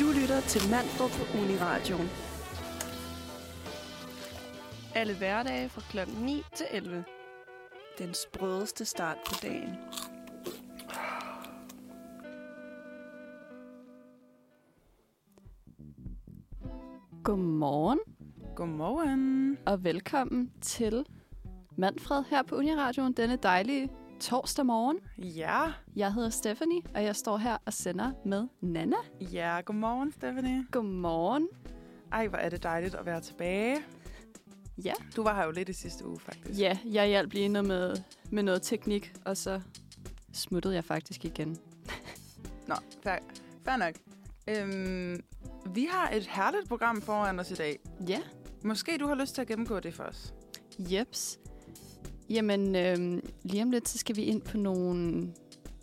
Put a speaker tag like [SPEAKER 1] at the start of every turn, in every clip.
[SPEAKER 1] Du lytter til Manfred på Uniradioen. Alle hverdage fra kl. 9 til 11. Den sprødeste start på dagen.
[SPEAKER 2] Godmorgen
[SPEAKER 3] Godmorgen.
[SPEAKER 2] og velkommen til Manfred her på Uniradioen denne dejlige torsdag morgen.
[SPEAKER 3] Ja,
[SPEAKER 2] Jeg hedder Stephanie, og jeg står her og sender med Nana.
[SPEAKER 3] ja, godmorgen, Stephanie.
[SPEAKER 2] Godmorgen.
[SPEAKER 3] Ej, hvor er det dejligt at være tilbage.
[SPEAKER 2] Ja.
[SPEAKER 3] Du var her jo lidt i sidste uge, faktisk.
[SPEAKER 2] Ja, jeg hjalp lige noget med, med noget teknik, og så smuttede jeg faktisk igen.
[SPEAKER 3] Nå, fair, fair nok. Øhm, vi har et herligt program foran os i dag.
[SPEAKER 2] Ja,
[SPEAKER 3] Måske du har lyst til at gennemgå det for os.
[SPEAKER 2] jeps. Jamen, øhm, lige om lidt, så skal vi ind på nogle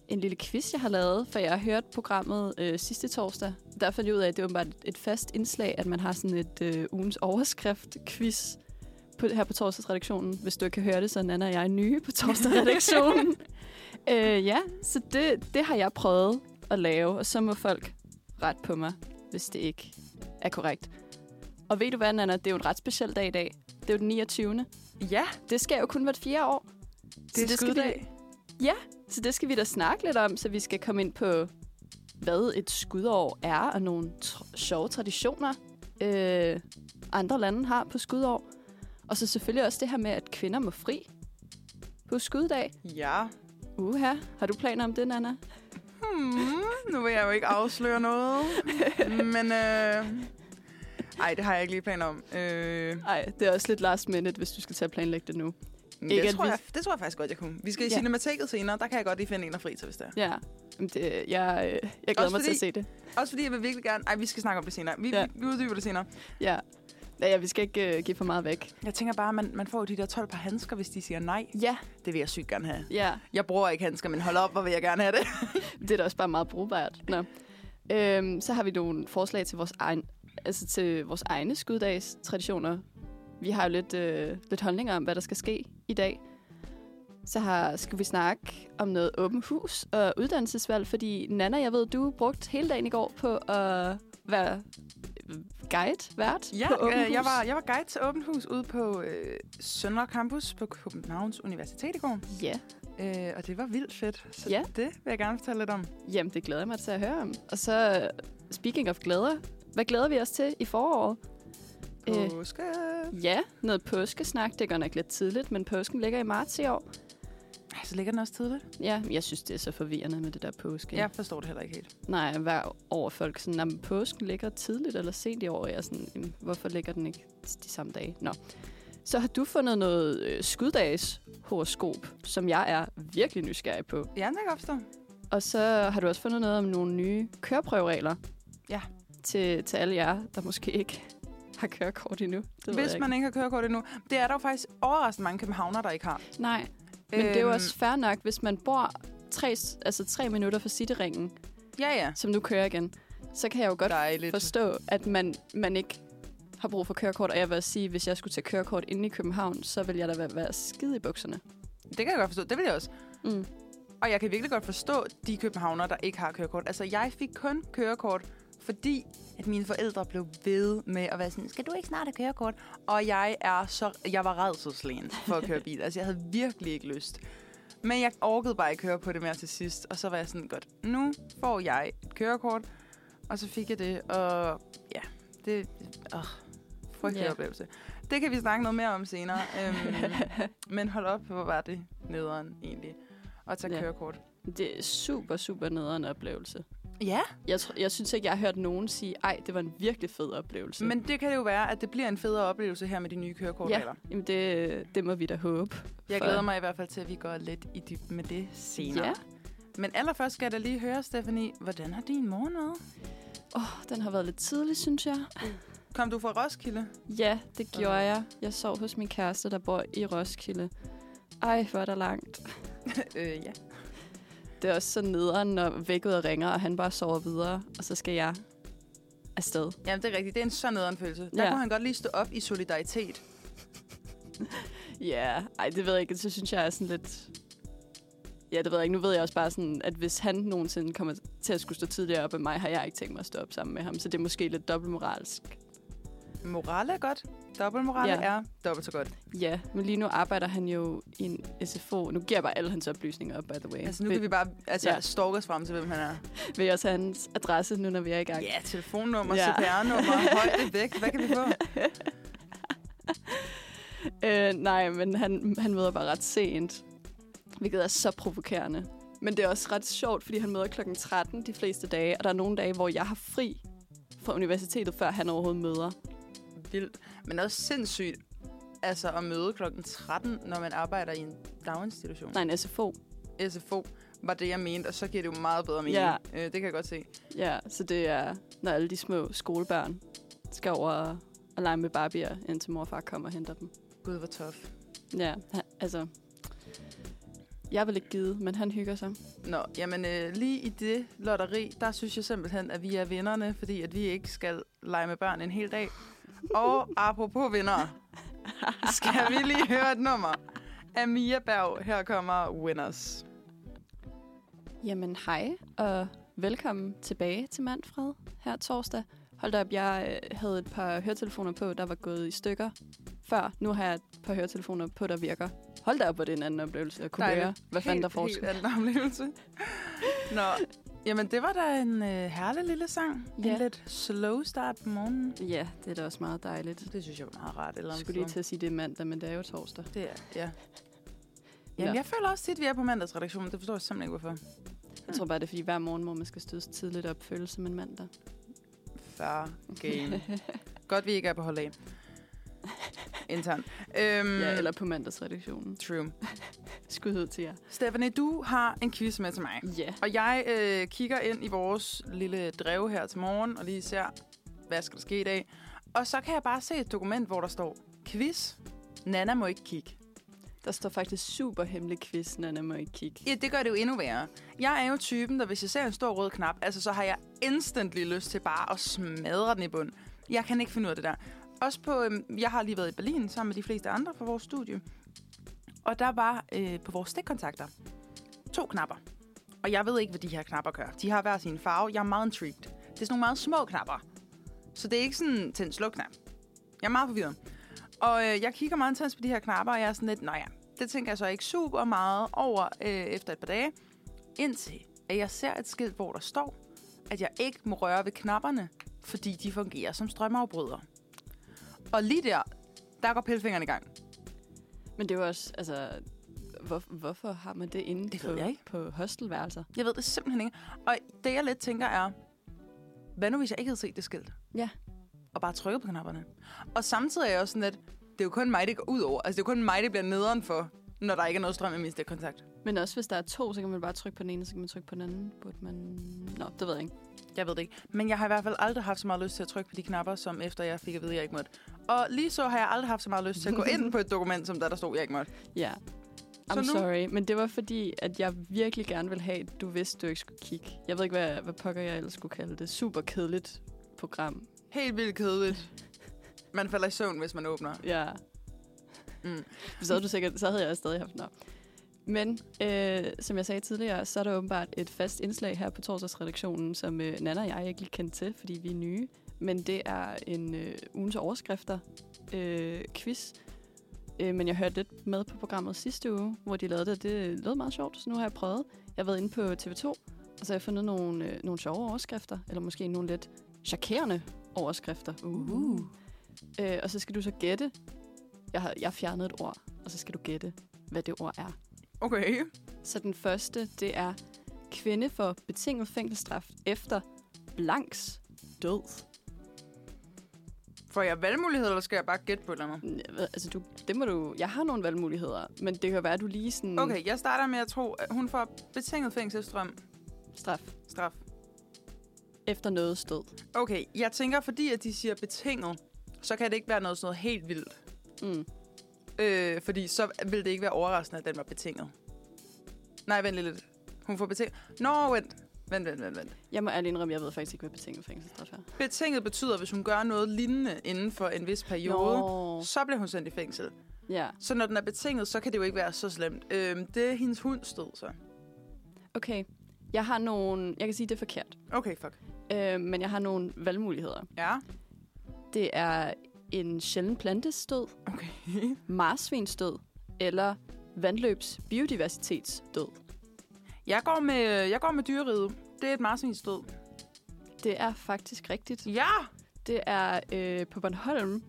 [SPEAKER 2] en lille quiz, jeg har lavet, for jeg har hørt programmet øh, sidste torsdag. Der fandt jeg ud af, at det var bare et fast indslag, at man har sådan et øh, ugens overskrift-quiz på, her på torsdagsredaktionen. Hvis du ikke kan høre det, så Nana og jeg er nye på torsdagsredaktionen. øh, ja, så det, det har jeg prøvet at lave, og så må folk ret på mig, hvis det ikke er korrekt. Og ved du hvad, Nana? Det er jo en ret speciel dag i dag. Det er jo den 29.
[SPEAKER 3] Ja,
[SPEAKER 2] Det sker jo kun hvert fjerde år.
[SPEAKER 3] det er
[SPEAKER 2] det skal
[SPEAKER 3] skuddag.
[SPEAKER 2] Så det skal vi da snakke lidt om, så vi skal komme ind på, hvad et skudår er, og nogle tr- sjove traditioner, øh, andre lande har på skudår. Og så selvfølgelig også det her med, at kvinder må fri på skuddag.
[SPEAKER 3] Ja.
[SPEAKER 2] Uha, har du planer om det, Nana?
[SPEAKER 3] Hmm, nu vil jeg jo ikke afsløre noget. Men øh, ej, det har jeg ikke lige planer om. Øh,
[SPEAKER 2] Nej, det er også lidt last minute, hvis du skal til at planlægge det nu. Ikke
[SPEAKER 3] det,
[SPEAKER 2] at
[SPEAKER 3] tror
[SPEAKER 2] vi-
[SPEAKER 3] jeg, det tror jeg faktisk godt, jeg kunne. Vi skal i
[SPEAKER 2] Ja.
[SPEAKER 3] ja. cinematikket senere. Der kan jeg godt lige finde en at fri til, hvis det er.
[SPEAKER 2] Ja, Jamen, det, jeg, øh, jeg glæder
[SPEAKER 3] Også
[SPEAKER 2] mig til at
[SPEAKER 3] fordi-
[SPEAKER 2] se det.
[SPEAKER 3] Også fordi jeg vil virkelig gerne... Ej, vi skal snakke om det senere. Vi,
[SPEAKER 2] Ja.
[SPEAKER 3] ja. vi uddyber det senere.
[SPEAKER 2] Ja. Ja, ja, vi skal ikke øh, give for meget væk.
[SPEAKER 3] Jeg tænker bare, man, man får jo de der 12 par handsker, hvis de siger nej.
[SPEAKER 2] Ja,
[SPEAKER 3] Det vil jeg sygt gerne have.
[SPEAKER 2] ja.
[SPEAKER 3] Jeg bruger ikke handsker, men hold op, hvor vil jeg gerne have det.
[SPEAKER 2] Det er da også bare meget brugbart. Nå. Øhm, så har vi nogle forslag til vores, egen, altså til vores egne skuddagstraditioner. Vi har jo lidt, øh, lidt holdninger om, hvad der skal ske i dag. Så har, skal vi snakke om noget åbent hus og uddannelsesvalg, fordi Nana, jeg ved, du brugte hele dagen i går på at være øh, guide, vært på åbent
[SPEAKER 3] øh,
[SPEAKER 2] hus.
[SPEAKER 3] jeg, var, jeg var guide til Åbent Hus ude på øh, Søndre Campus på Københavns Universitet i går.
[SPEAKER 2] Ja,
[SPEAKER 3] Øh, og det var vildt fedt. Så
[SPEAKER 2] Ja.
[SPEAKER 3] ja. det vil jeg gerne fortælle lidt om.
[SPEAKER 2] jamen det glæder jeg mig til at høre om. Og så, øh, speaking of glæder, hvad glæder vi os til i foråret? Øh,
[SPEAKER 3] Påske.
[SPEAKER 2] Ja, noget påskesnak. Det er godt nok lidt tidligt, men påsken ligger i marts i år.
[SPEAKER 3] Ej, så ligger den også tidligt.
[SPEAKER 2] Ja, jeg synes, det er så forvirrende med det der påske.
[SPEAKER 3] Jeg forstår det heller ikke helt.
[SPEAKER 2] Nej, hver år folk sådan, at påsken ligger tidligt eller sent i år. og Jeg er sådan, "Jamen, hvorfor ligger den ikke de samme dage? Nå. Så har du fundet noget øh, skuddags horoskop, som jeg er virkelig nysgerrig på.
[SPEAKER 3] Ja, det kan jeg opstå.
[SPEAKER 2] Og så har du også fundet noget om nogle nye køreprøveregler.
[SPEAKER 3] Ja.
[SPEAKER 2] Til, til alle jer, der måske ikke har kørekort endnu. Det ved
[SPEAKER 3] Hvis
[SPEAKER 2] jeg
[SPEAKER 3] man ikke har kørekort endnu. Det er der jo faktisk overraskende mange københavner, der ikke har. Øhm,
[SPEAKER 2] ikke. Nej, Men det er jo også fair nok, hvis man bor tre, altså tre minutter fra Cityringen,
[SPEAKER 3] Ja, ja.
[SPEAKER 2] som nu kører igen, så kan jeg jo godt
[SPEAKER 3] Dejligt.
[SPEAKER 2] forstå, at man, man ikke har brug for kørekort. Og jeg vil også sige, hvis jeg skulle tage kørekort inde i København, så ville jeg da være, være skide i bukserne.
[SPEAKER 3] Det kan jeg godt forstå. Det vil jeg også.
[SPEAKER 2] Mm.
[SPEAKER 3] Og jeg kan virkelig godt forstå de københavnere, der ikke har kørekort. Altså, jeg fik kun kørekort, fordi at mine forældre blev ved med at være sådan, skal du ikke snart have kørekort? Og jeg er så, jeg var redselslægen for at køre bil. altså, jeg havde virkelig ikke lyst. Men jeg orkede bare ikke køre på det mere til sidst. Og så var jeg sådan, godt, nu får jeg et kørekort. Og så fik jeg det, og ja, det... Åh, frygtelig
[SPEAKER 2] Ja.
[SPEAKER 3] yeah. oplevelse. Det kan vi snakke noget mere om senere. øhm, men hold op, hvor var det nederen egentlig at tage
[SPEAKER 2] Ja.
[SPEAKER 3] yeah. kørekort.
[SPEAKER 2] Det er super, super nederen oplevelse.
[SPEAKER 3] Ja,
[SPEAKER 2] Jeg, tror, jeg synes ikke, jeg har hørt nogen sige, ej, det var en virkelig fed oplevelse.
[SPEAKER 3] men det kan det jo være, at det bliver en federe oplevelse her med de nye kørekortregler.
[SPEAKER 2] ja, jamen det, det må vi da håbe.
[SPEAKER 3] Ja, jeg
[SPEAKER 2] for-
[SPEAKER 3] glæder mig i hvert fald til, at vi går lidt i dyb med det senere.
[SPEAKER 2] Ja.
[SPEAKER 3] Men allerførst skal jeg da lige høre, Stephanie, hvordan har din morgen været?
[SPEAKER 2] Åh, oh, den har været lidt tidlig, synes jeg.
[SPEAKER 3] Kom du fra Roskilde?
[SPEAKER 2] Ja, det gjorde jeg. Jeg sov hos min kæreste, der bor i Roskilde. Ej, hvor er der langt.
[SPEAKER 3] øh, ja.
[SPEAKER 2] Det er også så nederen, når vækket ringer, og han bare sover videre, og så skal jeg afsted.
[SPEAKER 3] Jamen, det er rigtigt. Det er en så nederen følelse. Der
[SPEAKER 2] Ja.
[SPEAKER 3] ja. kunne han godt lige stå op i solidaritet.
[SPEAKER 2] Ja, yeah. ej, det ved jeg ikke. Så synes jeg er sådan lidt... Ja, det ved jeg ikke. Nu ved jeg også bare sådan, at hvis han nogensinde kommer til at skulle stå tidligere op end mig, har jeg ikke tænkt mig at stå op sammen med ham. Så det er måske lidt dobbeltmoralsk.
[SPEAKER 3] Moral er godt. Dobbeltmoral
[SPEAKER 2] Ja.
[SPEAKER 3] ja. er dobbelt så godt.
[SPEAKER 2] Ja, men lige nu arbejder han jo i en SFO. Nu giver jeg bare alle hans oplysninger op, by the way.
[SPEAKER 3] Altså, nu
[SPEAKER 2] vil,
[SPEAKER 3] kan vi bare altså,
[SPEAKER 2] Ja.
[SPEAKER 3] ja. stalke os frem til, hvem han er.
[SPEAKER 2] vil jeg også have hans adresse, nu når vi er i gang?
[SPEAKER 3] Ja, telefonnummer,
[SPEAKER 2] Ja.
[SPEAKER 3] ja. CPR-nummer, højde væk. Hvad kan vi få?
[SPEAKER 2] Øh, nej, men han, han møder bare ret sent, hvilket er så provokerende. Men det er også ret sjovt, fordi han møder klokken 13 de fleste dage, og der er nogle dage, hvor jeg har fri fra universitetet, før han overhovedet møder.
[SPEAKER 3] Vildt. Men også sindssygt altså, at møde klokken 13, når man arbejder i en daginstitution.
[SPEAKER 2] Nej, en SFO.
[SPEAKER 3] SFO var det, jeg mente, og så giver det jo meget bedre mening.
[SPEAKER 2] Ja.
[SPEAKER 3] Øh, det kan jeg godt se.
[SPEAKER 2] Ja, så det er, når alle de små skolebørn skal over og- og lege med Barbier, indtil mor og far kommer og henter dem.
[SPEAKER 3] Gud, hvor tof.
[SPEAKER 2] Ja, han, altså... Jeg vil ikke gide, men han hygger sig.
[SPEAKER 3] Nå, jamen øh, lige i det lotteri, der synes jeg simpelthen, at vi er vinderne, fordi at vi ikke skal lege med børn en hel dag. Og apropos vinder, skal vi lige høre et nummer af Mia Berg. Her kommer Winners.
[SPEAKER 2] Jamen hej, og velkommen tilbage til Manfred her torsdag. Hold da op, jeg øh, havde et par høretelefoner på, der var gået i stykker før. Nu har jeg et par høretelefoner på, der virker. Hold da op, hvor det er en anden oplevelse at kunne
[SPEAKER 3] Dejligt.
[SPEAKER 2] høre, hvad fanden der
[SPEAKER 3] Helt,
[SPEAKER 2] foregår.
[SPEAKER 3] Helt anden oplevelse. Nå, jamen det var da en øh, herlig lille sang.
[SPEAKER 2] Ja.
[SPEAKER 3] En lidt slow start på morgenen.
[SPEAKER 2] Ja, det er da også meget dejligt.
[SPEAKER 3] Det synes jeg var meget rart. Eller
[SPEAKER 2] Jeg
[SPEAKER 3] andet
[SPEAKER 2] skulle lige
[SPEAKER 3] sted.
[SPEAKER 2] til at sige, det er mandag, men det er jo torsdag.
[SPEAKER 3] Det er, ja. Jamen,
[SPEAKER 2] Nå.
[SPEAKER 3] jeg føler også tit, at vi er på mandagsredaktionen. Det forstår jeg simpelthen ikke, hvorfor.
[SPEAKER 2] Jeg tror bare, det er fordi hver morgen, hvor man skal stødes tidligt op, føles som en mandag.
[SPEAKER 3] Fair game. Godt, vi ikke er på hold af. Intern. Øhm,
[SPEAKER 2] Ja, eller på mandagsredaktionen.
[SPEAKER 3] True.
[SPEAKER 2] Skud ud til jer.
[SPEAKER 3] Stephanie, du har en quiz med til mig.
[SPEAKER 2] Ja.
[SPEAKER 3] Og jeg øh, kigger ind i vores lille dreve her til morgen, og lige ser, hvad skal der ske i dag. Og så kan jeg bare se et dokument, hvor der står, quiz, Nana må ikke kigge.
[SPEAKER 2] Der står faktisk super hemmelig quiz, Nana må ikke kigge.
[SPEAKER 3] Ja, det gør det jo endnu værre. Jeg er jo typen, der hvis jeg ser en stor rød knap, altså så har jeg instantly lyst til bare at smadre den i bund. Jeg kan ikke finde ud af det der. Også på, øhm, jeg har lige været i Berlin sammen med de fleste andre fra vores studie. Og der var øh, på vores stikkontakter to knapper. Og jeg ved ikke, hvad de her knapper gør. De har hver sin farve. Jeg er meget intrigued. Det er sådan nogle meget små knapper. Så det er ikke sådan til en slukknap. Jeg er meget forvirret. Og øh, jeg kigger meget intens på de her knapper, og jeg er sådan lidt, nej ja, det tænker jeg så ikke super meget over øh, efter et par dage. Indtil at jeg ser et skilt, hvor der står, at jeg ikke må røre ved knapperne, fordi de fungerer som strømafbrydere. Og lige der, der går pillefingeren i gang.
[SPEAKER 2] Men det er jo også, altså, hvor, hvorfor har man det inde
[SPEAKER 3] Det
[SPEAKER 2] på,
[SPEAKER 3] ved jeg ikke.
[SPEAKER 2] på hostelværelser?
[SPEAKER 3] Jeg ved det simpelthen ikke. Og det jeg lidt tænker er, hvad nu hvis jeg ikke havde set det skilt?
[SPEAKER 2] Ja.
[SPEAKER 3] Og bare trykket på knapperne. Og samtidig er jeg også sådan lidt, det er jo kun mig, det går ud over. Altså det er jo kun mig, det bliver nederen for, når der ikke er noget strøm i min stikkontakt.
[SPEAKER 2] Men også hvis der er to, så kan man bare trykke på den ene, så kan man trykke på den anden. Burde man... Nå, det ved jeg ikke.
[SPEAKER 3] Jeg ved det ikke. Men jeg har i hvert fald aldrig haft så meget lyst til at trykke på de knapper, som efter jeg fik at vide, at jeg ikke måtte. Og lige så har jeg aldrig haft så meget lyst til at gå ind på et dokument, som der, der stod, at jeg ikke måtte.
[SPEAKER 2] Ja. I'm
[SPEAKER 3] Så
[SPEAKER 2] nu...
[SPEAKER 3] nu-
[SPEAKER 2] sorry, men det var fordi, at jeg virkelig gerne ville have, at du vidste, du ikke skulle kigge. Jeg ved ikke, hvad, hvad pokker jeg ellers skulle kalde det. Super kedeligt program.
[SPEAKER 3] Helt vildt kedeligt. Man falder i søvn, hvis man åbner.
[SPEAKER 2] Ja.
[SPEAKER 3] Mm.
[SPEAKER 2] Så havde, du sikkert, så havde jeg stadig haft den op. Men øh, som jeg sagde tidligere, så er der åbenbart et fast indslag her på torsdagsredaktionen, som øh, Nana og jeg ikke lige kendte til, fordi vi er nye. Men det er en øh, ugens overskrifter øh, quiz. Øh, men jeg hørte lidt med på programmet sidste uge, hvor de lavede det, og det lød meget sjovt, så nu har jeg prøvet. Jeg har været inde på TV2, og så har jeg fundet nogle, øh, nogle sjove overskrifter, eller måske nogle lidt chokerende overskrifter. Uh. Øh, og så skal du så gætte. Jeg har, jeg har fjernet et ord, og så skal du gætte, hvad det ord er.
[SPEAKER 3] Okay.
[SPEAKER 2] Så den første, det er kvinde for betinget fængselsstraf efter blanks død.
[SPEAKER 3] Får jeg valgmuligheder, eller skal jeg bare gætte på et eller andet?
[SPEAKER 2] Jeg ved- Altså, du, det må du... Jeg har nogle valgmuligheder, men det kan være, at du lige sådan...
[SPEAKER 3] Okay, jeg starter med at tro, at hun får betinget fængselsstrøm.
[SPEAKER 2] Straf
[SPEAKER 3] Straf.
[SPEAKER 2] efter noget stød.
[SPEAKER 3] Okay, jeg tænker, fordi at de siger betinget, så kan det ikke være noget, sådan noget helt vildt.
[SPEAKER 2] Mm.
[SPEAKER 3] Øh, fordi så ville det ikke være overraskende, at den var betinget. Nej, vent lige lidt. Hun får betinget. Nå, vent. Vent, vent, vent, vent.
[SPEAKER 2] Jeg må ærligt indrømme, jeg ved faktisk ikke, hvad betinget fængselsstraf er.
[SPEAKER 3] Betinget betyder, hvis hun gør noget lignende inden for en vis periode,
[SPEAKER 2] Nå.
[SPEAKER 3] så bliver hun sendt i fængsel.
[SPEAKER 2] Ja.
[SPEAKER 3] Øhm, Så når den er betinget, så kan det jo ikke være så slemt. Øh, det er hendes hund stod så.
[SPEAKER 2] Okay, jeg har nogle... Jeg kan sige, det er forkert.
[SPEAKER 3] Okay, fuck.
[SPEAKER 2] Øh, men jeg har nogle valgmuligheder.
[SPEAKER 3] Ja.
[SPEAKER 2] Det er en sjælden plantestød,
[SPEAKER 3] Okay.
[SPEAKER 2] marsvinsdød eller vandløbs biodiversitetsdød.
[SPEAKER 3] Jeg går med, øh, jeg går med dyreriget. Det er et marsvinstød.
[SPEAKER 2] Det er faktisk rigtigt.
[SPEAKER 3] Ja!
[SPEAKER 2] Det er øh, på Bornholm.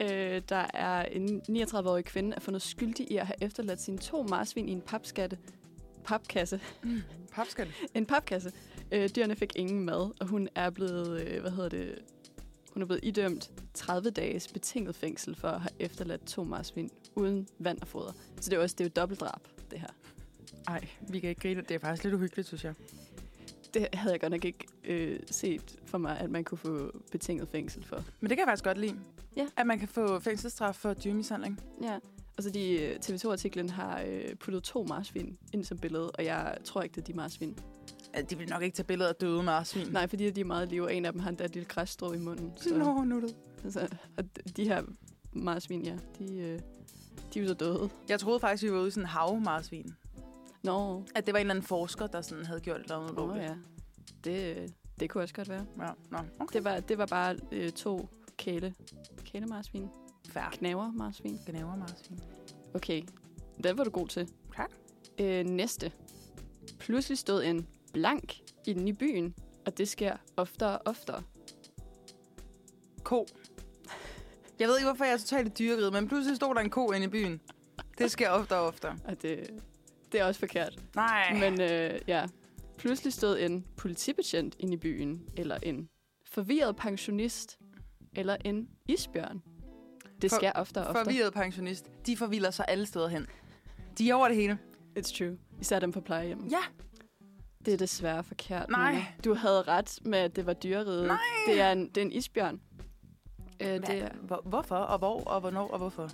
[SPEAKER 2] Øh, der er en 39-årig kvinde, er fundet skyldig i at have efterladt sine to marsvin i en papskatte. Papkasse.
[SPEAKER 3] Papskal.
[SPEAKER 2] En papkasse. Øh, dyrene fik ingen mad, og hun er blevet, øh, hvad hedder det, hun er blevet idømt 30 dages betinget fængsel for at have efterladt to marsvin uden vand og foder. Så det er jo også det er jo dobbeltdrab, det her.
[SPEAKER 3] Ej, vi kan ikke grine. Det er faktisk lidt uhyggeligt, synes jeg.
[SPEAKER 2] Det havde jeg godt nok ikke øh, set for mig, at man kunne få betinget fængsel for.
[SPEAKER 3] Men det kan jeg faktisk godt lide.
[SPEAKER 2] Ja.
[SPEAKER 3] At man kan få fængselsstraf for dyremishandling.
[SPEAKER 2] Ja. Og så de øh, TV2-artiklen har øh, puttet to marsvin ind som billede, og jeg tror ikke, det er de marsvin.
[SPEAKER 3] Altså, de vil nok ikke tage billeder af døde marsvin.
[SPEAKER 2] Nej, fordi de er meget liv, og en af dem har endda et lille græsstrå i munden.
[SPEAKER 3] Så. Nå, nu det.
[SPEAKER 2] altså, og d- de her marsvin, ja, de, øh, de er jo så døde.
[SPEAKER 3] Jeg troede faktisk, vi var ude i sådan en havmarsvin.
[SPEAKER 2] Nå,
[SPEAKER 3] At det var en eller anden forsker, der sådan havde gjort et eller andet
[SPEAKER 2] oh,
[SPEAKER 3] ulovligt.
[SPEAKER 2] ja. Det, øh, det kunne også godt være.
[SPEAKER 3] ja. Nå, okay.
[SPEAKER 2] Det var, det var bare øh, to kæle. Kælemarsvin?
[SPEAKER 3] Færre.
[SPEAKER 2] Knaver marsvin?
[SPEAKER 3] Gnaver marsvin.
[SPEAKER 2] Okay, den var du god til.
[SPEAKER 3] Tak.
[SPEAKER 2] Øh, næste. Pludselig stod en blank inde i byen, og det sker oftere og oftere.
[SPEAKER 3] Ko. Jeg ved ikke, hvorfor jeg er totalt i dyregrid, men pludselig stod der en ko inde i byen. Det sker ofte og ofte.
[SPEAKER 2] Og det, det er også forkert.
[SPEAKER 3] Nej.
[SPEAKER 2] Men øh, ja, pludselig stod en politibetjent inde i byen, eller en forvirret pensionist, eller en isbjørn. Det
[SPEAKER 3] For-
[SPEAKER 2] sker oftere og oftere.
[SPEAKER 3] Forvirret pensionist. De forvilder sig alle steder hen. De er over det hele.
[SPEAKER 2] It's true. Især dem på plejehjem.
[SPEAKER 3] Ja.
[SPEAKER 2] Det er desværre forkert.
[SPEAKER 3] Nej.
[SPEAKER 2] Mona. Du havde ret med, at det var dyreriget.
[SPEAKER 3] Nej.
[SPEAKER 2] Det er en, det er en isbjørn. Øh, det er,
[SPEAKER 3] Hvor, hvorfor, og hvor, og hvornår, og hvorfor?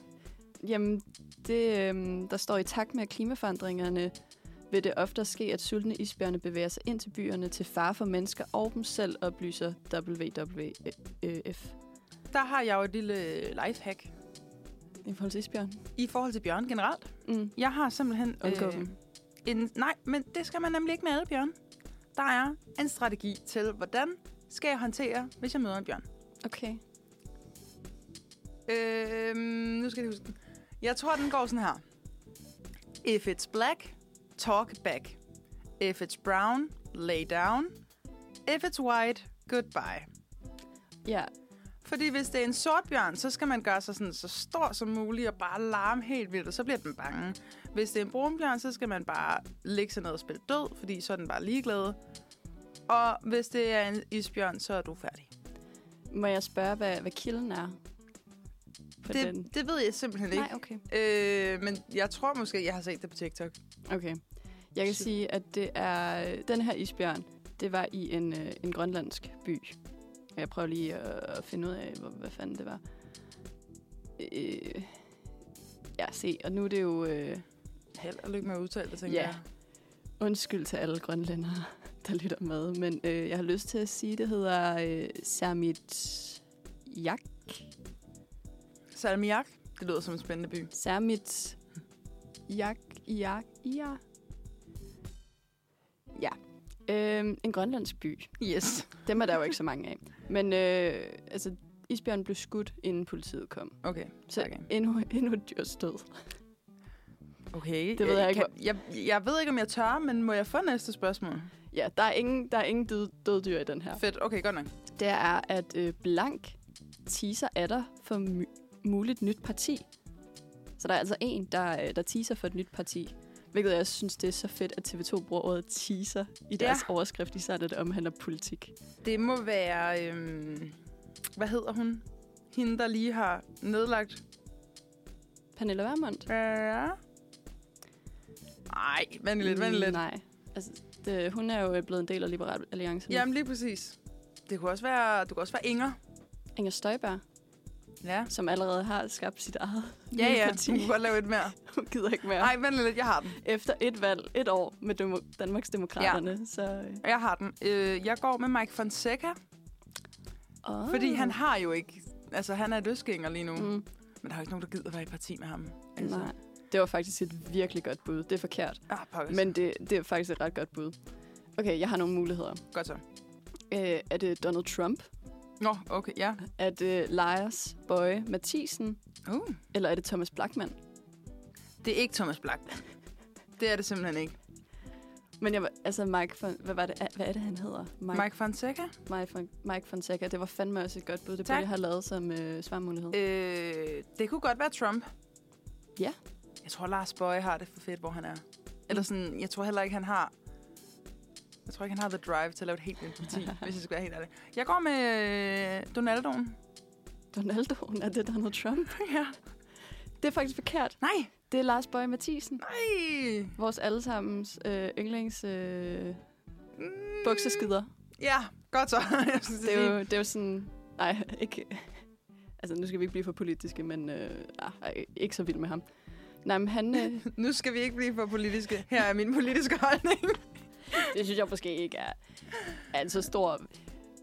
[SPEAKER 2] Jamen, det, øhm, der står i takt med klimaforandringerne, vil det ofte ske, at sultne isbjørne bevæger sig ind til byerne til fare for mennesker og dem selv, oplyser E WWF.
[SPEAKER 3] Der har jeg jo et lille lifehack
[SPEAKER 2] I forhold til isbjørn.
[SPEAKER 3] i forhold til bjørn generelt.
[SPEAKER 2] Mm.
[SPEAKER 3] Jeg har simpelthen... øh,
[SPEAKER 2] Undgå dem.
[SPEAKER 3] en, nej, men det skal man nemlig ikke med alle bjørn. Der er en strategi til, hvordan skal jeg håndtere, hvis jeg møder en bjørn.
[SPEAKER 2] Okay.
[SPEAKER 3] Øh, nu skal jeg lige huske den. Jeg tror, den går sådan her. If it's black, talk back. If it's brown, lay down. If it's white, goodbye.
[SPEAKER 2] Ja,
[SPEAKER 3] Fordi hvis det er en sort bjørn, så skal man gøre sig sådan, så stor som muligt og bare larme helt vildt, og så bliver den bange. Hvis det er en brun bjørn, så skal man bare ligge sig ned og spille død, fordi så er den bare ligeglad. Og hvis det er en isbjørn, så er du færdig.
[SPEAKER 2] må jeg spørge, hvad, hvad kilden er? På den?
[SPEAKER 3] Det, det ved jeg simpelthen ikke.
[SPEAKER 2] Nej, okay.
[SPEAKER 3] Øh, men jeg tror måske, jeg har set det på TikTok.
[SPEAKER 2] Okay. Jeg kan
[SPEAKER 3] Sygt.
[SPEAKER 2] sige, at det er den her isbjørn, det var i en, øh, en grønlandsk by. Jeg prøver lige at, at finde ud af, hvor, hvad fanden det var. Øh, ja, se, og nu er det jo... Øh,
[SPEAKER 3] Held og lykke med at udtale det, tænker
[SPEAKER 2] Ja.
[SPEAKER 3] jeg.
[SPEAKER 2] undskyld til alle grønlændere, der lytter med, men øh, jeg har lyst til at sige, det hedder øh, Sermit... Jak?
[SPEAKER 3] Salmiak, det lyder som en spændende by.
[SPEAKER 2] Sermit... Jak... Jak... Ja. Ja. Øh, en grønlandsk by.
[SPEAKER 3] Yes.
[SPEAKER 2] Dem er der jo ikke så mange af. Men øh, altså, isbjørnen blev skudt, inden politiet kom.
[SPEAKER 3] Okay,
[SPEAKER 2] Så
[SPEAKER 3] Okay.
[SPEAKER 2] endnu, endnu et dyrs død.
[SPEAKER 3] okay. Øh,
[SPEAKER 2] Det ved jeg ikke,
[SPEAKER 3] Kan, jeg, jeg ved ikke, om jeg tør, men må jeg få næste spørgsmål?
[SPEAKER 2] Ja, der er ingen, der er ingen død, døddyr i den her.
[SPEAKER 3] Ja. Fedt, okay, godt nok.
[SPEAKER 2] Det er, at øh, Blank teaser er der for mu- muligt nyt parti. Så der er altså en, der, øh, der teaser for et nyt parti. Hvilket jeg synes, det er så fedt, at TV2 bruger ordet teaser i deres ja. overskrift, især når det omhandler politik.
[SPEAKER 3] Det må være... Øhm, hvad hedder hun? Hende, der lige har nedlagt...
[SPEAKER 2] Pernille Vermund.
[SPEAKER 3] Ja. Nej, vent lidt, vent lidt.
[SPEAKER 2] Mm, Nej. Altså, det, hun er jo øh, blevet en del af Liberal Alliance. nu.
[SPEAKER 3] Jamen lige præcis. Det kunne også være, du kunne også være Inger.
[SPEAKER 2] Inger Støjberg.
[SPEAKER 3] Ja.
[SPEAKER 2] som allerede har skabt sit eget
[SPEAKER 3] Ja,
[SPEAKER 2] nye
[SPEAKER 3] ja,
[SPEAKER 2] parti.
[SPEAKER 3] hun kunne godt lave et mere.
[SPEAKER 2] Hun gider ikke mere.
[SPEAKER 3] Nej, vent lidt, jeg har den.
[SPEAKER 2] Efter et valg, et år med Demo- Danmarks Demokraterne, ja. så... øh,
[SPEAKER 3] Jeg har den. Øh, jeg går med Mike Fonseca,
[SPEAKER 2] Åh.
[SPEAKER 3] fordi han har jo ikke... Altså, han er løsgænger lige nu. Mm.
[SPEAKER 2] Ah. Mm,
[SPEAKER 3] Men der er jo ikke nogen, der gider være i parti med ham. Altså.
[SPEAKER 2] nej. Det var faktisk et virkelig godt bud. Det er forkert.
[SPEAKER 3] Ah, pokkes.
[SPEAKER 2] Men det, det er faktisk et ret godt bud. Okay, jeg har nogle muligheder.
[SPEAKER 3] Godt så.
[SPEAKER 2] Øh, er det Donald Trump?
[SPEAKER 3] Nå, okay, ja.
[SPEAKER 2] Er det Lars Bøje Mathisen?
[SPEAKER 3] Uh.
[SPEAKER 2] Eller er det Thomas Blackman?
[SPEAKER 3] Det er ikke Thomas Black. Det er det simpelthen ikke.
[SPEAKER 2] Men jeg var, altså Mike, von, hvad, var det, hvad er det, han hedder?
[SPEAKER 3] Mike, Mike Fonseca?
[SPEAKER 2] Mike, von, Mike Fonseca. Det var fandme også et godt bud. Det
[SPEAKER 3] Tak.
[SPEAKER 2] burde jeg have lavet som øh, svarmulighed.
[SPEAKER 3] Øh, det kunne godt være Trump.
[SPEAKER 2] Ja.
[SPEAKER 3] Jeg tror, Lars Bøje har det for fedt, hvor han er. Eller sådan, jeg tror heller ikke, han har... Jeg tror ikke, han har the drive til at lave et helt nyt parti, hvis jeg skal være helt ærlig. Jeg går med øh, Donaldoen.
[SPEAKER 2] Donaldoen, er det Donald Trump?
[SPEAKER 3] ja.
[SPEAKER 2] Det er faktisk forkert.
[SPEAKER 3] Nej,
[SPEAKER 2] Det er Lars Bøje Mathisen.
[SPEAKER 3] nej.
[SPEAKER 2] Vores allesammens øh, yndlings øh,
[SPEAKER 3] Mm.
[SPEAKER 2] bukseskider.
[SPEAKER 3] Ja, godt så. jeg synes,
[SPEAKER 2] Det er jo, det er jo sådan... Nej, ikke... Altså, nu skal vi ikke blive for politiske, men øh, ah, ej, ikke så vild med ham. Nej, men han... Øh,
[SPEAKER 3] Nu skal vi ikke blive for politiske. Her er min politiske holdning.
[SPEAKER 2] det synes jeg måske ikke er, er en så stor... Det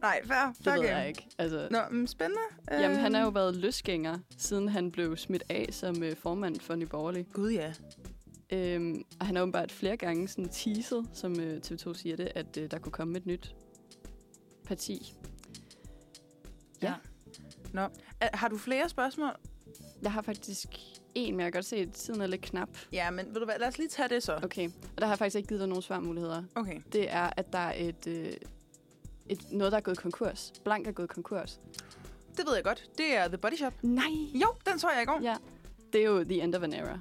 [SPEAKER 3] Nej, fair. fair
[SPEAKER 2] ved
[SPEAKER 3] game.
[SPEAKER 2] jeg ikke. Altså,
[SPEAKER 3] Nå, men spændende.
[SPEAKER 2] Jamen, han har jo
[SPEAKER 3] Øhm,
[SPEAKER 2] været løsgænger, siden han blev smidt af som øh, formand for Nye Borgerlige.
[SPEAKER 3] Gud, ja.
[SPEAKER 2] Øhm, og han har åbenbart flere gange sådan teaset, som øh, TV2 siger det, at øh, der kunne komme et nyt parti.
[SPEAKER 3] Er- Har du flere spørgsmål?
[SPEAKER 2] Jeg har faktisk en, men jeg kan godt se, at tiden er lidt knap.
[SPEAKER 3] Ja, men ved du hvad, lad os lige tage det så.
[SPEAKER 2] Okay, og der har jeg faktisk ikke givet dig nogen svarmuligheder.
[SPEAKER 3] Okay.
[SPEAKER 2] Det er, at der er et, øh, et, noget, der er gået konkurs. Blank er gået konkurs.
[SPEAKER 3] Det ved jeg godt. Det er The Body Shop.
[SPEAKER 2] Nej!
[SPEAKER 3] Jo, den så jeg i går.
[SPEAKER 2] Ja, det er jo the end of an era.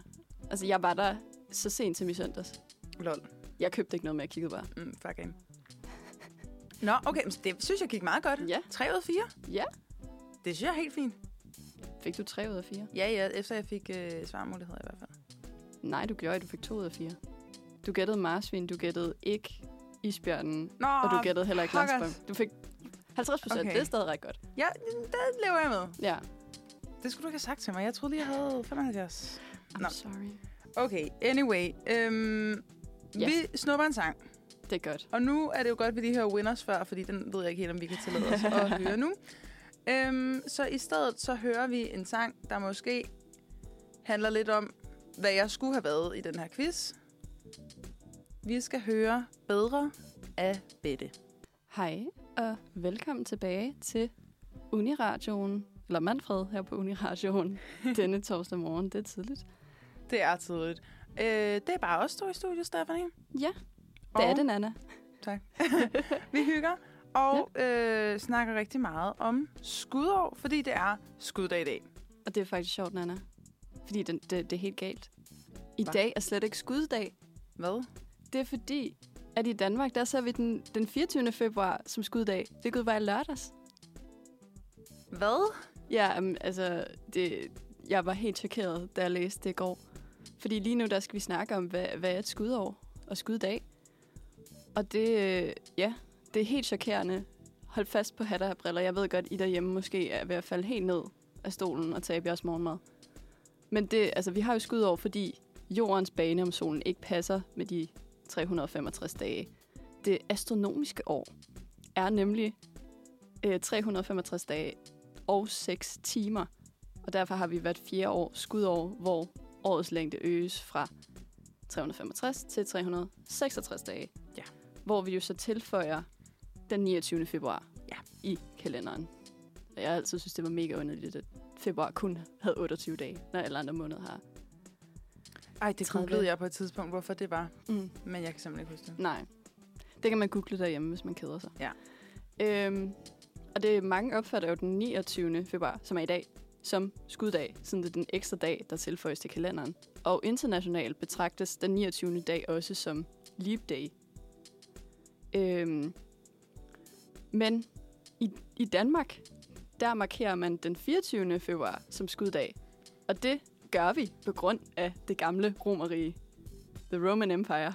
[SPEAKER 2] Altså, jeg var der så sent som i søndags.
[SPEAKER 3] Lol.
[SPEAKER 2] Jeg købte ikke noget, men jeg kiggede bare.
[SPEAKER 3] Mm, fair game. Nå, okay. men Det synes jeg gik meget godt.
[SPEAKER 2] Ja,
[SPEAKER 3] 3 ud af 4.
[SPEAKER 2] Ja.
[SPEAKER 3] Det synes jeg er helt fint.
[SPEAKER 2] fik du 3 ud af 4?
[SPEAKER 3] Ja, ja. Efter jeg fik øh, svarmuligheder i hvert fald.
[SPEAKER 2] Nej, du gjorde ikke. Du fik 2 ud af 4. Du gættede marsvin, du gættede ikke isbjørnen,
[SPEAKER 3] Nå,
[SPEAKER 2] og du gættede heller ikke
[SPEAKER 3] pokkers.
[SPEAKER 2] Landsbøm. Du fik 50 procent.
[SPEAKER 3] Okay.
[SPEAKER 2] Okay. Det er stadig ret godt.
[SPEAKER 3] ja, der lever jeg med.
[SPEAKER 2] Ja.
[SPEAKER 3] Det skulle du ikke have sagt til mig. Jeg troede lige, jeg havde 75.
[SPEAKER 2] I'm
[SPEAKER 3] Nå.
[SPEAKER 2] sorry.
[SPEAKER 3] Okay, anyway. Øhm,
[SPEAKER 2] Ja.
[SPEAKER 3] Vi snupper en sang.
[SPEAKER 2] Det er godt.
[SPEAKER 3] Og nu er det jo godt, at vi lige hører Winners før, fordi den ved jeg ikke helt, om vi kan tillade os at høre nu. Øhm, så i stedet så hører vi en sang, der måske handler lidt om, hvad jeg skulle have været i den her quiz. Vi skal høre Bedre af Bette.
[SPEAKER 2] Hej, og velkommen tilbage til Uniradioen, eller Manfred her på Uniradioen, denne torsdag morgen. Det er tidligt.
[SPEAKER 3] Det er tidligt. Øh, det er bare os to i studiet, Stephanie.
[SPEAKER 2] Ja,
[SPEAKER 3] Og
[SPEAKER 2] det er det, Nana.
[SPEAKER 3] Vi hygger og øh, snakker rigtig meget om skudår, fordi det er skuddag i dag.
[SPEAKER 2] Og det er faktisk sjovt, Nana. Fordi den, det, det er helt galt. I
[SPEAKER 3] Hva?
[SPEAKER 2] dag er slet ikke skuddag.
[SPEAKER 3] Hvad?
[SPEAKER 2] Det er fordi, at i Danmark, der ser vi den, den 24. februar som skuddag. Det kunne være i lørdags.
[SPEAKER 3] Hvad?
[SPEAKER 2] Ja, um, altså, det, jeg var helt chokeret, da jeg læste det i går. Fordi lige nu, der skal vi snakke om, hvad, hvad er et skudår og skuddag. Og det, øh, ja, det er helt chokerende. Hold fast på hatter og briller. Jeg ved godt, I derhjemme måske er ved at falde helt ned af stolen og tabe jeres morgenmad. Men det, altså, vi har jo skudår, fordi jordens bane om solen ikke passer med de 365 dage. Det astronomiske år er nemlig øh, 365 dage og 6 timer. Og derfor har vi hvert fjerde år skudår, hvor årets længde øges fra 365 til 366 dage.
[SPEAKER 3] Ja.
[SPEAKER 2] Hvor vi jo så tilføjer den 29. februar
[SPEAKER 3] Ja.
[SPEAKER 2] i kalenderen. Og jeg har altid synes, det var mega underligt, at februar kun havde 28 dage, når alle andre måneder har.
[SPEAKER 3] Ej, det
[SPEAKER 2] Tredive.
[SPEAKER 3] googlede jeg på et tidspunkt, hvorfor det var.
[SPEAKER 2] Mm.
[SPEAKER 3] Men jeg kan simpelthen ikke huske det.
[SPEAKER 2] Nej. Det kan man google derhjemme, hvis man keder sig.
[SPEAKER 3] Ja.
[SPEAKER 2] Øhm, og det mange opfatter jo den 29. februar, som er i dag, som skuddag, siden det er den ekstra dag, der tilføjes til kalenderen. Og internationalt betragtes den 29. dag også som Leap Day. Øhm, men i, i Danmark, der markerer man den 24. februar som skuddag. Og det gør vi på grund af det gamle romerige. The Roman Empire.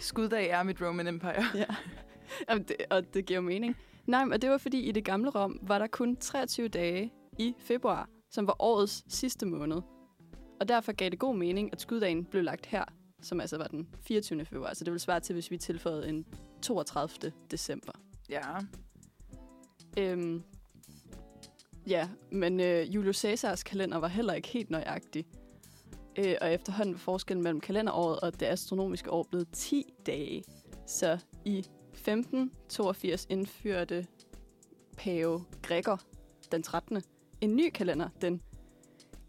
[SPEAKER 3] Skuddag er mit Roman Empire.
[SPEAKER 2] Ja. Jamen, det, og det giver jo mening. Nej, men det var fordi i det gamle Rom var der kun 23 dage i februar, som var årets sidste måned. Og derfor gav det god mening, at skuddagen blev lagt her, som altså var den 24. februar. Så det ville svare til, hvis vi tilføjede en 32. december.
[SPEAKER 3] Ja.
[SPEAKER 2] Øhm, Ja, men øh, Julius Caesars kalender var heller ikke helt nøjagtig. Øh, og efterhånden var forskellen mellem kalenderåret og det astronomiske år blevet 10 dage. Så i 1582 indførte pave Gregor den 13. en ny kalender, den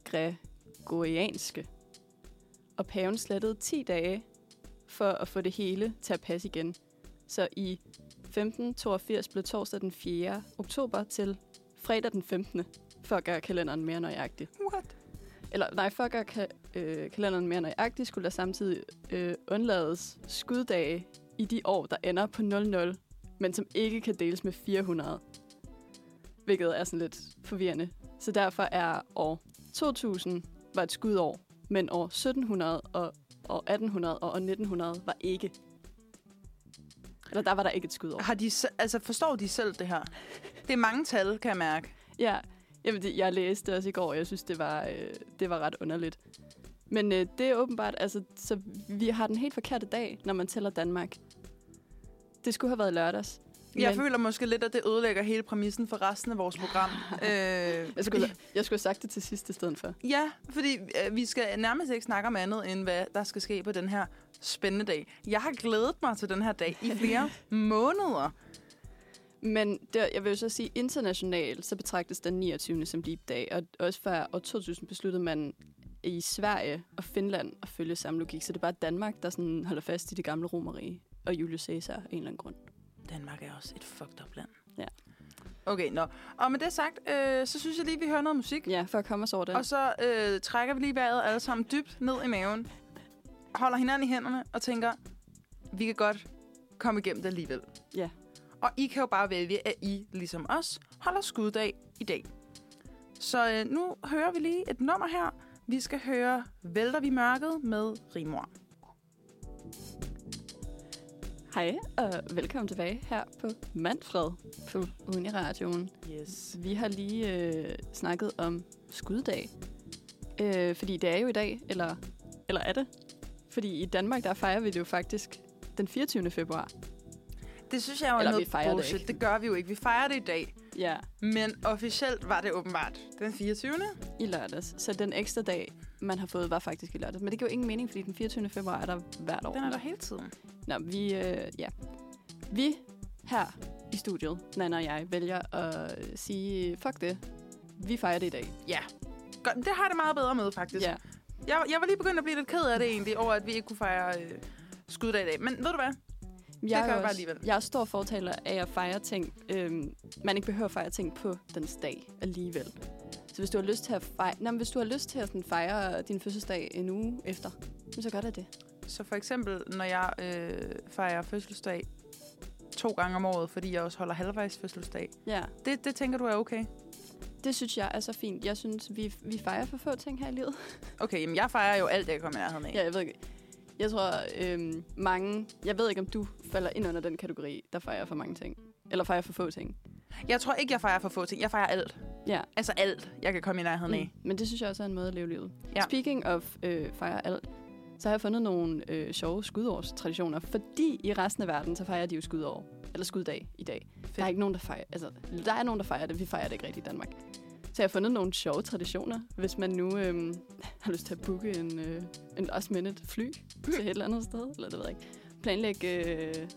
[SPEAKER 2] gregorianske. Og paven slettede 10 dage for at få det hele til at passe igen. Så i 1582 blev torsdag den 4. oktober til fredag den 15. for at gøre kalenderen mere nøjagtig.
[SPEAKER 3] What?
[SPEAKER 2] Eller nej, for at gøre ka- øh, kalenderen mere nøjagtig, skulle der samtidig øh, undlades skuddage i de år, der ender på 00, men som ikke kan deles med 400. Hvilket er sådan lidt forvirrende. Så derfor er år 2000 var et skudår, men år 1700 og år 1800 og år 1900 var ikke. Eller der var der ikke et skudår.
[SPEAKER 3] Har de, se- altså, forstår de selv det her? Det er mange tal, kan jeg mærke.
[SPEAKER 2] Ja, jamen det, jeg læste det også i går, og jeg synes, det var, øh, det var ret underligt. Men øh, det er åbenbart, altså, så vi har den helt forkerte dag, når man tæller Danmark. Det skulle have været i lørdags.
[SPEAKER 3] Jeg
[SPEAKER 2] men-
[SPEAKER 3] føler måske lidt, at det ødelægger hele præmissen for resten af vores program. øh,
[SPEAKER 2] jeg, skulle, jeg skulle have sagt det til sidst i stedet for.
[SPEAKER 3] Ja, fordi øh, vi skal nærmest ikke snakke om andet, end hvad der skal ske på den her spændende dag. Jeg har glædet mig til den her dag i flere måneder.
[SPEAKER 2] Men der, jeg vil jo så sige, internationalt, så betragtes den 29. som deep dag, og også fra år 2000 besluttede man i Sverige og Finland at følge samme logik, så det er bare Danmark, der sådan holder fast i det gamle romerige og Julius Caesar af en eller anden grund.
[SPEAKER 3] Danmark er også et fucked up land.
[SPEAKER 2] Ja.
[SPEAKER 3] Okay, nå. Og med det sagt, øh, så synes jeg lige, vi hører noget musik.
[SPEAKER 2] Ja, for at komme os over den.
[SPEAKER 3] Og så øh, trækker vi lige vejret alle sammen dybt ned i maven. Holder hinanden i hænderne og tænker, vi kan godt komme igennem det alligevel.
[SPEAKER 2] Ja.
[SPEAKER 3] Og I kan jo bare vælge, at I, ligesom os, holder skuddag i dag. Så øh, nu hører vi lige et nummer her. Vi skal høre Vælter vi mørket med Rimor.
[SPEAKER 2] Hej og velkommen tilbage her på Manfred på Uniradioen.
[SPEAKER 3] Yes.
[SPEAKER 2] Vi har lige øh, snakket om skuddag, øh, fordi det er jo i dag, eller, eller er det? Fordi i Danmark, der fejrer vi det jo faktisk den 24. februar.
[SPEAKER 3] Det synes jeg jo er
[SPEAKER 2] Eller vi
[SPEAKER 3] noget
[SPEAKER 2] fejrer det
[SPEAKER 3] bullshit.
[SPEAKER 2] ikke.
[SPEAKER 3] det gør vi jo ikke. Vi fejrer det i dag.
[SPEAKER 2] Ja,
[SPEAKER 3] Men officielt var det åbenbart den 24.
[SPEAKER 2] i lørdags. Så den ekstra dag, man har fået, var faktisk i lørdags. Men det giver jo ingen mening, fordi den 24. februar er der hvert år.
[SPEAKER 3] Den er der hele tiden.
[SPEAKER 2] Nå, vi, øh, ja. vi her i studiet, Nana og jeg, vælger at sige, fuck det, vi fejrer det i dag.
[SPEAKER 3] Ja. Godt, Det har jeg det meget bedre med, faktisk.
[SPEAKER 2] Ja.
[SPEAKER 3] Jeg, jeg var lige begyndt at blive lidt ked af det egentlig, over at vi ikke kunne fejre øh, skuddag i dag. Men ved du hvad?
[SPEAKER 2] Jeg
[SPEAKER 3] gør
[SPEAKER 2] er
[SPEAKER 3] jeg
[SPEAKER 2] også-
[SPEAKER 3] bare alligevel.
[SPEAKER 2] Jeg er stor fortaler af at fejre ting. Øhm, man ikke behøver at fejre ting på dens dag alligevel. Så hvis du har lyst til at fejre, nej, men hvis du har lyst til at sådan fejre din fødselsdag en uge efter, jamen, så gør det det.
[SPEAKER 3] Så for eksempel, når jeg øh, fejrer fødselsdag to gange om året, fordi jeg også holder halvvejs fødselsdag.
[SPEAKER 2] Ja,
[SPEAKER 3] Det, det tænker du er okay?
[SPEAKER 2] det synes jeg er så fint. Jeg synes, vi, vi fejrer for få ting her i livet.
[SPEAKER 3] Okay, jamen jeg fejrer jo alt, jeg kommer i nærheden af.
[SPEAKER 2] Ja, jeg ved ikke. Jeg tror, øhm, mange... Jeg ved ikke, om du falder ind under den kategori, der fejrer for mange ting. Eller fejrer for få ting.
[SPEAKER 3] Jeg tror ikke, jeg fejrer for få ting. Jeg fejrer alt.
[SPEAKER 2] Ja.
[SPEAKER 3] Altså alt, jeg kan komme i nærheden af.
[SPEAKER 2] Mm. Men det synes jeg også er en måde at leve livet.
[SPEAKER 3] Ja.
[SPEAKER 2] Ja. Speaking of øh, fejre alt, så har jeg fundet nogle øh, sjove skudårstraditioner, fordi i resten af verden, så fejrer de jo skudår, eller skuddag i dag. Der er ikke nogen, der fejrer, altså,
[SPEAKER 3] Mm.
[SPEAKER 2] der er nogen, der fejrer det, vi fejrer det ikke rigtigt i Danmark. Så jeg har fundet nogle sjove traditioner, hvis man nu øh, har lyst til at booke en, øh, en last minute fly
[SPEAKER 3] Mm.
[SPEAKER 2] til et eller andet sted, eller det ved jeg ikke. Planlægge, øh,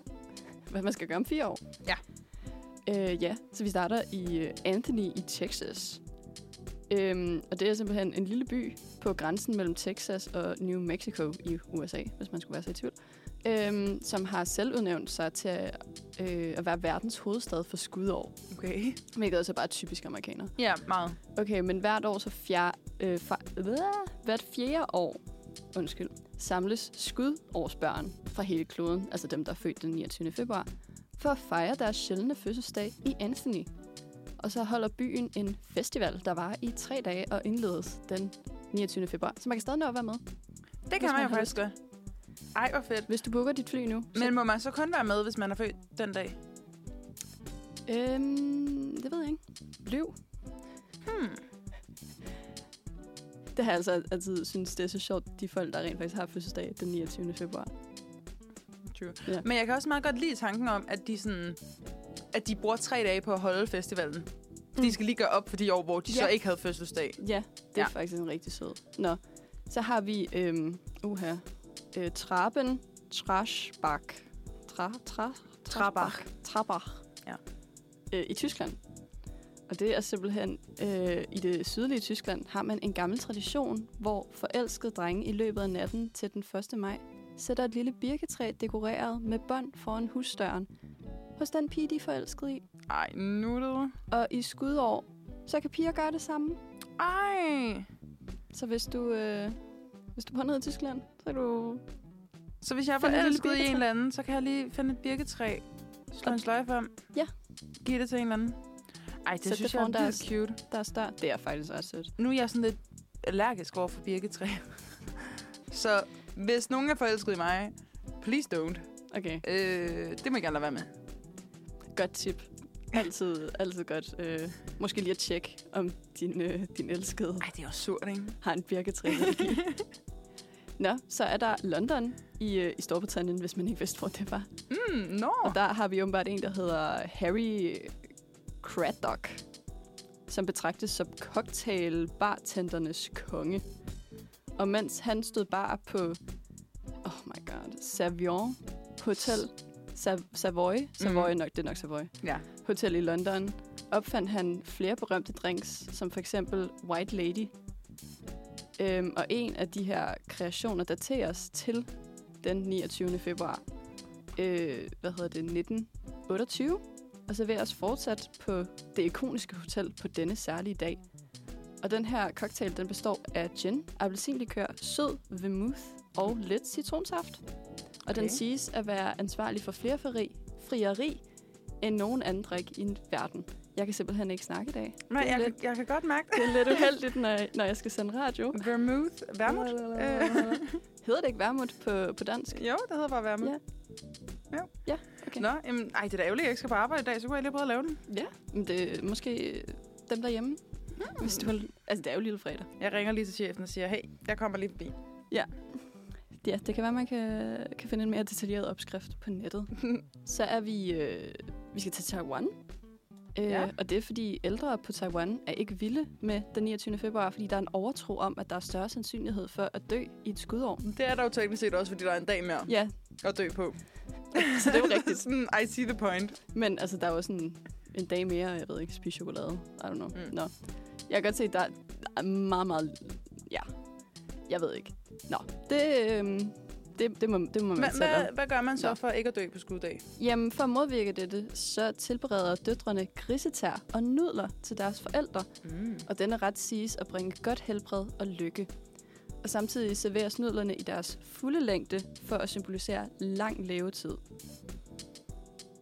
[SPEAKER 2] hvad man skal gøre om fire år.
[SPEAKER 3] Ja.
[SPEAKER 2] Øh, ja, så vi starter i øh, Anthony i Texas. Øhm, og det er simpelthen en lille by på grænsen mellem Texas og New Mexico i USA, hvis man skulle være så i tvivl, øhm, som har selvudnævnt sig til at, øh, at være verdens hovedstad for skudår,
[SPEAKER 3] Okay.
[SPEAKER 2] hvilket også er bare typisk amerikaner.
[SPEAKER 3] Ja, meget.
[SPEAKER 2] Okay, men hvert år så fjer, øh, fa- Hva? hvert fjerde år undskyld, samles skudårsbørn fra hele kloden, altså dem, der er født den 29. februar, for at fejre deres sjældne fødselsdag i Anthony. Og så holder byen en festival, der var i tre dage og indledes den 29. februar. Så man kan stadig nå at være med.
[SPEAKER 3] Det kan
[SPEAKER 2] Hvis
[SPEAKER 3] man
[SPEAKER 2] man
[SPEAKER 3] jo
[SPEAKER 2] har
[SPEAKER 3] faktisk godt. Ej, hvor fedt.
[SPEAKER 2] Hvis du booker dit fly nu,
[SPEAKER 3] Men må man så kun være med, hvis man er født den dag?
[SPEAKER 2] så, øhm, det ved jeg ikke. Løv.
[SPEAKER 3] Hmm.
[SPEAKER 2] Det har jeg altså altid synes, det er så sjovt, de folk, der rent faktisk har fødselsdag den 29. februar.
[SPEAKER 3] True.
[SPEAKER 2] Ja.
[SPEAKER 3] Men jeg kan også meget godt lide tanken om, at de, sådan, at de bruger tre dage på at holde festivalen. De skal lige gøre op for de år, hvor de
[SPEAKER 2] Mm. Ja.
[SPEAKER 3] så ikke havde fødselsdag.
[SPEAKER 2] Mm. Ja, det er
[SPEAKER 3] Ja.
[SPEAKER 2] faktisk en rigtig sød. Nå, så har vi, øhm, uha, øh, Traben Trashbach. Tra, tra,
[SPEAKER 1] Trabach.
[SPEAKER 2] Trabach.
[SPEAKER 3] Ja.
[SPEAKER 2] Øh, I Tyskland. Og det er simpelthen, øh, i det sydlige Tyskland har man en gammel tradition, hvor forelskede drenge i løbet af natten til den 1. maj sætter et lille birketræ dekoreret med bånd foran husdøren hos den pige, de er forelskede i.
[SPEAKER 3] Ej, nuttet.
[SPEAKER 2] Og i skudår, så kan piger gøre det samme.
[SPEAKER 3] Ej.
[SPEAKER 2] Så hvis du, øh, hvis du bor nede i Tyskland, så er du...
[SPEAKER 3] Så hvis jeg er
[SPEAKER 2] Find et lille
[SPEAKER 3] forelsket i en
[SPEAKER 2] birketræ.
[SPEAKER 3] eller anden, så kan jeg lige finde et birketræ, slå en sløjfe om,
[SPEAKER 2] Ja.
[SPEAKER 3] give det til en eller anden. Ej, det
[SPEAKER 2] Sæt det
[SPEAKER 3] Sæt synes det jeg
[SPEAKER 2] foran
[SPEAKER 3] er
[SPEAKER 2] deres-
[SPEAKER 3] vildt cute.
[SPEAKER 2] Der er større. Det er faktisk ret sødt.
[SPEAKER 3] Nu er jeg sådan lidt allergisk over for birketræer. så hvis nogen er forelsket i mig, please don't.
[SPEAKER 2] Okay,
[SPEAKER 3] Øh, det må I gerne lade være med.
[SPEAKER 2] godt tip. Altid, altid godt. Øh, måske lige at tjekke, om din, øh, din elskede
[SPEAKER 3] Ej, det er også surt, ikke?
[SPEAKER 2] har en birketræ. Nå, så er der London i, øh, i Storbritannien, hvis man ikke vidste, hvor det var.
[SPEAKER 3] Mm, no.
[SPEAKER 2] Og der har vi åbenbart en, der hedder Harry Craddock, som betragtes som cocktailbartendernes konge. Og mens han stod bare på, oh my god, Savion Hotel, Sav- Savoy, Savoy
[SPEAKER 3] Mhm.
[SPEAKER 2] nok, det er nok Savoy,
[SPEAKER 3] Ja.
[SPEAKER 2] Hotel i London, opfandt han flere berømte drinks, som for eksempel White Lady. Øhm, og en af de her kreationer dateres til den 29. februar, øh, hvad hedder det, 1928, og serveres fortsat på det ikoniske hotel på denne særlige dag. Og den her cocktail, den består af gin, appelsinlikør, sød vermouth og lidt citronsaft. Og okay. den
[SPEAKER 3] Okay.
[SPEAKER 2] siges at være ansvarlig for flere fri, frieri end nogen anden drik i verden. Jeg kan simpelthen ikke snakke i dag.
[SPEAKER 3] Nej,
[SPEAKER 2] det er
[SPEAKER 3] jeg,
[SPEAKER 2] lidt-
[SPEAKER 3] kan- jeg kan godt mærke det.
[SPEAKER 2] Det er lidt uheldigt, når, når jeg skal sende radio.
[SPEAKER 3] Vermouth. Vermouth? Øh,
[SPEAKER 2] Hedder det ikke vermut på, på dansk?
[SPEAKER 3] jo, det hedder bare vermouth.
[SPEAKER 2] Ja. Ja, okay.
[SPEAKER 3] Nå, jamen, ej, det er da ærgerligt, at jeg ikke skal på arbejde i dag, så kunne jeg lige prøve at lave den.
[SPEAKER 2] Ja, men det er måske øh, dem derhjemme. Hmm. Hvis du har, altså, det er jo lille fredag.
[SPEAKER 3] Mm. Jeg ringer lige til chefen og siger, hey, jeg kommer lige forbi.
[SPEAKER 2] Ja, det kan være, man kan, kan finde en mere detaljeret opskrift på nettet. Så er vi... Øh, vi skal til Taiwan. Øh,
[SPEAKER 3] Ja.
[SPEAKER 2] Og det er, fordi ældre på Taiwan er ikke vilde med den 29. februar, fordi der er en overtro om, at der er større sandsynlighed for at dø i et skudår.
[SPEAKER 3] Det er der jo teknisk set også, fordi der er en dag mere
[SPEAKER 2] Ja,
[SPEAKER 3] at dø på.
[SPEAKER 2] så det er jo rigtigt.
[SPEAKER 3] Sådan, I see the point.
[SPEAKER 2] Men altså, der er jo sådan en dag mere, og jeg ved ikke, spise chokolade. I don't know.
[SPEAKER 3] Mm.
[SPEAKER 2] Mm. Nå. Jeg kan godt se, der der er meget, meget... Ja. Jeg ved ikke. Nå. Det, øhm, det, det, må, det må man
[SPEAKER 3] Hva,
[SPEAKER 2] selv om.
[SPEAKER 3] hva, hvad gør man så
[SPEAKER 2] Nå.
[SPEAKER 3] for ikke at dø på skuddag?
[SPEAKER 2] Jamen, for at modvirke dette, så tilbereder døtrene grisetær og nudler til deres forældre,
[SPEAKER 3] Mm.
[SPEAKER 2] og denne ret siges at bringe godt helbred og lykke. Og samtidig serveres nudlerne i deres fulde længde for at symbolisere lang levetid.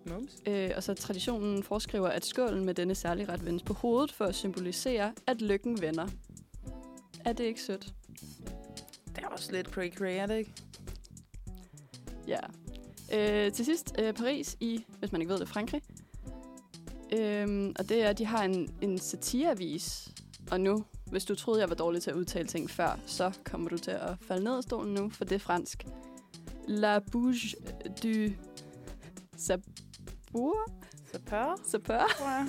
[SPEAKER 3] Mums.
[SPEAKER 2] Øh, og så traditionen foreskriver, at skålen med denne særlige ret vendes på hovedet for at symbolisere, at lykken vender. Er det ikke sødt?
[SPEAKER 3] Det er også lidt cray cray, er det ikke?
[SPEAKER 2] Ja. Øh, til sidst øh, Paris i, hvis man ikke ved det, Frankrig. Øhm, og det er, at de har en, en satireavis. Og nu, hvis du troede, jeg var dårlig til at udtale ting før, så kommer du til at falde ned af stolen nu, for det er fransk. La bouche du sabour,
[SPEAKER 3] Så pør,
[SPEAKER 2] sabour,
[SPEAKER 3] tror jeg.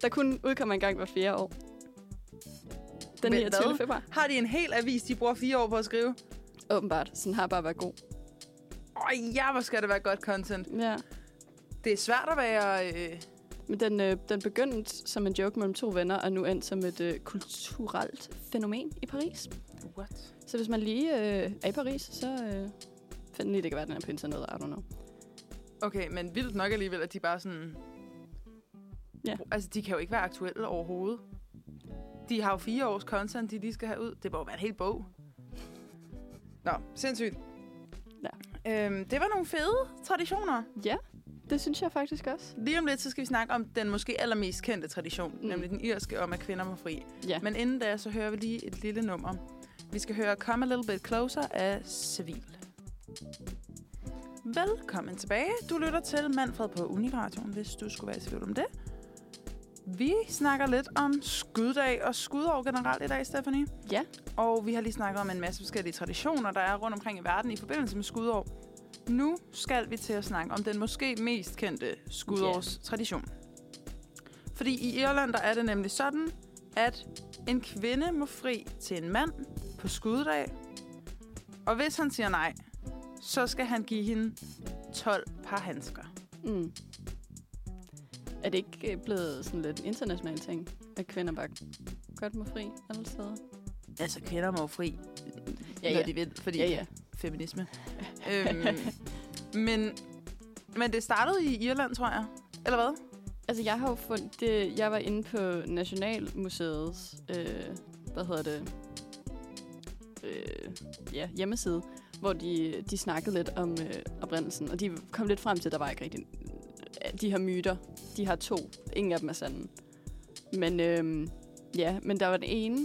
[SPEAKER 2] der kun udkommer en gang hver fjerde år. Den
[SPEAKER 3] Men
[SPEAKER 2] 29.
[SPEAKER 3] hvad?
[SPEAKER 2] februar.
[SPEAKER 3] Har de en hel avis, de bruger fire år på at skrive?
[SPEAKER 2] Åbenbart. Sådan har bare været god.
[SPEAKER 3] Åh ja, hvor skal det være godt content.
[SPEAKER 2] Ja.
[SPEAKER 3] Det er svært at være... Øh,
[SPEAKER 2] Men den, øh, den begyndte som en joke mellem to venner, og nu endte som et øh, kulturelt fænomen i Paris.
[SPEAKER 3] What?
[SPEAKER 2] Så hvis man lige øh, er i Paris, så øh, find lige, det kan være, den er på internettet, I don't know.
[SPEAKER 3] Okay, men vildt nok alligevel, at de bare sådan...
[SPEAKER 2] Ja.
[SPEAKER 3] Altså, de kan jo ikke være aktuelle overhovedet. De har jo fire års content, de lige skal have ud. Det må jo være en hel bog. Nå, sindssygt.
[SPEAKER 2] Ja.
[SPEAKER 3] Øhm, det var nogle fede traditioner.
[SPEAKER 2] Ja, det synes jeg faktisk også.
[SPEAKER 3] Lige om lidt, så skal vi snakke om den måske allermest kendte tradition, mm.
[SPEAKER 2] Mm.
[SPEAKER 3] nemlig den irske om, at kvinder må fri.
[SPEAKER 2] Ja, Men,
[SPEAKER 3] Men inden da, så hører vi lige et lille nummer. Vi skal høre Come a Little Bit Closer af Civil. Velkommen tilbage. Du lytter til Manfred på Uniradioen, hvis du skulle være i tvivl om det. Vi snakker lidt om skuddag og skudår generelt i dag, Stephanie.
[SPEAKER 2] Ja.
[SPEAKER 3] Og vi har lige snakket om en masse forskellige traditioner, der er rundt omkring i verden i forbindelse med skudår. Nu skal vi til at snakke om den måske mest kendte skudårstradition. Fordi i Irland, der er det nemlig sådan, at en kvinde må fri til en mand på skuddag. Og hvis han siger nej, så skal han give hende 12 par handsker.
[SPEAKER 2] Mm. Er det ikke øh, blevet sådan lidt en international ting, at kvinder bare godt må fri alle steder?
[SPEAKER 3] Altså, kvinder må jo fri,
[SPEAKER 2] Ja,
[SPEAKER 3] når
[SPEAKER 2] ja.
[SPEAKER 3] de vil, fordi
[SPEAKER 2] Ja, ja.
[SPEAKER 3] feminisme. øhm, men, men det startede i Irland, tror jeg. Eller hvad?
[SPEAKER 2] Altså, jeg har jo fundet det... Jeg var inde på Nationalmuseets... Øh, hvad hedder det? Øh, ja, hjemmeside, hvor de, de snakkede lidt om øh, oprindelsen, og de kom lidt frem til, at der var ikke rigtig... øh, De her myter, de har to. Ingen af dem er sande. Men øh, ja, men der var den ene,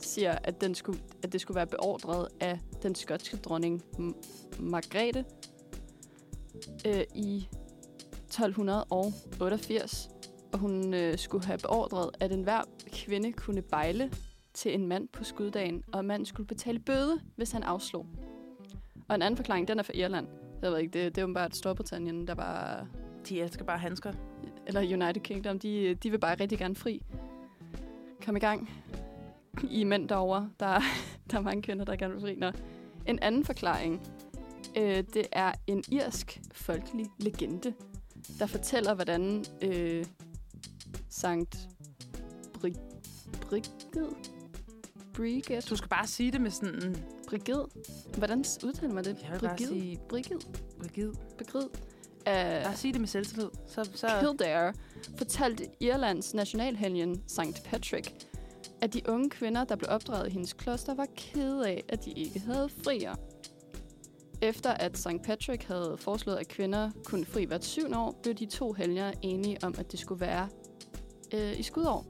[SPEAKER 2] siger, at, den skulle, at det skulle være beordret af den skotske dronning M- Margrethe øh, i 1288, og hun øh, skulle have beordret, at enhver kvinde kunne bejle til en mand på skuddagen, og manden skulle betale bøde, hvis han afslog. Og en anden forklaring, den er fra Irland. Jeg ved ikke, det, det er åbenbart Storbritannien, der bare...
[SPEAKER 3] De elsker bare handsker.
[SPEAKER 2] Eller United Kingdom, de, de vil bare rigtig gerne fri. Kom i gang. I er mænd derovre. Der, er- der er mange kvinder, der gerne vil fri. Nå. En anden forklaring, øh, det er en irsk folkelig legende, der fortæller, hvordan øh, Sankt Bri- Brigid? Brigid?
[SPEAKER 3] Du skal bare sige det med sådan en...
[SPEAKER 2] Brigid? Hvordan s- udtaler man det?
[SPEAKER 3] Jeg vil bare sige...
[SPEAKER 2] Brigid?
[SPEAKER 3] Rigid.
[SPEAKER 2] Brigid? Uh,
[SPEAKER 3] Bare sige det med selvtillid. Så, så...
[SPEAKER 2] Kildare fortalte Irlands nationalhelgen St. Patrick, at de unge kvinder, der blev opdraget i hendes kloster, var kede af, at de ikke havde frier. Efter at St. Patrick havde foreslået, at kvinder kunne fri hvert syvende år, blev de to helger enige om, at det skulle være øh, i skudår.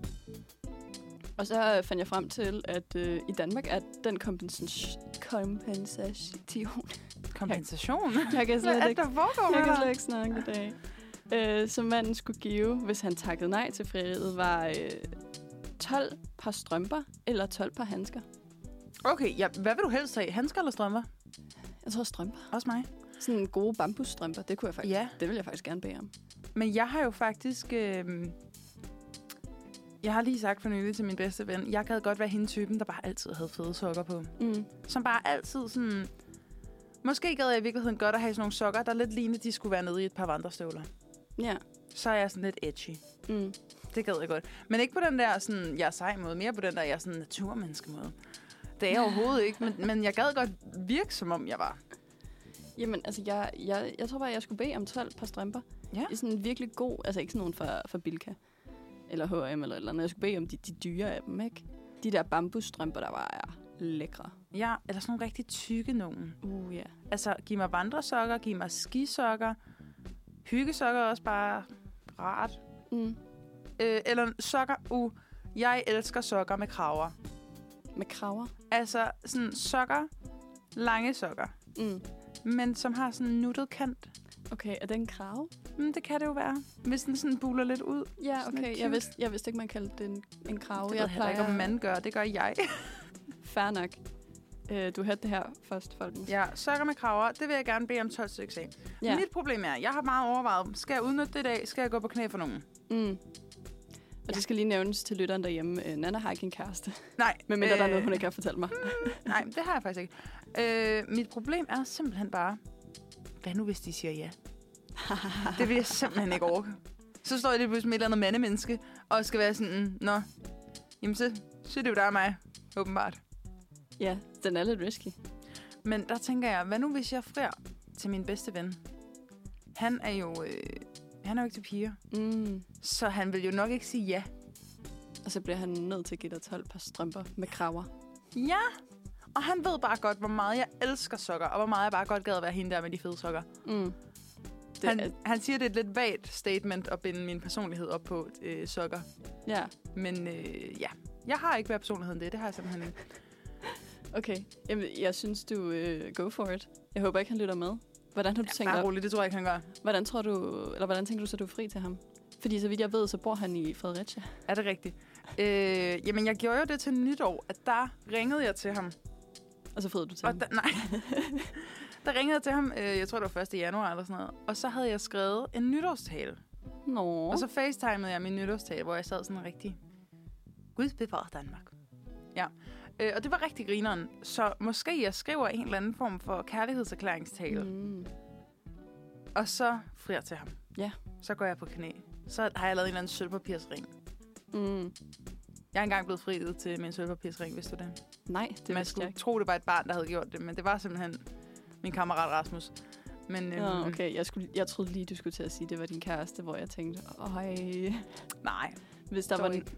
[SPEAKER 2] Og så øh, fandt jeg frem til, at øh, i Danmark er den kompensation... Kompensation...
[SPEAKER 3] Kompensation?
[SPEAKER 2] Jeg kan
[SPEAKER 3] Hvad
[SPEAKER 2] slet
[SPEAKER 3] er
[SPEAKER 2] ikke
[SPEAKER 3] det, der foregår
[SPEAKER 2] jeg kan
[SPEAKER 3] med dig?
[SPEAKER 2] slet ikke snakke i dag. Øh, som manden skulle give, hvis han takkede nej til frieriet, var øh, 12 par strømper eller 12 par handsker.
[SPEAKER 3] Okay, ja, hvad vil du helst have? Handsker eller strømper?
[SPEAKER 2] Jeg tror strømper.
[SPEAKER 3] Også mig.
[SPEAKER 2] Sådan gode bambusstrømper, det kunne jeg faktisk.
[SPEAKER 3] Ja.
[SPEAKER 2] Det vil jeg faktisk gerne bede om.
[SPEAKER 3] Men jeg har jo faktisk... Øh... Jeg har lige sagt for nylig til min bedste ven, jeg gad godt være hende typen, der bare altid havde fede sokker på.
[SPEAKER 2] Mm.
[SPEAKER 3] Som bare altid sådan... Måske gad jeg i virkeligheden godt at have sådan nogle sokker, der lidt lignede, de skulle være nede i et par vandrestøvler.
[SPEAKER 2] Ja.
[SPEAKER 3] Så er jeg sådan lidt edgy.
[SPEAKER 2] Mm.
[SPEAKER 3] Det gad jeg godt. Men ikke på den der, sådan, jeg er sej måde. Mere på den der, jeg er sådan naturmenneske måde. Det er jeg overhovedet ikke, men, men jeg gad godt virke, som om jeg var.
[SPEAKER 2] Jamen, altså, jeg, jeg, jeg tror bare, jeg skulle bede om 12 par strømper.
[SPEAKER 3] Ja.
[SPEAKER 2] I sådan en virkelig god, altså ikke sådan nogen fra, fra Bilka eller H&M eller et eller andet. Jeg skulle bede om de, de dyre af dem, ikke? De der bambusstrømper, der bare er lækre.
[SPEAKER 3] Ja, eller sådan nogle rigtig tykke nogen.
[SPEAKER 2] Uh, ja. Yeah.
[SPEAKER 3] Altså, giv mig vandresokker, giv mig skisokker. Hyggesokker er også bare rart.
[SPEAKER 2] Mm.
[SPEAKER 3] Øh, eller sokker, uh, jeg elsker sokker med kraver.
[SPEAKER 2] Med kraver.
[SPEAKER 3] Altså, sådan sokker, lange sokker,
[SPEAKER 2] Mm.
[SPEAKER 3] men som har sådan en nuttet kant.
[SPEAKER 2] Okay, er det en krave?
[SPEAKER 3] Mm, det kan det jo være, hvis den sådan buler lidt ud.
[SPEAKER 2] Ja,
[SPEAKER 3] Sådan lidt
[SPEAKER 2] okay.
[SPEAKER 3] cute.
[SPEAKER 2] Jeg vidste, jeg vidste ikke, man kaldte det en, en krave.
[SPEAKER 3] Det ved
[SPEAKER 2] jeg
[SPEAKER 3] jeg heller ikke, om man gør. Det gør jeg.
[SPEAKER 2] Fair nok. Øh, du hørte det her først, folkens.
[SPEAKER 3] Ja, sokker med kraver, det vil jeg gerne bede om 12 stykker af. Ja.
[SPEAKER 2] ja.
[SPEAKER 3] Mit problem er, jeg har meget overvejet, skal jeg udnytte det i dag? Skal jeg gå på knæ for nogen?
[SPEAKER 2] Mm. Og det skal lige nævnes til lytteren derhjemme. Øh, Nana har ikke en kæreste.
[SPEAKER 3] Nej.
[SPEAKER 2] Men mindre øh. der er noget, hun ikke har fortalt mig.
[SPEAKER 3] Nej, det har jeg faktisk ikke. Øh, mit problem er simpelthen bare, hvad nu hvis de siger ja? det vil jeg simpelthen ikke orke. Så står jeg lige pludselig med et eller andet mandemenneske, og skal være sådan, "Mm, nå, jamen så, så er det jo dig og mig, åbenbart.
[SPEAKER 2] ja, den er lidt risky.
[SPEAKER 3] Men der tænker jeg, hvad nu hvis jeg frier til min bedste ven? Han er jo, øh, han er jo ikke til piger,
[SPEAKER 2] Mm.
[SPEAKER 3] så han vil jo nok ikke sige ja.
[SPEAKER 2] Og så bliver han nødt til at give dig 12 par strømper med kraver.
[SPEAKER 3] Ja, og han ved bare godt, hvor meget jeg elsker sokker, og hvor meget jeg bare godt gad at være hende der med de fede sokker.
[SPEAKER 2] Mm. Det
[SPEAKER 3] han,
[SPEAKER 2] er,
[SPEAKER 3] han siger, det er et lidt vagt statement at binde min personlighed op på øh, sokker.
[SPEAKER 2] ja,
[SPEAKER 3] Men øh, ja, jeg har ikke, hvad personligheden det er. Det har jeg simpelthen ikke.
[SPEAKER 2] okay. Jamen, jeg synes, du øh, go for it. Jeg håber ikke, han lytter med. Hvordan har du tænkt dig
[SPEAKER 3] Bare roligt, det tror jeg ikke, han gør.
[SPEAKER 2] Hvordan tror du, eller hvordan tænker du så, du er fri til ham? Fordi så vidt jeg ved, så bor han i Fredericia.
[SPEAKER 3] Er det rigtigt? Øh, jamen, jeg gjorde jo det til nytår, at der ringede jeg til ham.
[SPEAKER 2] Og så friede du til
[SPEAKER 3] Og
[SPEAKER 2] ham.
[SPEAKER 3] da, nej. der ringede jeg til ham, øh, jeg tror, det var 1. januar eller sådan noget. Og så havde jeg skrevet en nytårstale.
[SPEAKER 2] Nå.
[SPEAKER 3] Og så facetimede jeg min nytårstale, hvor jeg sad sådan rigtig... Gud bevarer Danmark. Ja. Øh, og det var rigtig grineren. Så måske jeg skriver en eller anden form for kærlighedserklæringstale. Mm.
[SPEAKER 2] mm.
[SPEAKER 3] Og så frier til ham.
[SPEAKER 2] Ja.
[SPEAKER 3] Så går jeg på knæ. Så har jeg lavet en eller anden sølvpapirsring.
[SPEAKER 2] Mm.
[SPEAKER 3] Jeg er engang blevet friet til min sølvpapirsring, hvis du det.
[SPEAKER 2] Nej,
[SPEAKER 3] Det
[SPEAKER 2] det
[SPEAKER 3] Man
[SPEAKER 2] vidste jeg
[SPEAKER 3] skulle
[SPEAKER 2] ikke.
[SPEAKER 3] tro, det var et barn, der havde gjort det, men det var simpelthen min kammerat Rasmus. Men øhm,
[SPEAKER 2] Nå, okay, jeg, skulle, jeg troede lige, du skulle til at sige, at det var din kæreste, hvor jeg tænkte, øj,
[SPEAKER 3] nej,
[SPEAKER 2] hvis der
[SPEAKER 3] Dog
[SPEAKER 2] var...
[SPEAKER 3] ikke.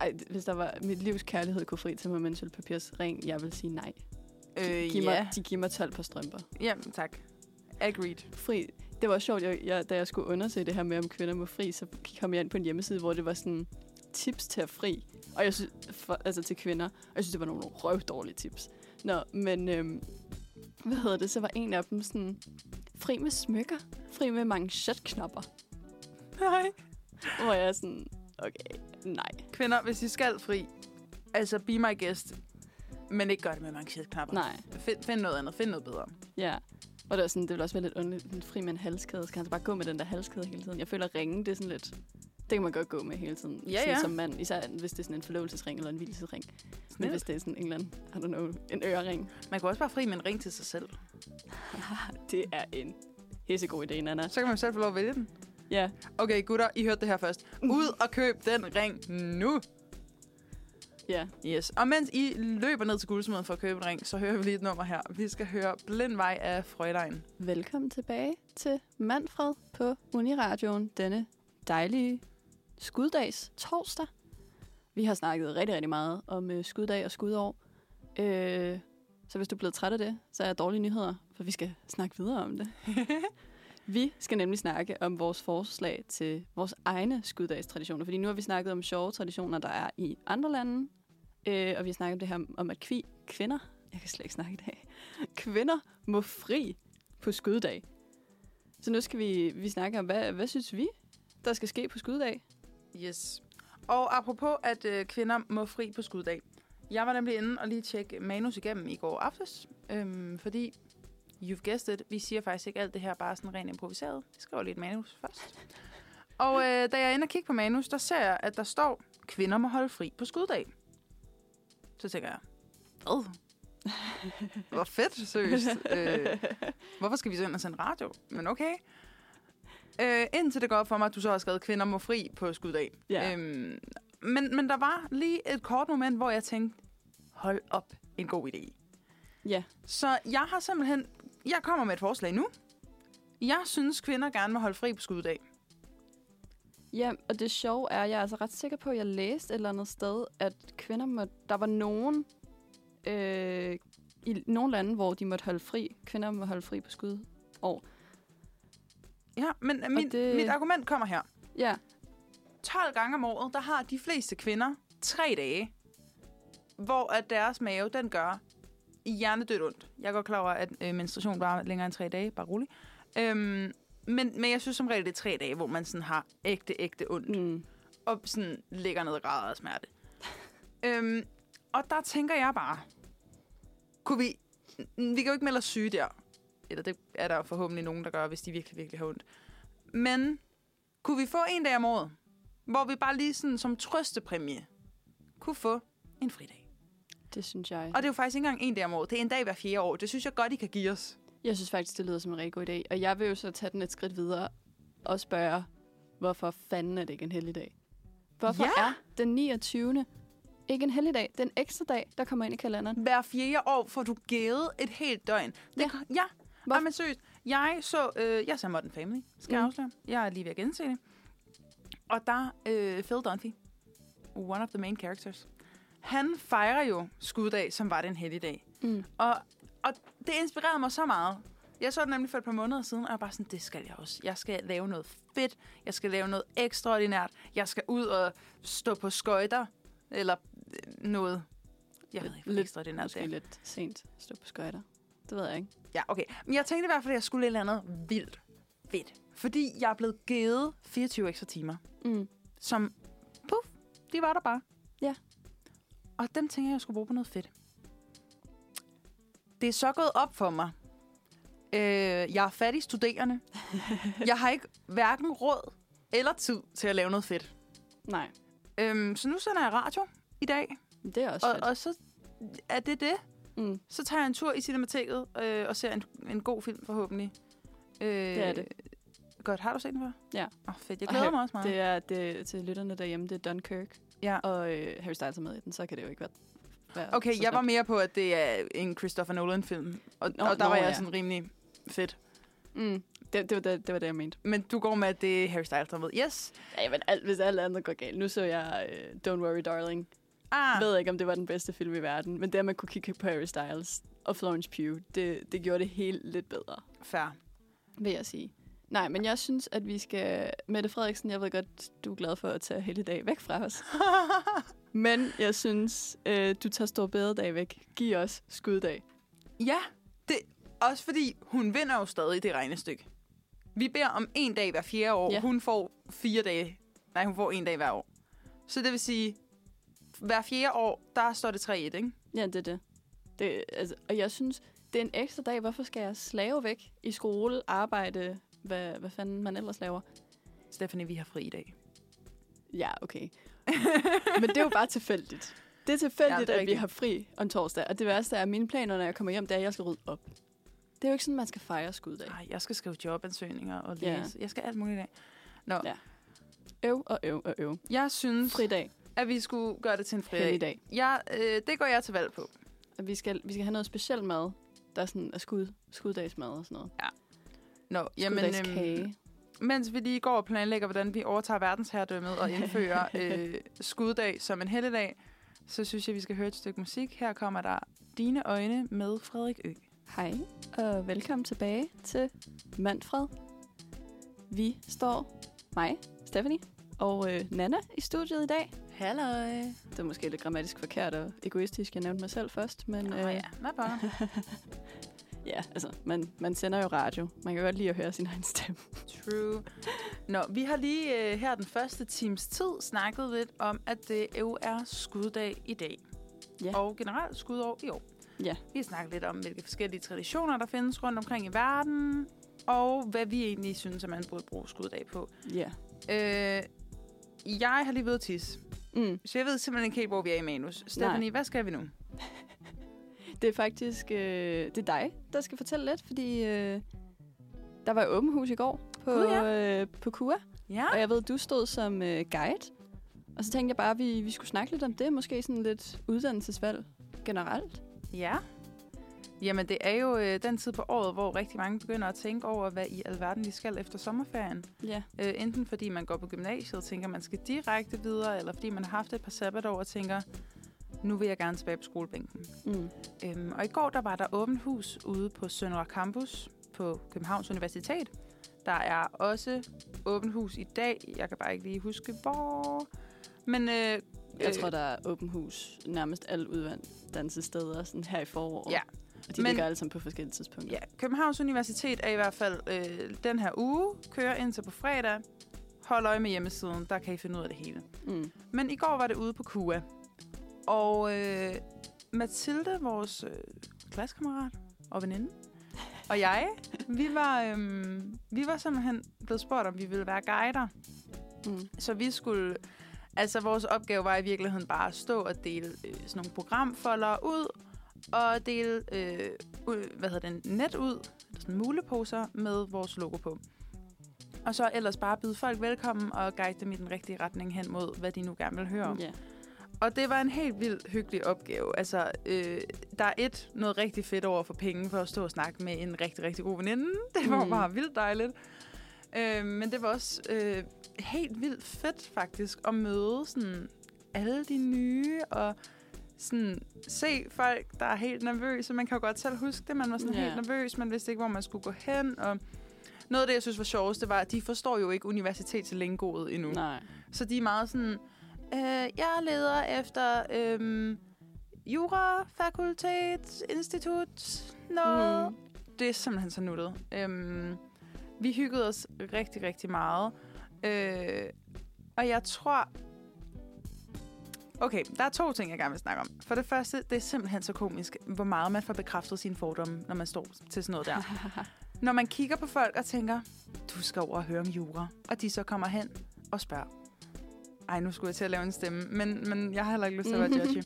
[SPEAKER 2] Ej, hvis der var mit livs kærlighed kunne fri til mig med en sølvpapirs ring, jeg vil sige nej.
[SPEAKER 3] øh,
[SPEAKER 2] giv
[SPEAKER 3] ja.
[SPEAKER 2] mig, de giver mig 12 par strømper.
[SPEAKER 3] ja, tak. Agreed.
[SPEAKER 2] Fri. Det var sjovt, jeg, jeg, da jeg skulle undersøge det her med, om kvinder må fri, så kom jeg ind på en hjemmeside, hvor det var sådan tips til at fri. Og jeg synes, for, altså til kvinder. Og jeg synes, det var nogle røvdårlige tips. Nå, men øhm, hvad hedder det? Så var en af dem sådan, fri med smykker, fri med manchetknapper.
[SPEAKER 3] Nej.
[SPEAKER 2] Hvor jeg er sådan, okay, nej.
[SPEAKER 3] Kvinder, hvis I skal fri, altså be my guest, men ikke gør det med manchetknapper.
[SPEAKER 2] Nej,
[SPEAKER 3] Find, find noget andet, find noget bedre.
[SPEAKER 2] ja. Og det, var sådan, det ville også være lidt underligt, sådan, fri med en halskæde. Skal han så bare gå med den der halskæde hele tiden? Jeg føler, at ringe, det er sådan lidt... Det kan man godt gå med hele tiden.
[SPEAKER 3] Ja,
[SPEAKER 2] sådan
[SPEAKER 3] ja.
[SPEAKER 2] Som mand, især hvis det er sådan en forlovelsesring eller en hvilesesring. Men
[SPEAKER 3] Snildt.
[SPEAKER 2] hvis det er sådan en eller anden, I don't know, en ørering.
[SPEAKER 3] Man kan også bare fri med en ring til sig selv.
[SPEAKER 2] Det er en hissegod idé, Nana.
[SPEAKER 3] Så kan man selv få lov at vælge den.
[SPEAKER 2] Ja,
[SPEAKER 3] Okay, gutter, I hørte det her først. Ud og køb den ring nu.
[SPEAKER 2] ja.
[SPEAKER 3] Yes. Og mens I løber ned til guldsmeden for at købe en ring, så hører vi lige et nummer her. Vi skal høre Blind Vej af Frøjlein.
[SPEAKER 2] Velkommen tilbage til Manfred på Uniradioen denne dejlige skuddags torsdag. Vi har snakket rigtig, rigtig meget om øh, skuddag og skudår. Øh, så hvis du er blevet træt af det, så er jeg dårlige nyheder, for vi skal snakke videre om det. vi skal nemlig snakke om vores forslag til vores egne skuddagstraditioner, fordi nu har vi snakket om sjove traditioner, der er i andre lande, øh, og vi har snakket om det her om, at kvi, kvinder, jeg kan slet ikke snakke i dag, kvinder må fri på skuddag. Så nu skal vi, vi snakke om, hvad, hvad synes vi, der skal ske på skuddag?
[SPEAKER 3] Yes. Og apropos, at øh, kvinder må fri på skuddag. Jeg var nemlig inde og lige tjekke manus igennem i går aftes, øhm, fordi, you've guessed it, vi siger faktisk ikke alt det her bare sådan rent improviseret. Vi skriver lige et manus først. Og øh, da jeg er inde og kigge på manus, der ser jeg, at der står, kvinder må holde fri på skuddag. Så tænker jeg, hvad? Hvor fedt, seriøst. Øh, Hvorfor skal vi så ind og sende radio? Men okay. Øh, indtil det går op for mig, at du så har skrevet kvinder må fri på skuddag.
[SPEAKER 2] Ja.
[SPEAKER 3] Øhm, men, men der var lige et kort moment, hvor jeg tænkte, hold op, en god idé.
[SPEAKER 2] Ja.
[SPEAKER 3] Så jeg har simpelthen, jeg kommer med et forslag nu. Jeg synes, kvinder gerne må holde fri på skuddag.
[SPEAKER 2] Ja, og det sjove er, at jeg er altså ret sikker på, at jeg læste et eller andet sted, at kvinder må, der var nogen øh, i nogle lande, hvor de måtte holde fri. Kvinder må holde fri på skud.
[SPEAKER 3] Ja, men min, det...
[SPEAKER 2] det-
[SPEAKER 3] mit argument kommer her.
[SPEAKER 2] Ja,
[SPEAKER 3] 12 gange om året, der har de fleste kvinder tre dage, hvor at deres mave, den gør hjernedødt ondt. Jeg er godt klar over, at øh, menstruation varer længere end tre dage, bare rolig. Øhm, men, men jeg synes som regel, det er tre dage, hvor man sådan har ægte, ægte ondt. Mm.
[SPEAKER 2] mm,
[SPEAKER 3] Og sådan ligger ned og græder af smerte. øhm, og der tænker jeg bare, kunne vi... Vi kan jo ikke melde os syge der. Eller det er der forhåbentlig nogen, der gør, hvis de virkelig, virkelig har ondt. Men kunne vi få en dag om året, hvor vi bare lige sådan som trøstepræmie kunne få en fridag.
[SPEAKER 2] det synes jeg.
[SPEAKER 3] Og det er jo faktisk ikke engang en dag om året. Det er en dag hver fjerde år. Det synes jeg godt, I kan give os.
[SPEAKER 2] Jeg synes faktisk, det lyder som en rigtig god idé. Og jeg vil jo så tage den et skridt videre og spørge, hvorfor fanden er det ikke en heldig dag? Hvorfor
[SPEAKER 3] Ja.
[SPEAKER 2] er den 29. ikke en heldig dag? Den ekstra dag, der kommer ind i kalenderen.
[SPEAKER 3] Hver fjerde år får du givet et helt døgn. Det,
[SPEAKER 2] Ja.
[SPEAKER 3] ja. ja.
[SPEAKER 2] Hvor-
[SPEAKER 3] Ej, men seriøst. Jeg så, øh, jeg så Modern Family, skal mm. jeg
[SPEAKER 2] Mm.
[SPEAKER 3] afsløre. Jeg er lige ved at gense det. Og der, øh, Phil Dunphy, one of the main characters, han fejrer jo skuddag, som var den heldige dag.
[SPEAKER 2] Mm.
[SPEAKER 3] Og, og det inspirerede mig så meget. Jeg så det nemlig for et par måneder siden, og jeg var bare sådan, det skal jeg også. Jeg skal lave noget fedt. Jeg skal lave noget ekstraordinært. Jeg skal ud og stå på skøjter. Eller øh, noget. Jeg ved ikke, hvad
[SPEAKER 2] Lidt-
[SPEAKER 3] ekstraordinært det
[SPEAKER 2] Måske
[SPEAKER 3] er.
[SPEAKER 2] lidt sent at stå på skøjter. Det ved jeg ikke.
[SPEAKER 3] Ja, okay. Men jeg tænkte i hvert fald, at jeg skulle et eller andet vildt fedt. Fordi jeg er blevet givet 24 ekstra timer,
[SPEAKER 2] Mm.
[SPEAKER 3] som, puff, de var der bare.
[SPEAKER 2] Ja.
[SPEAKER 3] Og dem tænker jeg, jeg skulle bruge på noget fedt. Det er så gået op for mig. Øh, jeg er fattig studerende. jeg har ikke hverken råd eller tid til at lave noget fedt.
[SPEAKER 2] Nej,
[SPEAKER 3] Øhm, så nu sender jeg radio i dag,
[SPEAKER 2] det er også fedt.
[SPEAKER 3] og, og så er det det.
[SPEAKER 2] Mm.
[SPEAKER 3] Så tager jeg en tur i Cinemateket øh, og ser en, en god film forhåbentlig. Øh, det
[SPEAKER 2] er det.
[SPEAKER 3] Godt, har du set den før?
[SPEAKER 2] Ja.
[SPEAKER 3] Åh, oh, fedt, jeg
[SPEAKER 2] Og
[SPEAKER 3] glæder
[SPEAKER 2] her-
[SPEAKER 3] mig også meget.
[SPEAKER 2] Det er det, til lytterne derhjemme, det er Dunkirk.
[SPEAKER 3] Ja.
[SPEAKER 2] Og øh, Harry Styles er med i den, så kan det jo ikke være... være
[SPEAKER 3] Okay,
[SPEAKER 2] så
[SPEAKER 3] jeg var
[SPEAKER 2] slemt.
[SPEAKER 3] mere på, at det er en Christopher Nolan-film, og,
[SPEAKER 2] Nå,
[SPEAKER 3] og der
[SPEAKER 2] nå,
[SPEAKER 3] var jeg
[SPEAKER 2] ja.
[SPEAKER 3] sådan rimelig fedt.
[SPEAKER 2] Mm, det, det, var det, det var det, jeg mente.
[SPEAKER 3] Men du går med, at det er Harry Styles, der er med. Yes!
[SPEAKER 2] Ja, men alt, hvis alt andet går galt. Nu så jeg øh, Don't Worry Darling.
[SPEAKER 3] Ah,
[SPEAKER 2] Jeg ved ikke, om det var den bedste film i verden, men det, at man kunne kigge på Harry Styles og Florence Pugh, det, det gjorde det helt lidt bedre,
[SPEAKER 3] fair.
[SPEAKER 2] vil jeg sige. Nej, men jeg synes, at vi skal... Mette Frederiksen, jeg ved godt, du er glad for at tage hele dag væk fra os. Men jeg synes, øh, du tager stor bededag væk. Giv os skuddag.
[SPEAKER 3] ja, det, også fordi hun vinder jo stadig det regnestykke. Vi beder om en dag hver fjerde år.
[SPEAKER 2] Ja.
[SPEAKER 3] Ja. Hun får fire dage. Nej, hun får en dag hver år. Så det vil sige, hver fjerde år, der står det 3-1, ikke?
[SPEAKER 2] Ja, det er det. det altså, og jeg synes, det er en ekstra dag. Hvorfor skal jeg slave væk i skole, arbejde, hvad, hvad fanden man ellers laver?
[SPEAKER 3] Stephanie, vi har fri i dag.
[SPEAKER 2] Ja, okay. Men det er jo bare tilfældigt. Det er tilfældigt,
[SPEAKER 3] Ja,
[SPEAKER 2] ja,
[SPEAKER 3] det
[SPEAKER 2] det
[SPEAKER 3] er
[SPEAKER 2] at vi
[SPEAKER 3] rigtigt.
[SPEAKER 2] har fri om torsdag. Og det værste er, at mine planer, når jeg kommer hjem, det er, at jeg skal rydde op. Det er jo ikke sådan, man skal fejre skuddag.
[SPEAKER 3] Ej, jeg skal skrive jobansøgninger og
[SPEAKER 2] Ja.
[SPEAKER 3] læse. Ja. Jeg skal alt muligt i dag. Nå,
[SPEAKER 2] Ja.
[SPEAKER 3] ja.
[SPEAKER 2] Øv og øv og øv.
[SPEAKER 3] jeg synes,
[SPEAKER 2] Fridag.
[SPEAKER 3] at vi skulle gøre det til en fridag.
[SPEAKER 2] Helligdag.
[SPEAKER 3] Jeg, øh, det går jeg til valg på.
[SPEAKER 2] Og vi skal, vi skal have noget specielt mad, der sådan er skud, skuddagsmad og sådan noget.
[SPEAKER 3] Nå, jamen,
[SPEAKER 2] Skuddagskage.
[SPEAKER 3] øhm, mens vi lige går og planlægger, hvordan vi overtager verdensherredømmet og indfører øh, skuddag som en helligdag, så synes jeg, vi skal høre et stykke musik. Her kommer der Dine Øjne med Frederik Ø.
[SPEAKER 2] Hej, og velkommen tilbage til Manfred. Vi står mig, Stephanie og øh, Nana i studiet i dag.
[SPEAKER 3] Halløj.
[SPEAKER 2] Det er måske lidt grammatisk forkert og egoistisk, jeg nævnte mig selv først, men øh,
[SPEAKER 3] Nå ja, hvad bare.
[SPEAKER 2] ja altså, man, man sender jo radio. Man kan godt lide at høre sin egen stemme.
[SPEAKER 3] True. Nå, vi har lige øh, her den første times tid snakket lidt om, at det jo er skuddag i dag.
[SPEAKER 2] Ja.
[SPEAKER 3] Og generelt skudår i år.
[SPEAKER 2] Ja.
[SPEAKER 3] Vi har snakket lidt om, hvilke forskellige traditioner, der findes rundt omkring i verden, og hvad vi egentlig synes, at man burde bruge skuddag på.
[SPEAKER 2] Ja.
[SPEAKER 3] Øh, jeg har lige været tisse,
[SPEAKER 2] Mm.
[SPEAKER 3] så jeg ved simpelthen ikke helt, hvor vi er i manus. Stephanie, Nej. hvad skal vi nu?
[SPEAKER 2] Det er faktisk øh, det er dig, der skal fortælle lidt, fordi øh, der var åben hus i går på,
[SPEAKER 3] Gud,
[SPEAKER 2] øh, på KUA.
[SPEAKER 3] Ja.
[SPEAKER 2] Og jeg ved, du stod som øh, guide. Og så tænkte jeg bare, at vi, vi skulle snakke lidt om det. Måske sådan lidt uddannelsesvalg generelt.
[SPEAKER 3] Ja. Jamen, det er jo øh, den tid på året, hvor rigtig mange begynder at tænke over, hvad i alverden de skal efter sommerferien.
[SPEAKER 2] Ja.
[SPEAKER 3] Øh, enten fordi man går på gymnasiet og tænker, man skal direkte videre, eller fordi man har haft et par sabbatår og tænker, nu vil jeg gerne tilbage på skolebænken.
[SPEAKER 2] Mm.
[SPEAKER 3] Øhm, og i går der var der åbent hus ude på Søndre Campus på Københavns Universitet. Der er også åbent hus i dag. Jeg kan bare ikke lige huske, hvor... Men øh,
[SPEAKER 2] Jeg
[SPEAKER 3] øh,
[SPEAKER 2] tror, der er åben hus nærmest alle uddannelsessteder sådan her i foråret.
[SPEAKER 3] Ja.
[SPEAKER 2] Og de Men...
[SPEAKER 3] Men-
[SPEAKER 2] ligger alle sammen på forskellige tidspunkter.
[SPEAKER 3] Ja, Københavns Universitet er i hvert fald øh, den her uge, kører indtil på fredag. Hold øje med hjemmesiden, der kan I finde ud af det hele.
[SPEAKER 2] Mm.
[SPEAKER 3] Men i går var det ude på KUA, og øh, Mathilde, vores øh, klassekammerat og veninde, og jeg, vi var, øh, vi var simpelthen blevet spurgt, om vi ville være guider.
[SPEAKER 2] Mm.
[SPEAKER 3] Så vi skulle... Altså, vores opgave var i virkeligheden bare at stå og dele øh, sådan nogle programfolder ud, og dele øh, ud- hvad hedder den, net ud, eller sådan muleposer med vores logo på. Og så ellers bare byde folk velkommen og guide dem i den rigtige retning hen mod, hvad de nu gerne vil høre om.
[SPEAKER 2] Ja.
[SPEAKER 3] Og det var en helt vildt hyggelig opgave. Altså, øh, der er et noget rigtig fedt over for penge for at stå og snakke med en rigtig, rigtig god veninde. Det var
[SPEAKER 2] Mm.
[SPEAKER 3] mm. bare vildt dejligt. Øh, men det var også øh, helt vildt fedt faktisk at møde sådan alle de nye og sådan se folk, der er helt nervøse. Man kan jo godt selv huske det. Man var sådan
[SPEAKER 2] Ja.
[SPEAKER 3] yeah. helt nervøs. Man vidste ikke, hvor man skulle gå hen. Og noget af det, jeg synes var sjovest, det var, at de forstår jo ikke universitetslingoet endnu.
[SPEAKER 2] Nej.
[SPEAKER 3] Så de er meget sådan, øh, jeg leder efter øh, jura, fakultet, institut, noget.
[SPEAKER 2] Mm.
[SPEAKER 3] Mm. Det er simpelthen så nuttet. Øhm, vi hyggede os rigtig, rigtig meget. Øh, og jeg tror... Okay, der er to ting, jeg gerne vil snakke om. For det første, det er simpelthen så komisk, hvor meget man får bekræftet sine fordomme, når man står til sådan noget der. når man kigger på folk og tænker, du skal over og høre om jura, og de så kommer hen og spørger. Ej, nu skulle jeg til at lave en stemme, men, men jeg har heller ikke lyst til at være judgy.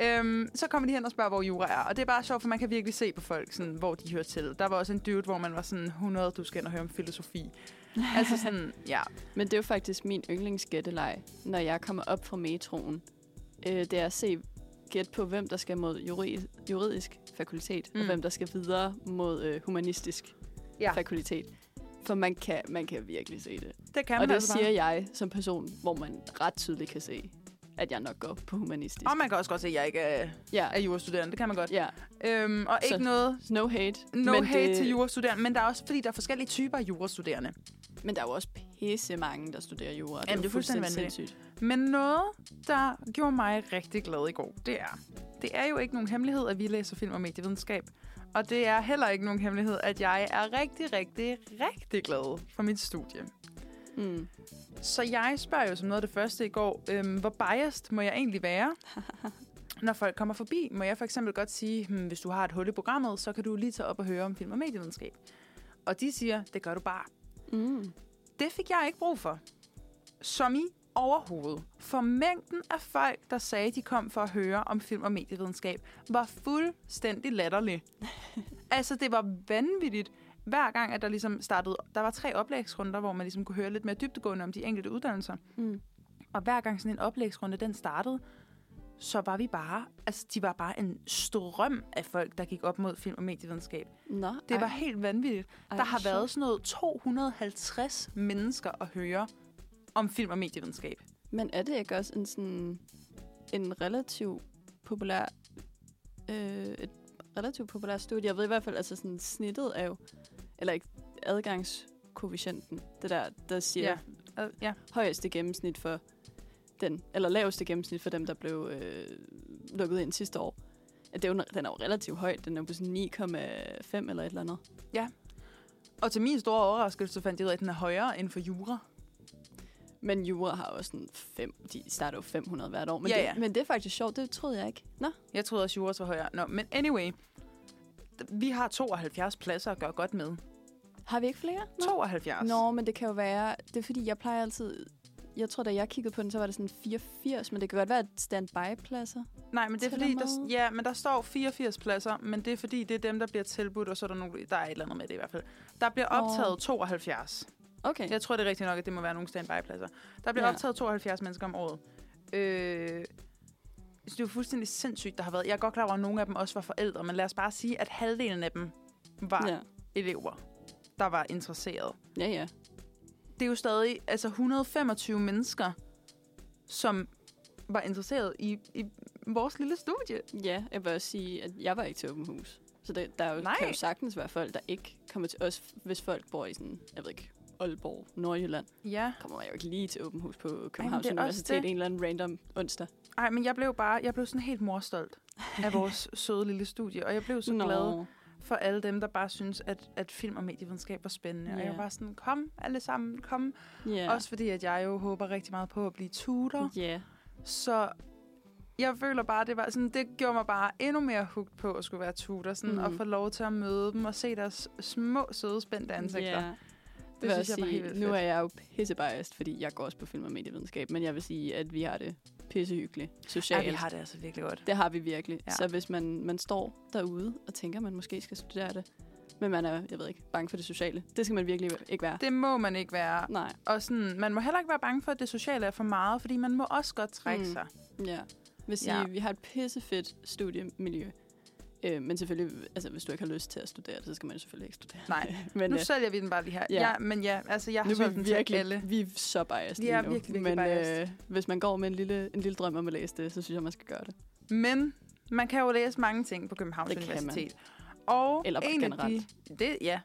[SPEAKER 3] øhm, så kommer de hen og spørger, hvor jura er. Og det er bare sjovt, for man kan virkelig se på folk, sådan, hvor de hører til. Der var også en dude, hvor man var sådan, 100, du skal ind og høre om filosofi. altså sådan, ja.
[SPEAKER 2] Men det er jo faktisk min yndlingsgætteleg, når jeg kommer op fra metroen. Øh, det er at se gæt på, hvem der skal mod juri- juridisk fakultet, mm.
[SPEAKER 3] Mm.
[SPEAKER 2] og hvem der skal videre mod øh, humanistisk
[SPEAKER 3] Ja.
[SPEAKER 2] ja. fakultet. For man kan, man kan virkelig se det.
[SPEAKER 3] Det kan
[SPEAKER 2] Jamen, og
[SPEAKER 3] man
[SPEAKER 2] det
[SPEAKER 3] altså
[SPEAKER 2] siger
[SPEAKER 3] bare.
[SPEAKER 2] jeg som person, hvor man ret tydeligt kan se, at jeg nok går på humanistisk.
[SPEAKER 3] Og man kan også godt se, at jeg ikke er,
[SPEAKER 2] ja,
[SPEAKER 3] er jurastuderende. Det kan man godt.
[SPEAKER 2] ja.
[SPEAKER 3] Øhm, og ikke
[SPEAKER 2] Så-
[SPEAKER 3] noget
[SPEAKER 2] No hate.
[SPEAKER 3] no
[SPEAKER 2] men
[SPEAKER 3] hate
[SPEAKER 2] det,
[SPEAKER 3] til jurastuderende, men der er også, fordi der er forskellige typer af jurastuderende.
[SPEAKER 2] Men der er jo også pisse mange, der studerer jura.
[SPEAKER 3] Jamen,
[SPEAKER 2] jo
[SPEAKER 3] det er fuldstændig
[SPEAKER 2] sindssygt.
[SPEAKER 3] Men noget, der gjorde mig rigtig glad i går, det er, det er jo ikke nogen hemmelighed, at vi læser film og medievidenskab. Og det er heller ikke nogen hemmelighed, at jeg er rigtig, rigtig, rigtig glad for mit studie.
[SPEAKER 2] Mm.
[SPEAKER 3] Så jeg spørger jo som noget af det første i går, øhm, hvor biased må jeg egentlig være? Når folk kommer forbi, må jeg for eksempel godt sige, hmm, hvis du har et hul i programmet, så kan du lige tage op og høre om film og medievidenskab. Og de siger, det gør du bare.
[SPEAKER 2] Mm.
[SPEAKER 3] Det fik jeg ikke brug for. Som i overhovedet. For mængden af folk, der sagde, de kom for at høre om film- og medievidenskab, var fuldstændig latterlig. altså, det var vanvittigt. Hver gang, at der ligesom startede... Der var tre oplægsrunder, hvor man ligesom kunne høre lidt mere dybtegående om de enkelte uddannelser.
[SPEAKER 2] Mm.
[SPEAKER 3] Og hver gang sådan en oplægsrunde, den startede, så var vi bare... Altså, de var bare en strøm af folk, der gik op mod film- og medievidenskab.
[SPEAKER 2] Nå,
[SPEAKER 3] Det var
[SPEAKER 2] ej,
[SPEAKER 3] helt vanvittigt.
[SPEAKER 2] ej,
[SPEAKER 3] Der har
[SPEAKER 2] hvor
[SPEAKER 3] været
[SPEAKER 2] sjovt.
[SPEAKER 3] sådan noget 250 mennesker at høre om film og medievidenskab.
[SPEAKER 2] Men er det ikke også en, sådan, en relativ populær... Øh, et relativt populært studie? Jeg ved i hvert fald, altså sådan snittet er jo... Eller ikke adgangskoefficienten. Det der, der siger
[SPEAKER 3] Ja. Øh, ja.
[SPEAKER 2] højeste gennemsnit for den, eller laveste gennemsnit for dem, der blev øh, lukket ind sidste år. At det er jo, den er jo relativt høj. Den er jo på sådan 9,5 eller et eller andet.
[SPEAKER 3] Og til min store overraskelse fandt jeg ud af, at den er højere end for jura.
[SPEAKER 2] Men jura har også sådan fem, de starter jo 500 hvert år. Men,
[SPEAKER 3] Ja,
[SPEAKER 2] det,
[SPEAKER 3] ja.
[SPEAKER 2] men det er faktisk sjovt, det troede jeg ikke. Nå,
[SPEAKER 3] Jeg troede også, jura var højere. Nå, men anyway. Vi har 72 pladser at gøre godt med.
[SPEAKER 2] har vi ikke flere? Nå.
[SPEAKER 3] 72.
[SPEAKER 2] Nå, men det kan jo være, det er fordi, jeg plejer altid, jeg tror da jeg kiggede på den, så var det sådan 84, men det kan godt være at standby-pladser.
[SPEAKER 3] Nej, men det er
[SPEAKER 2] Tæller
[SPEAKER 3] fordi, der,
[SPEAKER 2] med.
[SPEAKER 3] ja, men der står 84 pladser, men det er fordi, det er dem, der bliver tilbudt, og så er der nogle, der er et eller andet med det i hvert fald. Der bliver
[SPEAKER 2] Nå.
[SPEAKER 3] optaget 72.
[SPEAKER 2] Okay.
[SPEAKER 3] Jeg tror, det er rigtigt nok, at det må være nogle standby-pladser. Der bliver ja.
[SPEAKER 2] Ja.
[SPEAKER 3] optaget 72 mennesker om året. Øh, så det er jo fuldstændig sindssygt, der har været. Jeg er godt klar over, at nogle af dem også var forældre, men lad os bare sige, at halvdelen af dem var ja.
[SPEAKER 2] Ja,
[SPEAKER 3] elever, der var interesseret.
[SPEAKER 2] ja. ja.
[SPEAKER 3] Det er jo stadig altså 125 mennesker, som var interesseret i, i vores lille studie.
[SPEAKER 2] Ja, jeg vil også sige, at jeg var ikke til åben hus. Så det, der er jo,
[SPEAKER 3] Nej.
[SPEAKER 2] kan jo sagtens være folk, der ikke kommer til os, hvis folk bor i sådan, jeg ved ikke, Aalborg, Nordjylland.
[SPEAKER 3] Ja.
[SPEAKER 2] Kommer jeg jo ikke lige til åben hus på Københavns
[SPEAKER 3] det er også
[SPEAKER 2] Universitet
[SPEAKER 3] det.
[SPEAKER 2] en eller anden random onsdag.
[SPEAKER 3] Ej, men jeg blev bare jeg blev sådan helt morstolt af vores søde lille studie, og jeg blev så Nå. glad. for alle dem, der bare synes, at, at film og medievidenskab var spændende. Yeah. Og
[SPEAKER 2] Ja.
[SPEAKER 3] jeg var bare sådan, kom alle sammen, kom.
[SPEAKER 2] Ja.
[SPEAKER 3] Yeah. Også fordi, at jeg jo håber rigtig meget på at blive tutor.
[SPEAKER 2] Ja.
[SPEAKER 3] Så jeg føler bare, det var sådan, det gjorde mig bare endnu mere hugt på at skulle være tutor. Sådan, mm. Og
[SPEAKER 2] Mhm.
[SPEAKER 3] få lov til at møde dem og se deres små, søde, spændte ansigter. Yeah.
[SPEAKER 2] Ja.
[SPEAKER 3] Det
[SPEAKER 2] Det vil
[SPEAKER 3] synes
[SPEAKER 2] også
[SPEAKER 3] jeg var
[SPEAKER 2] sige,
[SPEAKER 3] helt vildt
[SPEAKER 2] nu
[SPEAKER 3] fedt.
[SPEAKER 2] er jeg jo pissebiased, fordi jeg går også på film- og medievidenskab, men jeg vil sige, at vi har det pissehyggeligt
[SPEAKER 3] Ja,
[SPEAKER 2] socialt.
[SPEAKER 3] vi har det altså virkelig godt.
[SPEAKER 2] Det har vi virkelig.
[SPEAKER 3] Ja.
[SPEAKER 2] Ja. Så hvis man, man står derude og tænker, at man måske skal studere det, men man er, jeg ved ikke, bange for det sociale, det skal man virkelig ikke være.
[SPEAKER 3] Det må man ikke være.
[SPEAKER 2] Nej,
[SPEAKER 3] Og sådan, man må heller ikke være bange for, at det sociale er for meget, fordi man må også godt trække mm.
[SPEAKER 2] Mm.
[SPEAKER 3] sig.
[SPEAKER 2] ja. Hvis
[SPEAKER 3] Ja.
[SPEAKER 2] ja. vi har et pissefedt studiemiljø, øh, men selvfølgelig, altså hvis du ikke har lyst til at studere det, så skal man jo selvfølgelig ikke studere det.
[SPEAKER 3] Nej.
[SPEAKER 2] men,
[SPEAKER 3] Nu
[SPEAKER 2] øh,
[SPEAKER 3] sælger vi den bare lige her.
[SPEAKER 2] Ja.
[SPEAKER 3] Ja, ja men ja, altså jeg har
[SPEAKER 2] nu er
[SPEAKER 3] solgt
[SPEAKER 2] vi
[SPEAKER 3] den til
[SPEAKER 2] virkelig,
[SPEAKER 3] alle.
[SPEAKER 2] vi er så biased
[SPEAKER 3] Vi er
[SPEAKER 2] lige nu.
[SPEAKER 3] virkelig, virkelig
[SPEAKER 2] men
[SPEAKER 3] biased.
[SPEAKER 2] øh, hvis man går med en lille, en lille drøm om at læse det, så synes jeg, man skal gøre det.
[SPEAKER 3] Men man kan jo læse mange ting på Københavns
[SPEAKER 2] Det kan man.
[SPEAKER 3] Universitet. Og
[SPEAKER 2] Eller bare
[SPEAKER 3] en
[SPEAKER 2] generelt.
[SPEAKER 3] Af de, det, ja.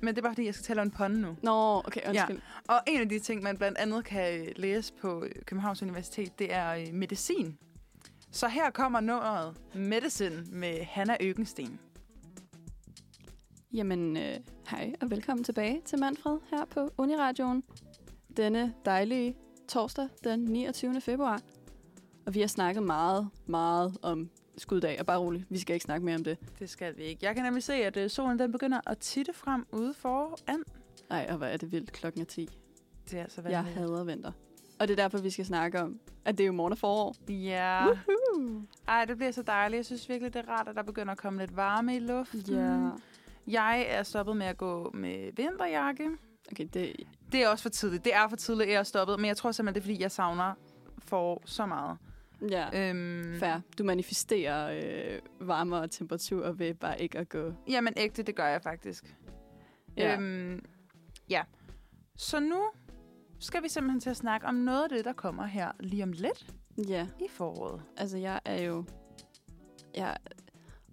[SPEAKER 3] Men det er bare fordi, jeg skal tale om en pond nu.
[SPEAKER 2] Nå, okay, undskyld.
[SPEAKER 3] Og en af de ting, man blandt andet kan øh, læse på øh, Københavns Universitet, det er øh, medicin. Så her kommer nummeret Medicine med Hanna Økensten.
[SPEAKER 2] Jamen, øh, hej og velkommen tilbage til Manfred her på Uniradioen. Denne dejlige torsdag den 29. februar. Og vi har snakket meget, meget om skuddag, og bare rolig, vi skal ikke snakke mere om det.
[SPEAKER 3] Det skal vi ikke. Jeg kan nemlig se, at øh, solen den begynder at titte frem ude foran.
[SPEAKER 2] Nej, og hvor er det vildt, klokken er 10.
[SPEAKER 3] Det er altså
[SPEAKER 2] Jeg hader vinter. Og det er derfor, vi skal snakke om, at det er jo morgen og forår.
[SPEAKER 3] Ja.
[SPEAKER 2] Uh!
[SPEAKER 3] Ej, det bliver så dejligt. Jeg synes virkelig, det er rart, at der begynder at komme lidt varme i luften.
[SPEAKER 2] Mm.
[SPEAKER 3] Jeg er stoppet med at gå med vinterjakke.
[SPEAKER 2] Okay, det,
[SPEAKER 3] Det er også for tidligt. Det er for tidligt, at jeg er stoppet. Men jeg tror simpelthen, det er, fordi jeg savner for så meget.
[SPEAKER 2] ja,
[SPEAKER 3] Øhm,
[SPEAKER 2] fair. Du manifesterer øh, varmere temperaturer ved bare ikke at gå.
[SPEAKER 3] Jamen ægte, det gør jeg faktisk.
[SPEAKER 2] Ja.
[SPEAKER 3] Ja. Øhm, ja. Så nu skal vi simpelthen til at snakke om noget af det, der kommer her lige om lidt
[SPEAKER 2] Ja,
[SPEAKER 3] i foråret.
[SPEAKER 2] altså jeg er jo... Jeg,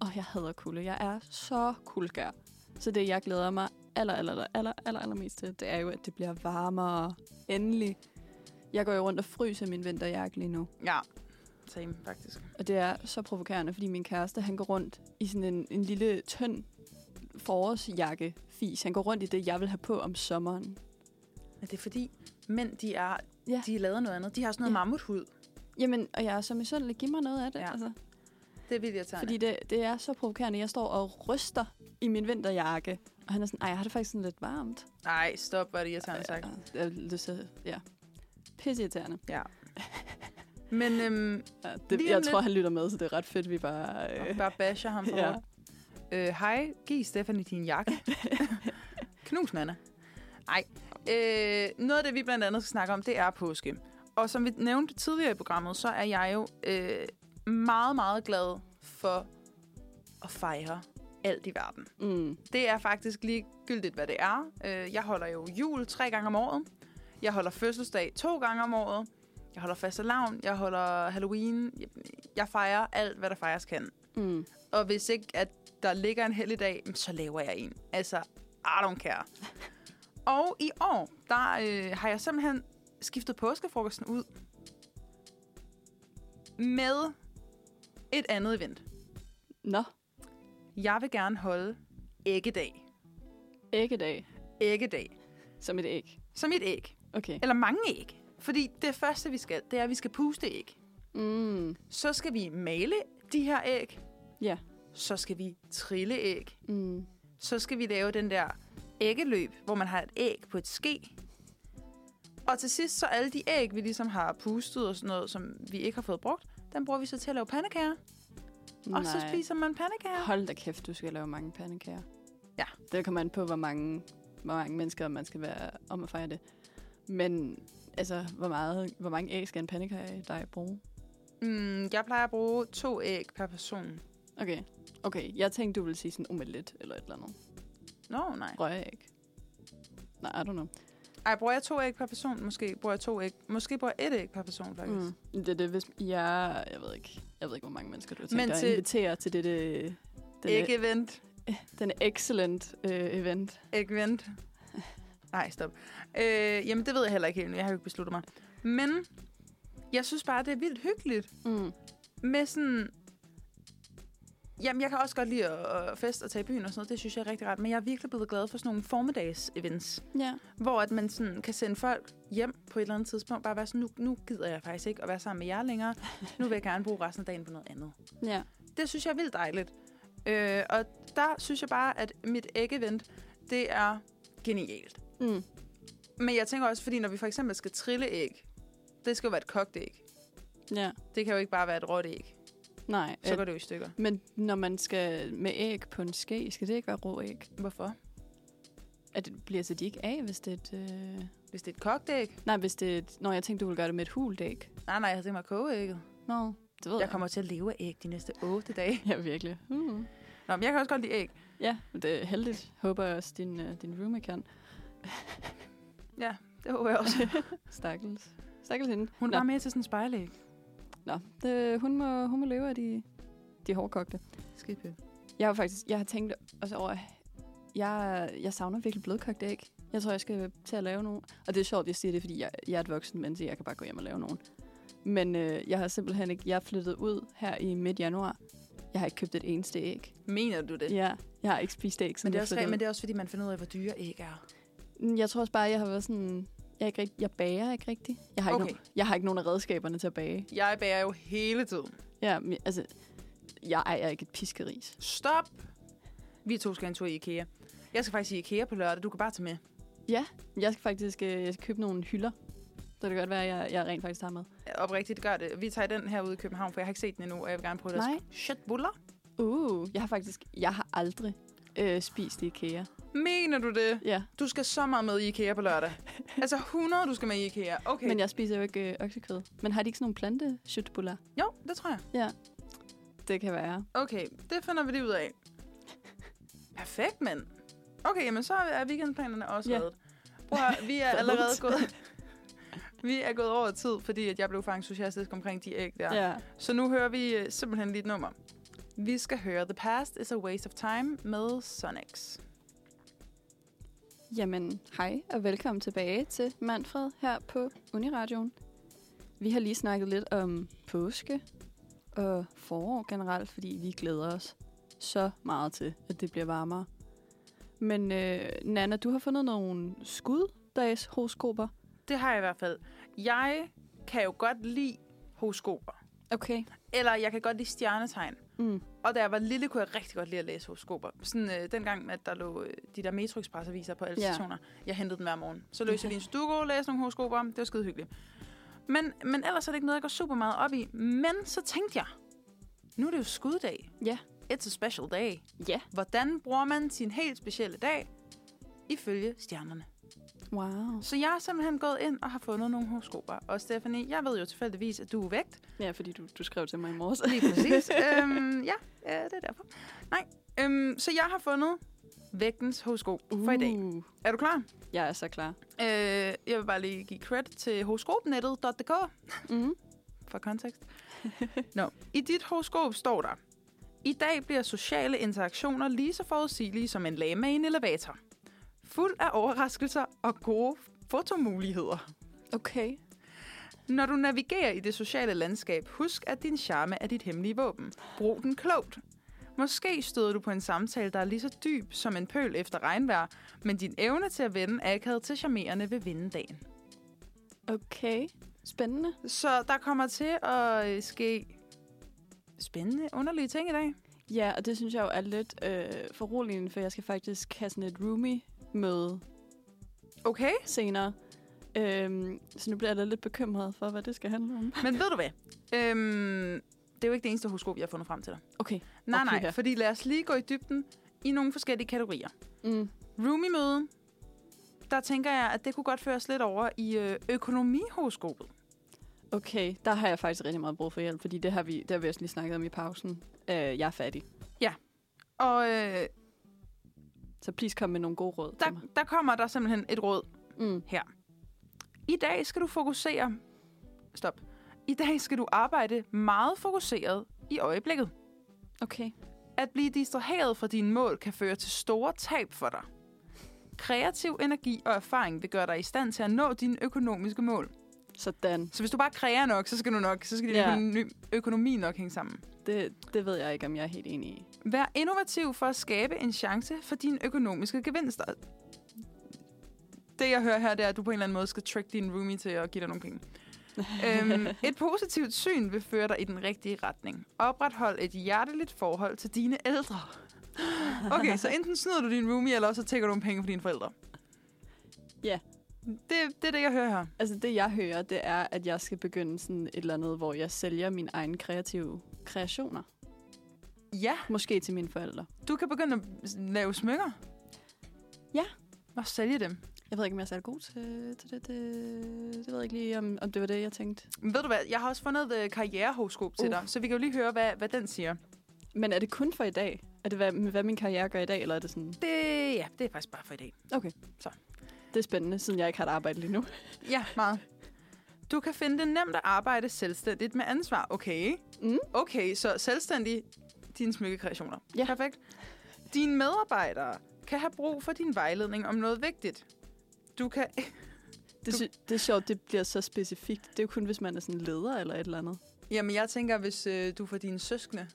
[SPEAKER 2] åh, jeg hader kulde. Jeg er så kuldskær. Så det, jeg glæder mig aller, aller, aller, aller, aller, aller mest til, det er jo, at det bliver varmere. Endelig. Jeg går jo rundt og fryser min vinterjakke lige nu.
[SPEAKER 3] Ja, same faktisk.
[SPEAKER 2] Og det er så provokerende, fordi min kæreste, han går rundt i sådan en, en lille, tynd forårsjakke fis. Han går rundt i det, jeg vil have på om sommeren.
[SPEAKER 3] Men det er fordi, mænd de er,
[SPEAKER 2] Ja.
[SPEAKER 3] ja. de er lavet noget andet. De har sådan noget
[SPEAKER 2] Ja.
[SPEAKER 3] ja. mammuthud.
[SPEAKER 2] Jamen, og jeg er så misundelig. Giv mig noget af det,
[SPEAKER 3] Ja.
[SPEAKER 2] altså.
[SPEAKER 3] Det er vildt irriterende.
[SPEAKER 2] Fordi det, det er så provokerende. Jeg står og ryster i min vinterjakke. Og han er sådan, ej, jeg har det faktisk sådan lidt varmt.
[SPEAKER 3] Nej, stop, hvor er det irriterende sagt.
[SPEAKER 2] Og Jeg har lyst til, ja. Pisseirriterende.
[SPEAKER 3] Ja. Men øhm,
[SPEAKER 2] Ja, det,
[SPEAKER 3] Lige
[SPEAKER 2] jeg
[SPEAKER 3] om
[SPEAKER 2] tror,
[SPEAKER 3] lidt.
[SPEAKER 2] han lytter med, så det er ret fedt, vi bare...
[SPEAKER 3] og
[SPEAKER 2] Øh,
[SPEAKER 3] bare basher ham for
[SPEAKER 2] Ja.
[SPEAKER 3] ja. øh, Hej, giv Stefanie din jakke. Knus, Nana. Nej. Øh, noget af det, vi blandt andet skal snakke om, det er påske. Og som vi nævnte tidligere i programmet, så er jeg jo øh, meget, meget glad for at fejre alt i verden.
[SPEAKER 2] mm,
[SPEAKER 3] Det er faktisk ligegyldigt, hvad det er. Øh, Jeg holder jo jul tre gange om året. Jeg holder fødselsdag to gange om året. Jeg holder faste lavn. Jeg holder Halloween. Jeg fejrer alt, hvad der fejres kan.
[SPEAKER 2] mm.
[SPEAKER 3] Og hvis ikke, at der ligger en heldig dag, så laver jeg en. Altså, I don't care. Og i år, der øh, har jeg simpelthen skiftet påskefrokosten ud med et andet event.
[SPEAKER 2] Nå,
[SPEAKER 3] Jeg vil gerne holde æggedag.
[SPEAKER 2] æggedag.
[SPEAKER 3] Æggedag.
[SPEAKER 2] Som et æg.
[SPEAKER 3] Som et æg.
[SPEAKER 2] Okay.
[SPEAKER 3] Eller mange æg. Fordi det første, vi skal, det er, at vi skal puste æg.
[SPEAKER 2] Mm.
[SPEAKER 3] Så skal vi male de her æg.
[SPEAKER 2] Ja.
[SPEAKER 3] Så skal vi trille æg.
[SPEAKER 2] Mm.
[SPEAKER 3] Så skal vi lave den der æggeløb, hvor man har et æg på et ske. Og til sidst, så alle de æg, vi ligesom har pustet og sådan noget, som vi ikke har fået brugt, den bruger vi så til at lave pandekager. Og så spiser man pandekager.
[SPEAKER 2] Hold da kæft, du skal lave mange pandekager.
[SPEAKER 3] Ja.
[SPEAKER 2] Det kommer an på, hvor mange, hvor mange mennesker man skal være om at fejre det. Men altså, hvor, meget, hvor mange æg skal en pandekage dig bruge?
[SPEAKER 3] Mm, jeg plejer at bruge to æg per person.
[SPEAKER 2] Okay. Okay, jeg tænkte, du ville sige sådan omelet eller et eller andet.
[SPEAKER 3] Nå, nej.
[SPEAKER 2] Røræg. Nej, I don't know.
[SPEAKER 3] Ej, bruger jeg to æg per person? Måske bruger jeg to æg. Måske bruger jeg et æg per person, faktisk. Mm.
[SPEAKER 2] Det er det, hvis jeg... Jeg ved ikke, jeg ved ikke hvor mange mennesker du har tænkt
[SPEAKER 3] Men
[SPEAKER 2] dig at
[SPEAKER 3] til-
[SPEAKER 2] invitere til dette... Denne,
[SPEAKER 3] Ikke event.
[SPEAKER 2] denne excellent øh, event.
[SPEAKER 3] Ikke vent. Nej, stop. Øh, jamen, det ved jeg heller ikke helt. nu. Jeg har jo ikke besluttet mig. Men jeg synes bare, det er vildt hyggeligt
[SPEAKER 2] Mm.
[SPEAKER 3] med sådan... Jamen, jeg kan også godt lide at, at feste og tage i byen og sådan noget. Det synes jeg er rigtig rart. Men jeg er virkelig blevet glad for sådan nogle formiddags-events.
[SPEAKER 2] Ja.
[SPEAKER 3] Hvor at man sådan kan sende folk hjem på et eller andet tidspunkt. Bare være sådan, nu, nu gider jeg faktisk ikke at være sammen med jer længere. Nu vil jeg gerne bruge resten af dagen på noget andet.
[SPEAKER 2] Ja.
[SPEAKER 3] Det synes jeg er vildt dejligt. Øh, og der synes jeg bare, at mit æg-event, det er genialt.
[SPEAKER 2] Mm.
[SPEAKER 3] Men jeg tænker også, fordi når vi for eksempel skal trille æg, det skal jo være et kogt æg.
[SPEAKER 2] Ja.
[SPEAKER 3] Det kan jo ikke bare være et råt æg.
[SPEAKER 2] Nej.
[SPEAKER 3] Så går det jo i stykker.
[SPEAKER 2] Men når man skal med æg på en ske, skal det ikke være rå æg?
[SPEAKER 3] Hvorfor?
[SPEAKER 2] At det bliver så de ikke af, hvis det er et... Øh...
[SPEAKER 3] Hvis det er et kogt æg?
[SPEAKER 2] Nej, hvis det er et... Nå, jeg tænkte, du ville gøre det med et hult æg.
[SPEAKER 3] Nej, nej, jeg havde tænkt mig at koge ægget.
[SPEAKER 2] Nå, det ved jeg.
[SPEAKER 3] Jeg kommer til at leve af æg de næste 8 dage.
[SPEAKER 2] Ja, virkelig. Mm.
[SPEAKER 3] Nå, men jeg kan også godt lide æg.
[SPEAKER 2] Ja, men det er heldigt. Håber jeg også, din, øh, din roommate kan.
[SPEAKER 3] Det håber jeg også.
[SPEAKER 2] Stakkels. Stakkels hende.
[SPEAKER 3] Hun
[SPEAKER 2] Nå.
[SPEAKER 3] var med til sådan en spejlæg.
[SPEAKER 2] Nå, det, hun, må, hun må leve af de, de hårdkogte.
[SPEAKER 3] Skidpøl.
[SPEAKER 2] Jeg har faktisk... Jeg har tænkt også over... Jeg, jeg savner virkelig blødkogt æg. Jeg tror, jeg skal til at lave nogle. Og det er sjovt, jeg siger det, fordi jeg, jeg er et voksen menneske. Jeg kan bare gå hjem og lave nogle. Men øh, jeg har simpelthen ikke... Jeg er flyttet ud her i midt januar. Jeg har ikke købt et eneste æg.
[SPEAKER 3] Mener du det?
[SPEAKER 2] Ja, jeg har ikke spist æg,
[SPEAKER 3] Men
[SPEAKER 2] siden
[SPEAKER 3] det, er
[SPEAKER 2] jeg
[SPEAKER 3] også,
[SPEAKER 2] flyttede
[SPEAKER 3] men det er også, fordi man finder ud af, hvor dyre æg er.
[SPEAKER 2] ud. Mm, Jeg tror også bare, jeg har været sådan... Jeg, er ikke rigtig, jeg bager ikke rigtigt. Jeg har ikke,
[SPEAKER 3] Okay.
[SPEAKER 2] nogen, jeg har ikke nogen af redskaberne til at bage.
[SPEAKER 3] Jeg bærer jo hele tiden.
[SPEAKER 2] Ja, men, altså, Jeg ejer ikke et piskeris.
[SPEAKER 3] Stop! Vi to skal en tur i IKEA. Jeg skal faktisk i IKEA på lørdag. Du kan bare tage med.
[SPEAKER 2] Jeg skal faktisk øh, jeg skal købe nogle hylder. Så det kan godt være, at jeg, jeg rent faktisk har med.
[SPEAKER 3] Oprigtigt gør det. Vi tager den her ude i København, for jeg har ikke set den endnu, og jeg vil gerne prøve deres
[SPEAKER 2] Nej.
[SPEAKER 3] shitbuller.
[SPEAKER 2] Uh, jeg har faktisk... Jeg har aldrig øh, spist i IKEA.
[SPEAKER 3] Mener du det?
[SPEAKER 2] Ja,
[SPEAKER 3] Du skal så meget med i IKEA på lørdag. altså 100, du skal med i IKEA. Okay.
[SPEAKER 2] men jeg spiser jo ikke øh, oksekød. Men har de ikke sådan nogle plante shitbullar?
[SPEAKER 3] Jo, det tror jeg.
[SPEAKER 2] Det kan være.
[SPEAKER 3] Okay, det finder vi lige ud af. Perfekt, mand. Okay, jamen så er weekendplanerne også
[SPEAKER 2] Ja.
[SPEAKER 3] reddet. Prøv at, høre, vi er
[SPEAKER 2] Reddet.
[SPEAKER 3] allerede gået... Vi er gået over tid, fordi at jeg blev for entusiastisk omkring de æg der.
[SPEAKER 2] ja.
[SPEAKER 3] Så nu hører vi øh, simpelthen lige et nummer. Vi skal høre The Past is a Waste of Time med Sonics.
[SPEAKER 2] Jamen, hej og velkommen tilbage til Manfred her på Uniradioen. Vi har lige snakket lidt om påske og forår generelt, fordi vi glæder os så meget til, at det bliver varmere. Men øh, Nana, du har fundet nogle skuddags horoskoper.
[SPEAKER 3] Det har jeg i hvert fald. Jeg kan jo godt lide horoskoper.
[SPEAKER 2] Okay.
[SPEAKER 3] Eller jeg kan godt lide stjernetegn.
[SPEAKER 2] Mm.
[SPEAKER 3] Og da jeg var lille, kunne jeg rigtig godt lide at læse horoskoper. Sådan øh, dengang, at der lå øh, de der Metro Express-aviser på alle
[SPEAKER 2] Ja.
[SPEAKER 3] yeah. stationer. Jeg hentede dem hver morgen. Så løste jeg lige en stugo, læste nogle horoskoper. Det var skide hyggeligt. Men, men ellers er det ikke noget, jeg går super meget op i. Men så tænkte jeg, nu er det jo skuddag.
[SPEAKER 2] Ja.
[SPEAKER 3] It's a special day.
[SPEAKER 2] Ja.
[SPEAKER 3] Hvordan bruger man sin helt specielle dag ifølge stjernerne?
[SPEAKER 2] Wow.
[SPEAKER 3] Så jeg er simpelthen gået ind og har fundet nogle horoskoper. Og Stephanie, jeg ved jo tilfældigvis, at du er vægt.
[SPEAKER 2] Ja, fordi du, du skrev til mig i morges.
[SPEAKER 3] Lige præcis. øhm, ja, øh, det er derfor. Nej, øhm, så jeg har fundet vægtens horoskop uh. for i dag.
[SPEAKER 2] Uh,
[SPEAKER 3] Er du klar?
[SPEAKER 2] jeg er så klar.
[SPEAKER 3] Øh, jeg vil bare lige give credit til horoskopnettet.dk
[SPEAKER 2] Mm.
[SPEAKER 3] for kontekst. Nå, i dit horoskop står der, i dag bliver sociale interaktioner lige så forudsigelige som en lama i en elevator. Fuld af overraskelser og gode fotomuligheder.
[SPEAKER 2] Okay.
[SPEAKER 3] Når du navigerer i det sociale landskab, husk, at din charme er dit hemmelige våben. Brug den klogt. Måske støder du på en samtale, der er lige så dyb som en pøl efter regnvejr, men din evne til at vende akavet til charmerende vil vinde dagen.
[SPEAKER 2] Okay. Spændende.
[SPEAKER 3] Så der kommer til at øh, ske spændende, underlige ting i dag.
[SPEAKER 2] Ja, og det synes jeg jo er lidt øh, foruroligende, for jeg skal faktisk have sådan et roomie-møde
[SPEAKER 3] Okay,
[SPEAKER 2] senere. Øhm, så nu bliver jeg da lidt bekymret for, hvad det skal handle om.
[SPEAKER 3] men ved du hvad? Øhm, det er jo ikke det eneste horoskop, jeg har fundet frem til dig.
[SPEAKER 2] Okay.
[SPEAKER 3] Nej,
[SPEAKER 2] Okay,
[SPEAKER 3] okay,
[SPEAKER 2] ja.
[SPEAKER 3] nej, fordi lad os lige gå i dybden i nogle forskellige kategorier.
[SPEAKER 2] Mm.
[SPEAKER 3] roomie-møde, der tænker jeg, at det kunne godt føres lidt over i øh, økonomihoroskopet.
[SPEAKER 2] Okay, der har jeg faktisk rigtig meget brug for hjælp, fordi det har vi, det har vi også lige snakket om i pausen. Øh, jeg er fattig,
[SPEAKER 3] Og øh,
[SPEAKER 2] så please kom med nogle gode råd
[SPEAKER 3] der,
[SPEAKER 2] til mig.
[SPEAKER 3] der kommer der simpelthen et råd.
[SPEAKER 2] Mm.
[SPEAKER 3] I dag skal du fokusere... Stop. I dag skal du arbejde meget fokuseret i øjeblikket.
[SPEAKER 2] Okay.
[SPEAKER 3] At blive distraheret fra dine mål kan føre til store tab for dig. Kreativ energi og erfaring vil gøre dig i stand til at nå dine økonomiske mål.
[SPEAKER 2] Sådan.
[SPEAKER 3] Så hvis du bare kræver nok, så skal du nok, så skal din
[SPEAKER 2] Ja.
[SPEAKER 3] økonomi, økonomi nok hænge sammen.
[SPEAKER 2] Det, det ved jeg ikke, om jeg er helt enig i.
[SPEAKER 3] Vær innovativ for at skabe en chance for dine økonomiske gevinster. Det, jeg hører her, det er, at du på en eller anden måde skal trick din roomie til at give dig nogle penge. øhm, et positivt syn vil føre dig i den rigtige retning. Oprethold et hjerteligt forhold til dine ældre. Okay, så enten snyder du din roomie, eller også så tækker du nogle penge fra dine forældre.
[SPEAKER 2] Ja.
[SPEAKER 3] Det, det er det, jeg hører her.
[SPEAKER 2] Altså det, jeg hører, det er, at jeg skal begynde sådan et eller andet, hvor jeg sælger mine egne kreative kreationer.
[SPEAKER 3] Ja,
[SPEAKER 2] Måske til mine forældre.
[SPEAKER 3] du kan begynde at lave smykker.
[SPEAKER 2] Ja.
[SPEAKER 3] Og sælge dem.
[SPEAKER 2] Jeg ved ikke, om jeg er særlig god til, til det, det. Det ved jeg ikke lige, om, om det var det, jeg tænkte.
[SPEAKER 3] Men ved du hvad, jeg har også fundet et øh, karrierehoroskop til
[SPEAKER 2] Uh.
[SPEAKER 3] dig, så vi kan jo lige høre, hvad, hvad den siger.
[SPEAKER 2] Men er det kun for i dag? Er det, hvad, hvad min karriere gør i dag, eller er det sådan...
[SPEAKER 3] Det, ja, det er faktisk bare for i dag.
[SPEAKER 2] Det er spændende, siden jeg ikke har et arbejde lige nu.
[SPEAKER 3] Ja, meget. Du kan finde det nemt at arbejde selvstændigt med ansvar. Okay.
[SPEAKER 2] Mm.
[SPEAKER 3] Okay, så selvstændig dine smykkekreationer.
[SPEAKER 2] Ja.
[SPEAKER 3] Perfekt. Dine medarbejdere kan have brug for din vejledning om noget vigtigt. Du kan...
[SPEAKER 2] Det, sy- det er sjovt, det bliver så specifikt. Det er jo kun, hvis man er sådan leder eller et eller andet.
[SPEAKER 3] Jamen, jeg tænker, hvis øh, du får dine søskende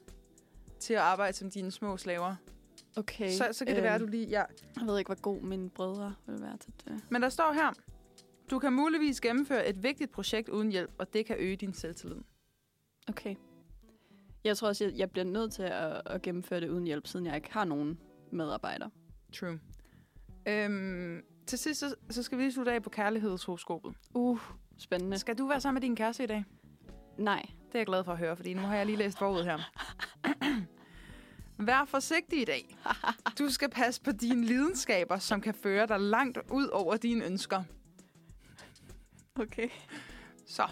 [SPEAKER 3] til at arbejde som dine små slaver,
[SPEAKER 2] Okay. øhm,
[SPEAKER 3] så, så kan det være, at du lige... Ja,
[SPEAKER 2] Jeg ved ikke, hvor god mine brødre vil være til det.
[SPEAKER 3] Men der står her, du kan muligvis gennemføre et vigtigt projekt uden hjælp, og det kan øge din selvtillid.
[SPEAKER 2] Okay. Jeg tror også, jeg, jeg bliver nødt til at, at gennemføre det uden hjælp, siden jeg ikke har nogen medarbejdere.
[SPEAKER 3] True. Øhm, til sidst, så, så skal vi lige slutte af på kærlighedshoroskopet.
[SPEAKER 2] Uh, spændende.
[SPEAKER 3] Skal du være sammen med din kæreste i dag?
[SPEAKER 2] Nej.
[SPEAKER 3] Det er jeg glad for at høre, fordi nu har jeg lige læst forud her. Vær forsigtig i dag. Du skal passe på dine lidenskaber, som kan føre dig langt ud over dine ønsker.
[SPEAKER 2] Okay.
[SPEAKER 3] Så,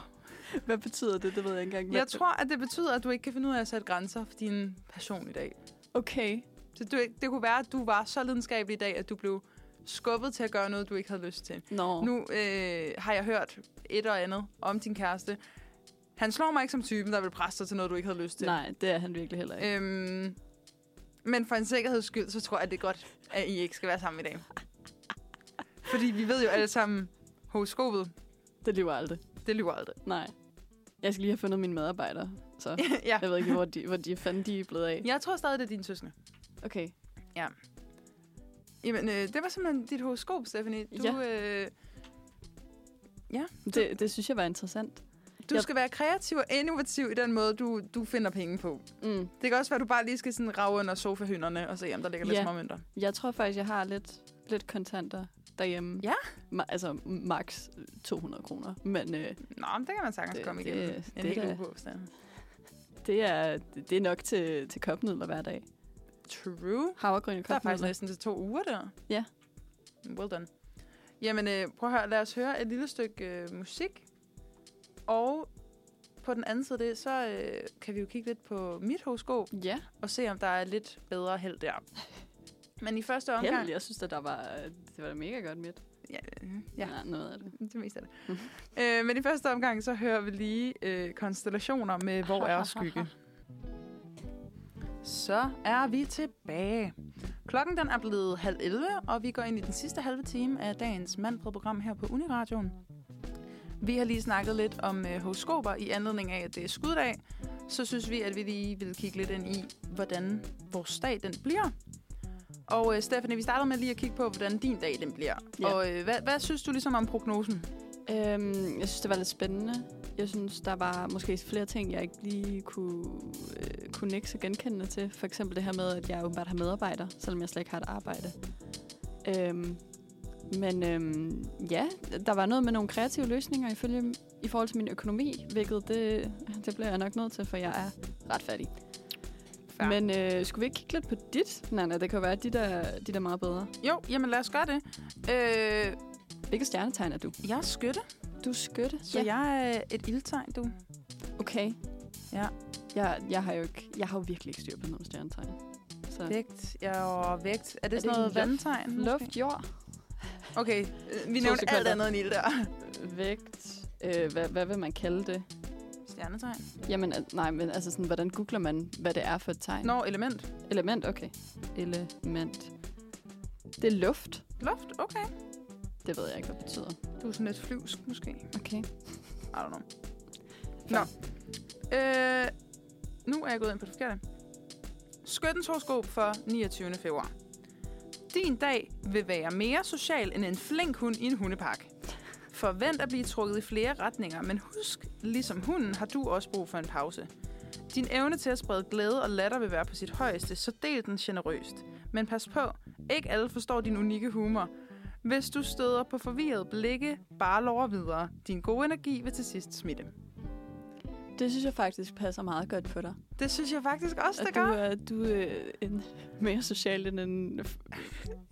[SPEAKER 2] Hvad betyder det? Det ved jeg ikke engang.
[SPEAKER 3] jeg tror, at det betyder, at du ikke kan finde ud af at sætte grænser for din passion i dag.
[SPEAKER 2] Okay.
[SPEAKER 3] Så du, det kunne være, at du var så lidenskabelig i dag, at du blev skubbet til at gøre noget, du ikke havde lyst til.
[SPEAKER 2] Nå.
[SPEAKER 3] Nu øh, har jeg hørt et og andet om din kæreste. Han slår mig ikke som typen, der vil presse dig til noget, du ikke havde lyst til.
[SPEAKER 2] Nej, det er han virkelig heller ikke.
[SPEAKER 3] Øhm, men for en sikkerheds skyld, så tror jeg, det er godt, at I ikke skal være sammen i dag. Fordi vi ved jo alle sammen, horoskopet,
[SPEAKER 2] Det lever aldrig.
[SPEAKER 3] det lyver aldrig.
[SPEAKER 2] Nej. Jeg skal lige have fundet mine medarbejdere, så
[SPEAKER 3] ja.
[SPEAKER 2] jeg ved ikke, hvor de, hvor de fanden de er blevet af.
[SPEAKER 3] Jeg tror stadig, det er dine søskende.
[SPEAKER 2] Okay.
[SPEAKER 3] Jamen, øh, det var simpelthen dit horoskop, Stephanie. Du, ja. øh,
[SPEAKER 2] Det, det synes jeg var interessant.
[SPEAKER 3] du
[SPEAKER 2] Jeg-
[SPEAKER 3] skal være kreativ og innovativ i den måde, du, du finder penge på.
[SPEAKER 2] Mm.
[SPEAKER 3] Det kan også være, at du bare lige skal sådan rave under sofahynderne og se, om der ligger lidt
[SPEAKER 2] Ja.
[SPEAKER 3] småmønter.
[SPEAKER 2] Jeg tror faktisk, jeg har lidt, lidt kontanter derhjemme.
[SPEAKER 3] Ja.
[SPEAKER 2] Ma- altså, max 200 kroner. Men øh,
[SPEAKER 3] Nå, men det kan man sagtens
[SPEAKER 2] Det-
[SPEAKER 3] komme
[SPEAKER 2] det-
[SPEAKER 3] igennem.
[SPEAKER 2] det
[SPEAKER 3] en
[SPEAKER 2] er
[SPEAKER 3] hel
[SPEAKER 2] da-
[SPEAKER 3] uge på, Stephanie.
[SPEAKER 2] det, er, det er nok til, til kopnudler hver dag.
[SPEAKER 3] True.
[SPEAKER 2] Havregryn og
[SPEAKER 3] Der er faktisk
[SPEAKER 2] kopnudler.
[SPEAKER 3] næsten til to uger der.
[SPEAKER 2] Ja.
[SPEAKER 3] Well done. Jamen, øh, prøv at høre, lad os høre et lille stykke øh, musik. Og på den anden side af det, så øh, kan vi jo kigge lidt på mit horoskop
[SPEAKER 2] Ja,
[SPEAKER 3] og se, om der er lidt bedre held der. Men i første omgang...
[SPEAKER 2] held. Jeg synes, at der var, det var da mega godt midt.
[SPEAKER 3] Ja, øh, ja
[SPEAKER 2] Nej, noget af det.
[SPEAKER 3] det meste af det. øh, men i første omgang, så hører vi lige øh, konstellationer med Hvor er skygge? Så er vi tilbage. Klokken den er blevet halv 11, og vi går ind i den sidste halve time af dagens mandbredprogram her på Uniradioen. Vi har lige snakket lidt om øh, horoskoper i anledning af, at det er skuddag. Så synes vi, at vi lige vil kigge lidt ind i, hvordan vores dag den bliver. Og øh, Stephanie, vi startede med lige at kigge på, hvordan din dag den bliver.
[SPEAKER 2] Ja.
[SPEAKER 3] Og øh, hvad, hvad synes du ligesom om prognosen?
[SPEAKER 2] Øhm, jeg synes, det var lidt spændende. Jeg synes, der var måske flere ting, jeg ikke lige kunne, øh, kunne ikke så genkendende til. For eksempel det her med, at jeg åbenbart har medarbejdere, selvom jeg slet ikke har et arbejde. Øhm, men øhm, ja, der var noget med nogle kreative løsninger ifølge, i forhold til min økonomi, hvilket det, det bliver jeg nok nødt til, for jeg er ret fattig.
[SPEAKER 3] Fair.
[SPEAKER 2] Men øh, skulle vi ikke kigge lidt på dit, Nana? Det kan jo være, at dit er, dit er meget bedre.
[SPEAKER 3] Jo, jamen lad os gøre det. Øh,
[SPEAKER 2] Hvilket stjernetegn er du?
[SPEAKER 3] jeg er skytte,
[SPEAKER 2] Du er skytte.
[SPEAKER 3] så ja. jeg er et ildtegn, du.
[SPEAKER 2] Okay.
[SPEAKER 3] Ja.
[SPEAKER 2] Jeg, jeg, har jo ikke, jeg har jo virkelig ikke styr på noget med stjernetegn. Så
[SPEAKER 3] Vægt. Jeg er vægt. Er det,
[SPEAKER 2] det
[SPEAKER 3] sådan noget
[SPEAKER 2] luft?
[SPEAKER 3] vandtegn? måske?
[SPEAKER 2] luft, jord,
[SPEAKER 3] Okay, øh, vi
[SPEAKER 2] To
[SPEAKER 3] nævnte alt
[SPEAKER 2] sekunder.
[SPEAKER 3] andet end ild der.
[SPEAKER 2] vægt, øh, hvad, hvad vil man kalde det?
[SPEAKER 3] Stjernetegn.
[SPEAKER 2] Jamen, al- nej, men altså sådan, hvordan googler man, hvad det er for et tegn?
[SPEAKER 3] Nå, element.
[SPEAKER 2] Element, okay. Element. Det er luft.
[SPEAKER 3] Luft, okay.
[SPEAKER 2] Det ved jeg ikke, hvad det betyder.
[SPEAKER 3] Du er sådan lidt flyvsk, måske. I
[SPEAKER 2] Okay.
[SPEAKER 3] don't know. Nå. Øh, nu er jeg gået ind på det forkerte. Skyttens horoskop for 29. februar. Din dag vil være mere social end en flink hund i en hundepark. Forvent at blive trukket i flere retninger, men husk, ligesom hunden har du også brug for en pause. Din evne til at sprede glæde og latter vil være på sit højeste, så del den generøst. Men pas på, ikke alle forstår din unikke humor. Hvis du støder på forvirret blikke, bare lover videre. Din gode energi vil til sidst smitte.
[SPEAKER 2] Det synes jeg faktisk passer meget godt på dig.
[SPEAKER 3] Det synes jeg faktisk også,
[SPEAKER 2] At
[SPEAKER 3] det
[SPEAKER 2] du
[SPEAKER 3] gør.
[SPEAKER 2] er, du er en mere social end en,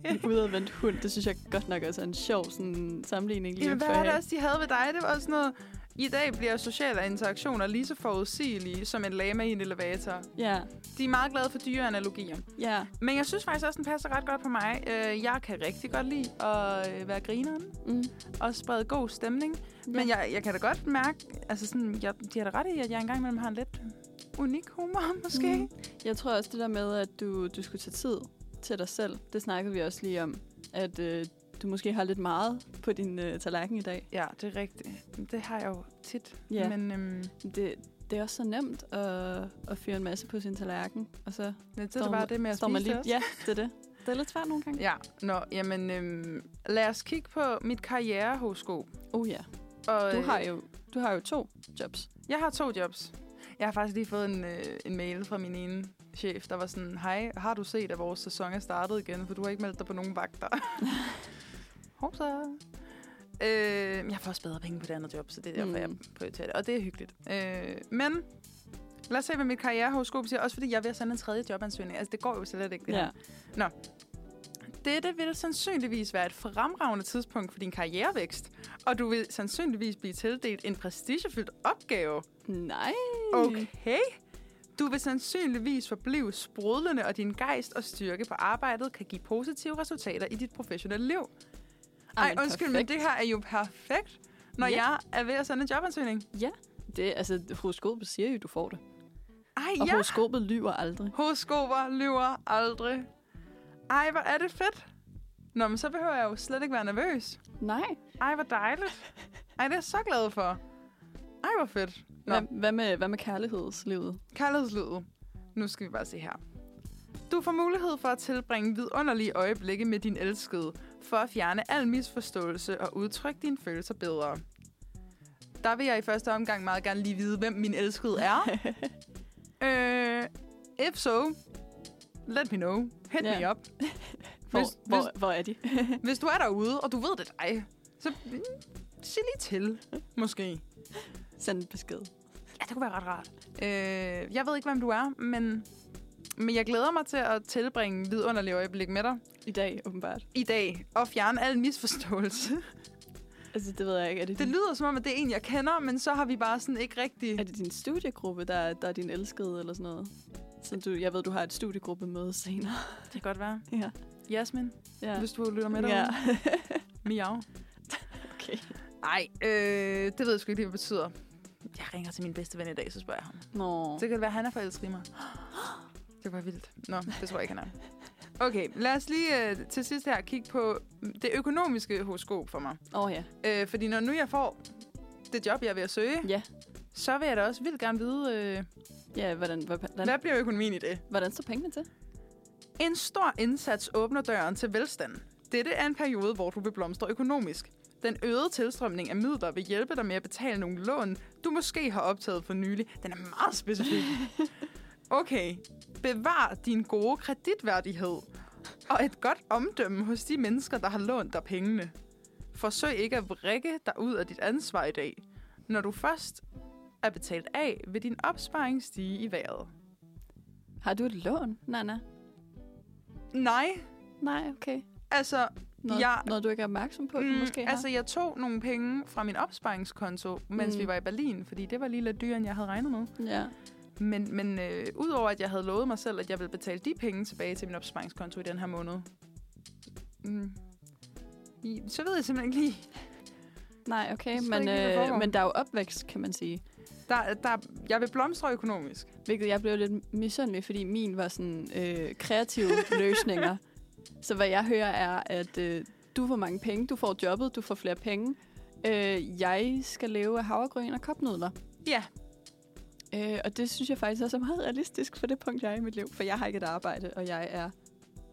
[SPEAKER 2] en udadvendt hund. Det synes jeg godt nok også er en sjov sådan, sammenligning lige
[SPEAKER 3] Jamen,
[SPEAKER 2] at få
[SPEAKER 3] hvad var det
[SPEAKER 2] her.
[SPEAKER 3] også, de havde ved dig? Det var sådan noget, i dag bliver sociale interaktioner lige så forudsigelige som en lama i en elevator.
[SPEAKER 2] Ja,
[SPEAKER 3] De er meget glade for dyre analogier.
[SPEAKER 2] ja.
[SPEAKER 3] Men jeg synes faktisk også, den passer ret godt på mig. Øh, Jeg kan rigtig godt lide at øh, være grineren
[SPEAKER 2] Mm.
[SPEAKER 3] og sprede god stemning. Men jeg, jeg kan da godt mærke, altså sådan, jeg, de har da ret i, at jeg engang imellem har en lidt unik humor, måske.
[SPEAKER 2] Mm. Jeg tror også det der med, at du, du skulle tage tid til dig selv, det snakkede vi også lige om, at øh, du måske har lidt meget på din øh, tallerken i dag.
[SPEAKER 3] Ja, det er rigtigt. Det har jeg jo tit.
[SPEAKER 2] Ja.
[SPEAKER 3] Men øhm,
[SPEAKER 2] Det, det er også så nemt at, at fyre en masse på sin tallerken, og så
[SPEAKER 3] det er bare det med at
[SPEAKER 2] står
[SPEAKER 3] spise
[SPEAKER 2] man
[SPEAKER 3] det
[SPEAKER 2] lige,
[SPEAKER 3] også.
[SPEAKER 2] Ja, det er det. Det er lidt svært nogle gange.
[SPEAKER 3] Ja, nå, jamen, øhm, lad os kigge på mit karrierehoroskop.
[SPEAKER 2] Oh ja,
[SPEAKER 3] Og,
[SPEAKER 2] du
[SPEAKER 3] øh,
[SPEAKER 2] har jo, du har jo to jobs.
[SPEAKER 3] Jeg har to jobs. Jeg har faktisk lige fået en, øh, en mail fra min ene chef, der var sådan, hej, har du set, at vores sæson er startet igen, for du har ikke meldt dig på nogen vagter. Hov så. Øh, jeg får også bedre penge på det andet job, så det er derfor, mm. jeg
[SPEAKER 2] Mm.
[SPEAKER 3] prioriterer det. Og det er hyggeligt. Øh, men lad os se, hvad mit karrierehoroskop siger. Også fordi jeg er ved at sende en tredje jobansøgning. Altså, det går jo slet ikke. Det her.
[SPEAKER 2] Ja.
[SPEAKER 3] Dette vil sandsynligvis være et fremragende tidspunkt for din karrierevækst, og du vil sandsynligvis blive tildelt en prestigefyldt opgave.
[SPEAKER 2] Nej.
[SPEAKER 3] Okay. Du vil sandsynligvis forblive sprudlende, og din gejst og styrke på arbejdet kan give positive resultater i dit professionelle liv. Ej,
[SPEAKER 2] Jamen,
[SPEAKER 3] undskyld, men
[SPEAKER 2] perfekt.
[SPEAKER 3] det her er jo perfekt, når
[SPEAKER 2] Ja.
[SPEAKER 3] ja. jeg er ved at sende en jobansøgning.
[SPEAKER 2] Det, altså, horoskopet siger jo, du får det.
[SPEAKER 3] Ej,
[SPEAKER 2] Og
[SPEAKER 3] ja.
[SPEAKER 2] ja. horoskopet lyver aldrig.
[SPEAKER 3] Horoskoper lyver aldrig. Ej, hvor er det fedt. Nå, men så behøver jeg jo slet ikke være nervøs.
[SPEAKER 2] Nej.
[SPEAKER 3] Ej, hvor dejligt. Ej, det er jeg så glad for. Ej, hvor fedt. Nå.
[SPEAKER 2] Hvad, hvad, med, hvad med kærlighedslivet?
[SPEAKER 3] Kærlighedslivet. Nu skal vi bare se her. Du får mulighed for at tilbringe vidunderlige øjeblikke med din elskede, for at fjerne al misforståelse og udtrykke dine følelser bedre. Der vil jeg i første omgang meget gerne lige vide, hvem min elskede er. øh, if so, let me know. Hit yeah.
[SPEAKER 2] Ja.
[SPEAKER 3] me up.
[SPEAKER 2] Hvor,
[SPEAKER 3] Hvis-
[SPEAKER 2] hvor, hvor er de?
[SPEAKER 3] Hvis du er derude, og du ved det er dig, så mm, sig lige til, måske.
[SPEAKER 2] Send en besked.
[SPEAKER 3] Ja, det kunne være ret rart. Øh, jeg ved ikke, hvem du er, men, men jeg glæder mig til at tilbringe vidunderlige øjeblik med dig
[SPEAKER 2] I dag, åbenbart.
[SPEAKER 3] i dag og fjerne al misforståelse.
[SPEAKER 2] Altså, det ved jeg ikke. Er det,
[SPEAKER 3] Det
[SPEAKER 2] din,
[SPEAKER 3] lyder som om, at det er en, jeg kender, men så har vi bare sådan ikke rigtig...
[SPEAKER 2] er det din studiegruppe, der, er- der er din elskede eller sådan noget? Så du, jeg ved, du har et studiegruppemøde senere.
[SPEAKER 3] Det kan godt være.
[SPEAKER 2] Ja.
[SPEAKER 3] Jasmin,
[SPEAKER 2] ja.
[SPEAKER 3] ja. hvis du lytter med dig.
[SPEAKER 2] ja.
[SPEAKER 3] Ja. Miau.
[SPEAKER 2] okay.
[SPEAKER 3] Nej, øh, det ved jeg sgu ikke, lige, hvad det betyder. Jeg ringer til min bedste ven i dag, så spørger jeg ham.
[SPEAKER 2] Nå.
[SPEAKER 3] Så kan det være, at han er forelsket i mig. Det var vildt. Nå, det tror jeg ikke, han er. Okay, lad os lige øh, til sidst her kigge på det økonomiske horoskop for mig.
[SPEAKER 2] Åh oh, ja.
[SPEAKER 3] Øh, fordi når nu jeg får det job, jeg er ved at søge,
[SPEAKER 2] Ja.
[SPEAKER 3] så vil jeg da også vildt gerne vide, øh,
[SPEAKER 2] Ja, hvordan, hvordan,
[SPEAKER 3] hvad bliver økonomien i det?
[SPEAKER 2] hvordan står pengene til?
[SPEAKER 3] En stor indsats åbner døren til velstand. Dette er en periode, hvor du vil blomstre økonomisk. Den øgede tilstrømning af midler vil hjælpe dig med at betale nogle lån, du måske har optaget for nylig. Den er meget specifik. Okay, bevar din gode kreditværdighed og et godt omdømme hos de mennesker, der har lånt dig pengene. Forsøg ikke at vrikke dig ud af dit ansvar i dag. Når du først er betalt af, vil din opsparing stige i vejret.
[SPEAKER 2] Har du et lån, Nana?
[SPEAKER 3] Nej,
[SPEAKER 2] Nej, okay.
[SPEAKER 3] altså
[SPEAKER 2] Noget, ja.
[SPEAKER 3] Jeg-
[SPEAKER 2] noget du ikke er opmærksom på, mm, måske
[SPEAKER 3] altså, jeg tog nogle penge fra min opsparingskonto, mens
[SPEAKER 2] Mm.
[SPEAKER 3] mm. vi var i Berlin, fordi det var lige lidt dyrere, end jeg havde regnet med.
[SPEAKER 2] har? Ja.
[SPEAKER 3] Men, men øh, udover at jeg havde lovet mig selv, at jeg ville betale de penge tilbage til min opsparingskonto i den her måned, mm, i, så ved jeg simpelthen ikke lige.
[SPEAKER 2] Nej, okay,
[SPEAKER 3] Jeg tror
[SPEAKER 2] men,
[SPEAKER 3] ikke lige, hvad
[SPEAKER 2] øh,
[SPEAKER 3] foregår.
[SPEAKER 2] men der er jo opvækst, kan man sige.
[SPEAKER 3] Der, der, jeg vil blomstre økonomisk.
[SPEAKER 2] Hvilket jeg blev lidt misundelig, fordi min var sådan øh, kreative løsninger. Så hvad jeg hører er, at øh, du får mange penge, du får jobbet, du får flere penge. Øh, jeg skal leve af havregryn og kopnudler.
[SPEAKER 3] Ja.
[SPEAKER 2] Øh, og det synes jeg faktisk også er meget realistisk for det punkt, jeg er i mit liv. For jeg har ikke et arbejde, og jeg er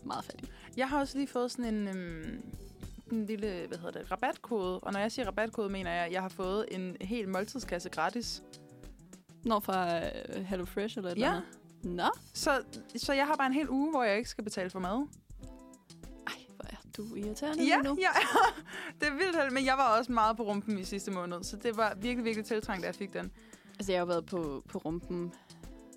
[SPEAKER 2] meget fattig.
[SPEAKER 3] Jeg har også lige fået sådan en, øhm, en lille, hvad hedder det, rabatkode. Og når jeg siger rabatkode, mener jeg, at jeg har fået en hel måltidskasse gratis.
[SPEAKER 2] Når fra øh, Hello Fresh eller et eller
[SPEAKER 3] Ja.
[SPEAKER 2] andet. Nå,
[SPEAKER 3] Så, så jeg har bare en hel uge, hvor jeg ikke skal betale for mad.
[SPEAKER 2] ej, hvor er du irriterende
[SPEAKER 3] Ja,
[SPEAKER 2] lige nu.
[SPEAKER 3] ja, det er vildt, heldigt, men jeg var også meget på rumpen i sidste måned, så det var virkelig, virkelig tiltrængt, da jeg fik den.
[SPEAKER 2] Altså, jeg har jo været på, på rumpen,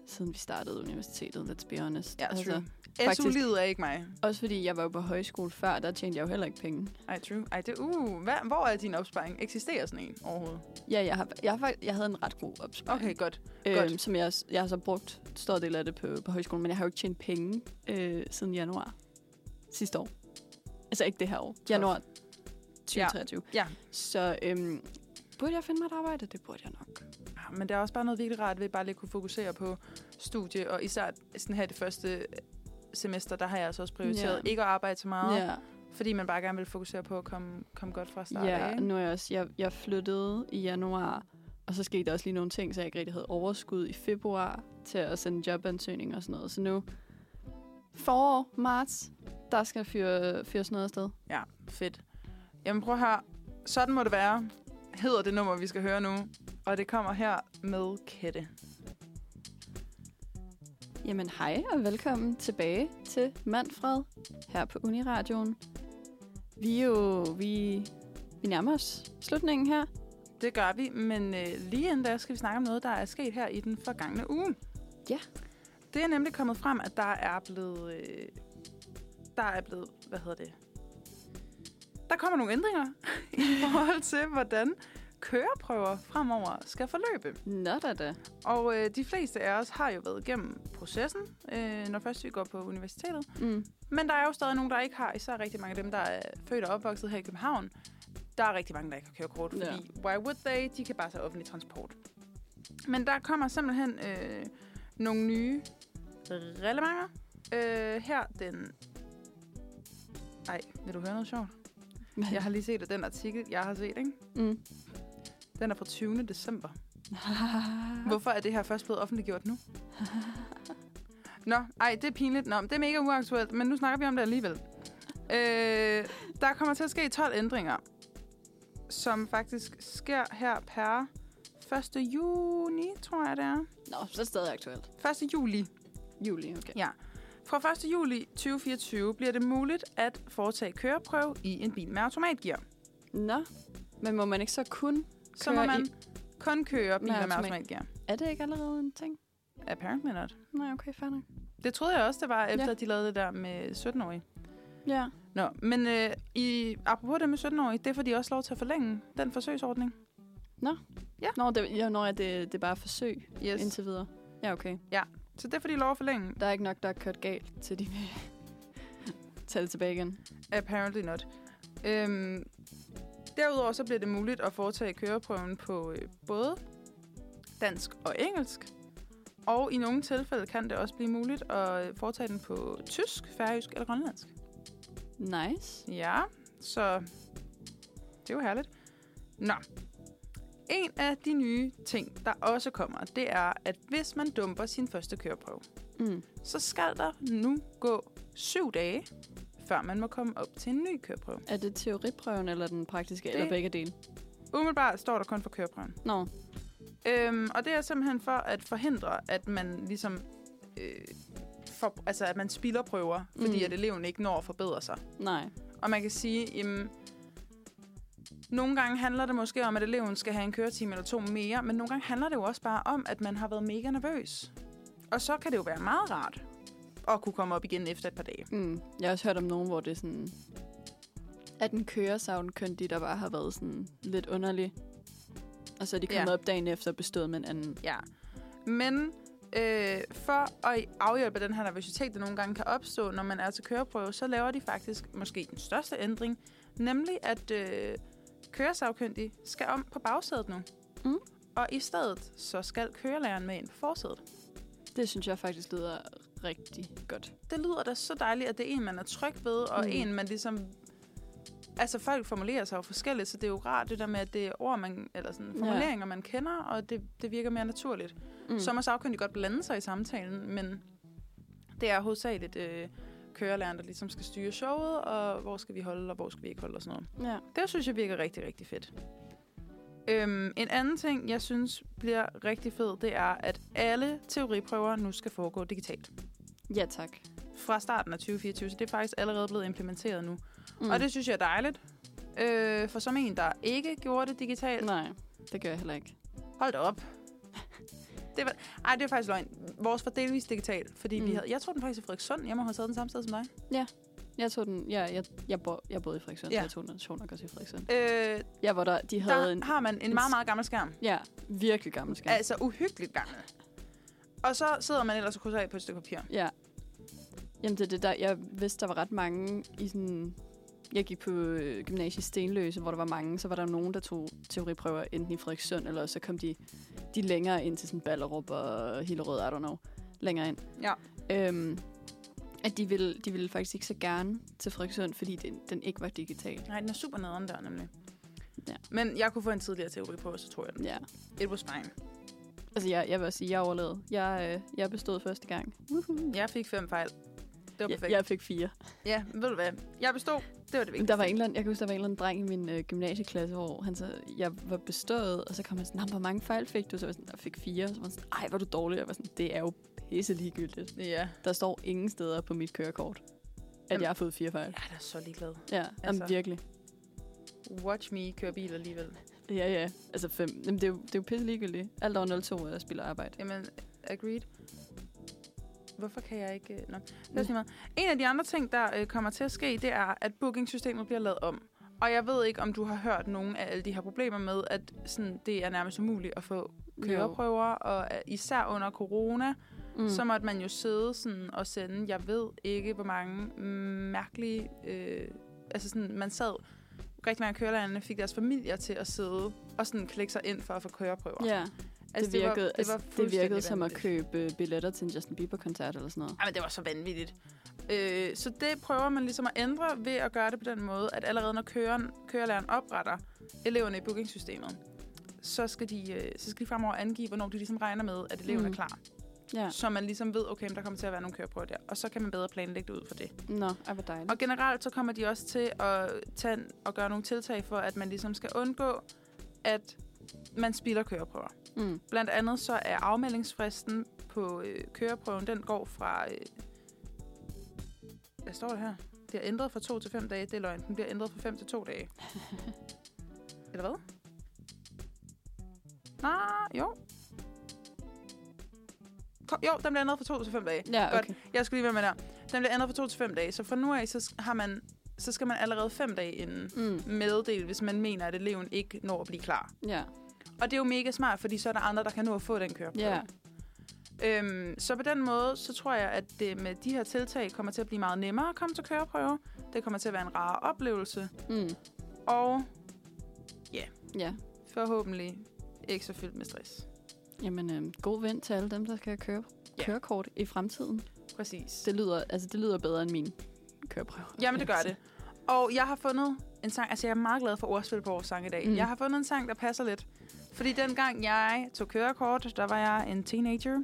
[SPEAKER 2] siden vi startede universitetet, let's be honest.
[SPEAKER 3] Ja,
[SPEAKER 2] altså,
[SPEAKER 3] true.
[SPEAKER 2] faktisk-
[SPEAKER 3] Altså, SU-livet er ikke mig.
[SPEAKER 2] Også fordi jeg var jo på højskole før, der tjente jeg jo heller ikke penge.
[SPEAKER 3] Ej, true. Ej, det, uh, hvad, hvor er din opsparing? Eksisterer sådan en overhovedet?
[SPEAKER 2] Ja, jeg, har, jeg, har, fakt- jeg havde en ret god opsparing.
[SPEAKER 3] Okay, godt.
[SPEAKER 2] øhm,
[SPEAKER 3] godt.
[SPEAKER 2] som jeg, jeg har så brugt en stor del af det på, på højskolen, men jeg har jo ikke tjent penge øh, siden januar sidste år. Altså ikke det her år. Januar 2023.
[SPEAKER 3] Ja.
[SPEAKER 2] Så øhm, burde jeg finde mig et arbejde? Det burde jeg nok.
[SPEAKER 3] Ah, Men der er også bare noget virkelig rart ved bare lige at kunne fokusere på studie, og især sådan her det første semester, der har jeg altså også prioriteret
[SPEAKER 2] Ja.
[SPEAKER 3] ja. ikke at arbejde så meget, ja.
[SPEAKER 2] Ja,
[SPEAKER 3] fordi man bare gerne vil fokusere på at komme, komme godt fra start af,
[SPEAKER 2] ja
[SPEAKER 3] ikke?
[SPEAKER 2] nu er jeg også, jeg, jeg flyttede i januar, og så skete der også lige nogle ting, så jeg ikke rigtig havde overskud i februar til at sende jobansøgning og sådan noget. Så nu, forår, marts, der skal fyre, fyres noget afsted.
[SPEAKER 3] Ja, fedt. Jamen prøv her. Sådan må det være, hedder det nummer, vi skal høre nu. Og det kommer her med Kette.
[SPEAKER 2] Jamen hej og velkommen tilbage til Manfred her på Uniradioen. Vi er jo, vi, vi nærmer os slutningen her.
[SPEAKER 3] Det gør vi, men øh, lige inden da skal vi snakke om noget, der er sket her i den forgangne uge.
[SPEAKER 2] Ja.
[SPEAKER 3] Det er nemlig kommet frem, at der er blevet... Øh, der er blevet... Hvad hedder det? Der kommer nogle ændringer i forhold til, hvordan køreprøver fremover skal forløbe.
[SPEAKER 2] Nå da da.
[SPEAKER 3] Og øh, de fleste af os har jo været igennem processen, øh, når først vi går på universitetet.
[SPEAKER 2] Mm.
[SPEAKER 3] Men der er jo stadig nogen, der ikke har, især rigtig mange af dem, der er født og opvokset her i København. Der er rigtig mange, der ikke har kørekort, fordi
[SPEAKER 2] Ja.
[SPEAKER 3] why would they? De kan bare tage offentlig transport. Men der kommer simpelthen øh, nogle nye relevanter øh, her den... Ej, vil du høre noget sjovt? Jeg har lige set at den artikel, jeg har set, ikke?
[SPEAKER 2] Mm.
[SPEAKER 3] Den er fra 20. december. Hvorfor er det her først blevet offentliggjort nu? Nå, ej, det er pinligt. Nå, men det er mega uaktuelt, men nu snakker vi om det alligevel. Øh, der kommer til at ske 12 ændringer, som faktisk sker her per 1. juni, tror jeg det er.
[SPEAKER 2] Nå, så er det stadig aktuelt.
[SPEAKER 3] 1. juli.
[SPEAKER 2] Juli, okay.
[SPEAKER 3] Fra 1. juli 2024 bliver det muligt at foretage køreprøve i en bil med automatgear.
[SPEAKER 2] Nå, men må man ikke så kun?
[SPEAKER 3] Så må
[SPEAKER 2] Køre
[SPEAKER 3] man
[SPEAKER 2] i-
[SPEAKER 3] kun køre biler med, med
[SPEAKER 2] automat.
[SPEAKER 3] automatgear.
[SPEAKER 2] Er det ikke allerede en ting?
[SPEAKER 3] Apparently not.
[SPEAKER 2] Nej, okay, fair nok.
[SPEAKER 3] Det troede jeg også, det var, efter
[SPEAKER 2] Ja.
[SPEAKER 3] ja. de lavede det der med 17-årige.
[SPEAKER 2] Ja.
[SPEAKER 3] Nå, men øh, i, apropos det med 17-årige, det får de også lov til at forlænge den forsøgsordning.
[SPEAKER 2] Nå, det, ja, når det, det er bare forsøg
[SPEAKER 3] Yes.
[SPEAKER 2] indtil videre. Ja, okay.
[SPEAKER 3] Så det får de lov at forlænge.
[SPEAKER 2] Der er ikke nok, der er kørt galt, til de vil tage det tilbage igen.
[SPEAKER 3] Apparently not. Øhm, derudover så bliver det muligt at foretage køreprøven på øh, både dansk og engelsk. Og i nogle tilfælde kan det også blive muligt at øh, foretage den på tysk, færøsk eller grønlandsk.
[SPEAKER 2] Nice.
[SPEAKER 3] Ja, så det er jo herligt. Nå. En af de nye ting, der også kommer, det er, at hvis man dumper sin første køreprøve,
[SPEAKER 2] Mm.
[SPEAKER 3] så skal der nu gå syv dage, før man må komme op til en ny køreprøve.
[SPEAKER 2] Er det teoriprøven eller den praktiske, det... eller begge dele?
[SPEAKER 3] Umiddelbart står der kun for køreprøven.
[SPEAKER 2] Nå,
[SPEAKER 3] Øhm, og det er simpelthen for at forhindre, at man ligesom... Øh, for, altså, at man spilder prøver, fordi
[SPEAKER 2] Mm.
[SPEAKER 3] at eleven ikke når at forbedre sig.
[SPEAKER 2] nej.
[SPEAKER 3] Og man kan sige, jamen, nogle gange handler det måske om, at eleven skal have en køretime eller to mere, men nogle gange handler det jo også bare om, at man har været mega nervøs. Og så kan det jo være meget rart at kunne komme op igen efter et par dage.
[SPEAKER 2] Mm. Jeg har også hørt om nogen, hvor det er sådan... At en køresavnkyndig, der bare har været sådan lidt underlig. Og så er de kommet
[SPEAKER 3] Ja.
[SPEAKER 2] op dagen efter og bestået med en anden.
[SPEAKER 3] Ja. Men øh, for at afhjælpe den her nervøsitet, der nogle gange kan opstå, når man er til køreprøve, så laver de faktisk måske den største ændring, nemlig at øh, køresagkyndige skal om på bagsædet nu.
[SPEAKER 2] Mm.
[SPEAKER 3] Og i stedet, så skal kørelæreren med ind på forsædet.
[SPEAKER 2] Det synes jeg faktisk lyder rigtig godt.
[SPEAKER 3] det lyder da så dejligt, at det er en, man er tryg ved, og
[SPEAKER 2] Mm.
[SPEAKER 3] mm. en, man ligesom... Altså, folk formulerer sig jo forskelligt, så det er jo rart det der med, at det er ord, man, eller sådan,
[SPEAKER 2] Ja.
[SPEAKER 3] formuleringer, man kender, og det, det virker mere naturligt. Mm.
[SPEAKER 2] Mm.
[SPEAKER 3] Så må sagkyndige godt blande sig i samtalen, men det er hovedsageligt øh, kørelæreren, der ligesom skal styre showet, og hvor skal vi holde, og hvor skal vi ikke holde, og sådan noget.
[SPEAKER 2] Ja.
[SPEAKER 3] Det synes jeg virker rigtig, rigtig fedt. Øhm, en anden ting, jeg synes bliver rigtig fed, det er, at alle teoriprøver nu skal foregå digitalt
[SPEAKER 2] ja, tak.
[SPEAKER 3] fra starten af 2024, så det er faktisk allerede blevet implementeret nu. Mm.
[SPEAKER 2] Mm.
[SPEAKER 3] Og det synes jeg er dejligt. Øh, for som en, der ikke gjorde det digitalt,
[SPEAKER 2] Nej, det gør jeg heller ikke.
[SPEAKER 3] hold da op. Det var, ej, det er faktisk løgn. Vores var delvis digitalt, fordi mm. vi
[SPEAKER 2] Mm.
[SPEAKER 3] havde... Jeg tror den faktisk er Frederikssund. Jeg må have taget den samme sted som dig.
[SPEAKER 2] Jeg tog den... Ja, jeg, jeg, bo, jeg boede i Frederiksen, ja. så
[SPEAKER 3] Ja.
[SPEAKER 2] jeg tog den sjov nok også i Frederiksen.
[SPEAKER 3] Øh,
[SPEAKER 2] Ja, hvor der, de havde
[SPEAKER 3] der
[SPEAKER 2] en...
[SPEAKER 3] har man en meget, meget gammel skærm.
[SPEAKER 2] Ja, virkelig gammel skærm.
[SPEAKER 3] Altså uhyggeligt gammel. Og så sidder man ellers og krydser af på et stykke papir.
[SPEAKER 2] Ja. Jamen, det er det der. Jeg vidste, der var ret mange i sådan... Jeg gik på øh, gymnasiet i Stenløse, hvor der var mange. Så var der nogen, der tog teoriprøver enten i Frederikssund, eller så kom de, de længere ind til sådan Ballerup og Hillerød, I don't know. Længere ind.
[SPEAKER 3] Ja.
[SPEAKER 2] Øhm, at de ville, de ville faktisk ikke så gerne til Frederikssund, fordi den, den ikke var digital.
[SPEAKER 3] Nej, den er super nederen der, nemlig.
[SPEAKER 2] Ja.
[SPEAKER 3] Men jeg kunne få en tidligere teori på, så tror jeg den.
[SPEAKER 2] Ja.
[SPEAKER 3] It was fine.
[SPEAKER 2] Altså, jeg, jeg vil også sige, jeg overlevede. Jeg, øh, jeg bestod første gang. Woohoo.
[SPEAKER 3] Jeg fik fem fejl. Det var perfekt.
[SPEAKER 2] Jeg, jeg fik fire.
[SPEAKER 3] Ja, ved du hvad? Jeg bestod. Det var det vigtigste.
[SPEAKER 2] Der var en eller anden, jeg kan huske, der var en eller anden dreng i min øh, gymnasieklasse, hvor han så, jeg var bestået, og så kom han sådan, "Nå, hvor mange fejl fik du? Så var jeg sådan, jeg fik fire. Og så var han sådan, ej, var du dårlig. Jeg var sådan, det er jo pisse ligegyldigt.
[SPEAKER 3] Ja.
[SPEAKER 2] Der står ingen steder på mit kørekort, at
[SPEAKER 3] Jamen.
[SPEAKER 2] jeg har fået fire fejl.
[SPEAKER 3] Jeg er da så ligeglad.
[SPEAKER 2] Ja, altså.
[SPEAKER 3] Altså.
[SPEAKER 2] jamen, virkelig.
[SPEAKER 3] Watch me køre bil alligevel.
[SPEAKER 2] Ja, ja. Altså fem. Jamen, det, er jo, det er jo pisse ligegyldigt. Alt over 02 er spiller arbejde.
[SPEAKER 3] Jamen, agreed. Hvorfor kan jeg ikke... øh, Nå, det er også lige meget. En af de andre ting, der øh, kommer til at ske, det er, at bookingsystemet bliver lavet om. Og jeg ved ikke, om du har hørt nogen af alle de her problemer med, at sådan, det er nærmest umuligt at få køreprøver, og øh, især under corona,
[SPEAKER 2] Mm.
[SPEAKER 3] mm. så måtte man jo sidde sådan og sende, jeg ved ikke, hvor mange mm, mærkelige... Øh, altså sådan, man sad... Rigtig mange af kørelærerne fik deres familier til at sidde og sådan klikke sig ind for at få køreprøver.
[SPEAKER 2] Ja, altså, det, virkede, det, var, altså, det
[SPEAKER 3] fuldstændig
[SPEAKER 2] virkede som at
[SPEAKER 3] vanvittigt.
[SPEAKER 2] købe billetter til en Justin Bieber-koncert eller sådan noget.
[SPEAKER 3] Ej, men det var så vanvittigt. Øh, så det prøver man ligesom at ændre ved at gøre det på den måde, at allerede når køren, kørelæreren opretter eleverne i bookingsystemet, så skal, de, øh, så skal de fremover angive, hvornår de ligesom regner med, at eleven mm.
[SPEAKER 2] Mm.
[SPEAKER 3] er klar.
[SPEAKER 2] Ja,
[SPEAKER 3] Så man ligesom ved, okay, men der kommer til at være nogle køreprøver der. Og så kan man bedre planlægge det ud for det.
[SPEAKER 2] nå, ej, hvor dejligt.
[SPEAKER 3] Og generelt så kommer de også til at tage og gøre nogle tiltag for, at man ligesom skal undgå, at man spilder køreprøver.
[SPEAKER 2] Mm.
[SPEAKER 3] Blandt andet så er afmeldingsfristen på øh, køreprøven, den går fra... Øh, hvad står der her? Det er ændret fra to til fem dage. Det er løgn. Den bliver ændret fra fem til to dage. Eller hvad? Nej, jo. Kom, jo, den bliver ændret fra to til fem dage.
[SPEAKER 2] Ja,
[SPEAKER 3] Godt.
[SPEAKER 2] okay.
[SPEAKER 3] Jeg skulle lige være med der. Den bliver ændret fra to til fem dage. Så fra nu af, så, sk- har man, så skal man allerede fem dage inden
[SPEAKER 2] Mm.
[SPEAKER 3] meddele, hvis man mener, at eleven ikke når at blive klar.
[SPEAKER 2] Ja,
[SPEAKER 3] Og det er jo mega smart, fordi så er der andre, der kan nå at få den køreprøve.
[SPEAKER 2] ja.
[SPEAKER 3] Øhm, så på den måde, så tror jeg, at det med de her tiltag kommer til at blive meget nemmere at komme til køreprøve. Det kommer til at være en rar oplevelse.
[SPEAKER 2] Mm.
[SPEAKER 3] Og
[SPEAKER 2] Ja,
[SPEAKER 3] forhåbentlig ikke så fyldt med stress.
[SPEAKER 2] jamen øh, god vind til alle dem, der skal køre
[SPEAKER 3] Ja.
[SPEAKER 2] kørekort i fremtiden.
[SPEAKER 3] Præcis.
[SPEAKER 2] Det lyder, altså, det lyder bedre end min køreprøve.
[SPEAKER 3] Jamen, det gør det. Og jeg har fundet en sang, altså jeg er meget glad for ordspil på vores sang i dag.
[SPEAKER 2] Mm.
[SPEAKER 3] Mm. Jeg har fundet en sang, der passer lidt. Fordi dengang jeg tog kørekort, der var jeg en teenager.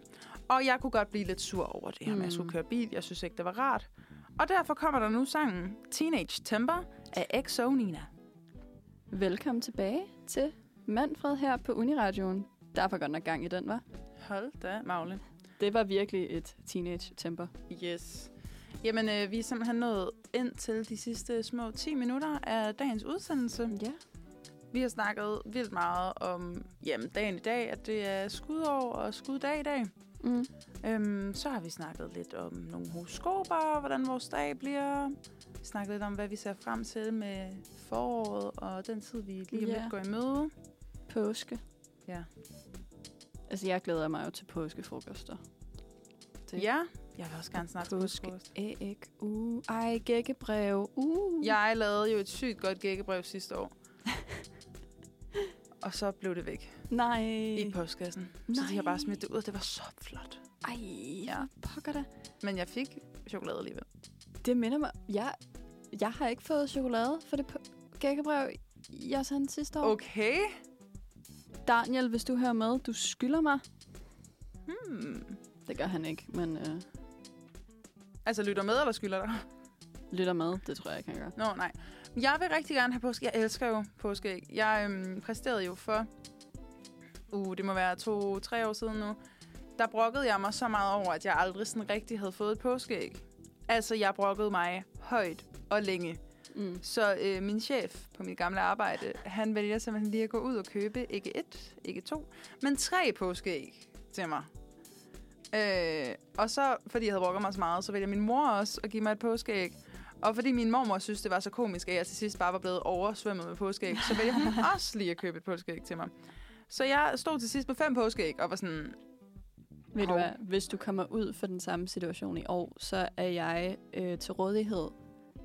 [SPEAKER 3] Og jeg kunne godt blive lidt sur over det her med, at jeg skulle
[SPEAKER 2] Mm.
[SPEAKER 3] køre bil. Jeg synes ikke, det var rart. Og derfor kommer der nu sangen Teenage Temper af XO Nina.
[SPEAKER 2] Velkommen tilbage til Manfred her på Uniradioen. Der var godt nok gang i den, var.
[SPEAKER 3] Hold da, Magle.
[SPEAKER 2] Det var virkelig et teenage-temper.
[SPEAKER 3] Yes. Jamen, øh, vi er simpelthen nået ind til de sidste små 10 minutter af dagens udsendelse.
[SPEAKER 2] Ja.
[SPEAKER 3] Vi har snakket vildt meget om jamen, dagen i dag, at det er skudår og skuddag i dag.
[SPEAKER 2] Mm.
[SPEAKER 3] Øhm, så har vi snakket lidt om nogle horoskoper, og hvordan vores dag bliver. Vi snakket lidt om, hvad vi ser frem til med foråret og den tid, vi lige om
[SPEAKER 2] Ja.
[SPEAKER 3] lidt går i møde.
[SPEAKER 2] Påske.
[SPEAKER 3] Ja.
[SPEAKER 2] Altså, jeg glæder mig jo til påskefrokoster. Det-
[SPEAKER 3] Ja, jeg vil også gerne snakke
[SPEAKER 2] Påske.
[SPEAKER 3] om
[SPEAKER 2] Æg, uh, ej, gækkebrev, uh.
[SPEAKER 3] Jeg lavede jo et sygt godt gækkebrev sidste år. og så blev det væk
[SPEAKER 2] Nej.
[SPEAKER 3] i postkassen. Så de har
[SPEAKER 2] Nej.
[SPEAKER 3] bare smidt det ud, og det var så flot.
[SPEAKER 2] Ej, ja.
[SPEAKER 3] Ja.
[SPEAKER 2] pokker da.
[SPEAKER 3] Men jeg fik chokolade alligevel.
[SPEAKER 2] Det minder mig... Jeg, jeg har ikke fået chokolade for det på- gækkebrev, jeg sendte sidste år.
[SPEAKER 3] Okay.
[SPEAKER 2] Daniel, hvis du hører med, du skylder mig.
[SPEAKER 3] Hmm.
[SPEAKER 2] Det gør han ikke, men øh,
[SPEAKER 3] Altså, lytter med, eller skylder dig?
[SPEAKER 2] lytter med. Det tror jeg ikke, han gør.
[SPEAKER 3] Nå, nej. Jeg vil rigtig gerne have påske. Jeg elsker jo påskeæg. Jeg øhm, præsterede jo for... Uh, det må være to-tre år siden nu. Der brokkede jeg mig så meget over, at jeg aldrig sådan rigtig havde fået et påskeæg. Altså, jeg brokkede mig højt og længe.
[SPEAKER 2] Mm.
[SPEAKER 3] Så øh, min chef på mit gamle arbejde, han vælger simpelthen lige at gå ud og købe ikke et, ikke to, men tre påskeæg til mig. Øh, og så, fordi jeg havde brokket mig så meget, så vælger min mor også at give mig et påskeæg. Og fordi min mormor synes, det var så komisk, at jeg til sidst bare var blevet oversvømmet med påskeæg, så vælger hun også lige at købe et påskeæg til mig. Så jeg stod til sidst med fem påskeæg og var sådan,
[SPEAKER 2] Ved du
[SPEAKER 3] Hov.
[SPEAKER 2] hvad, hvis du kommer ud for den samme situation i år, så er jeg øh, til rådighed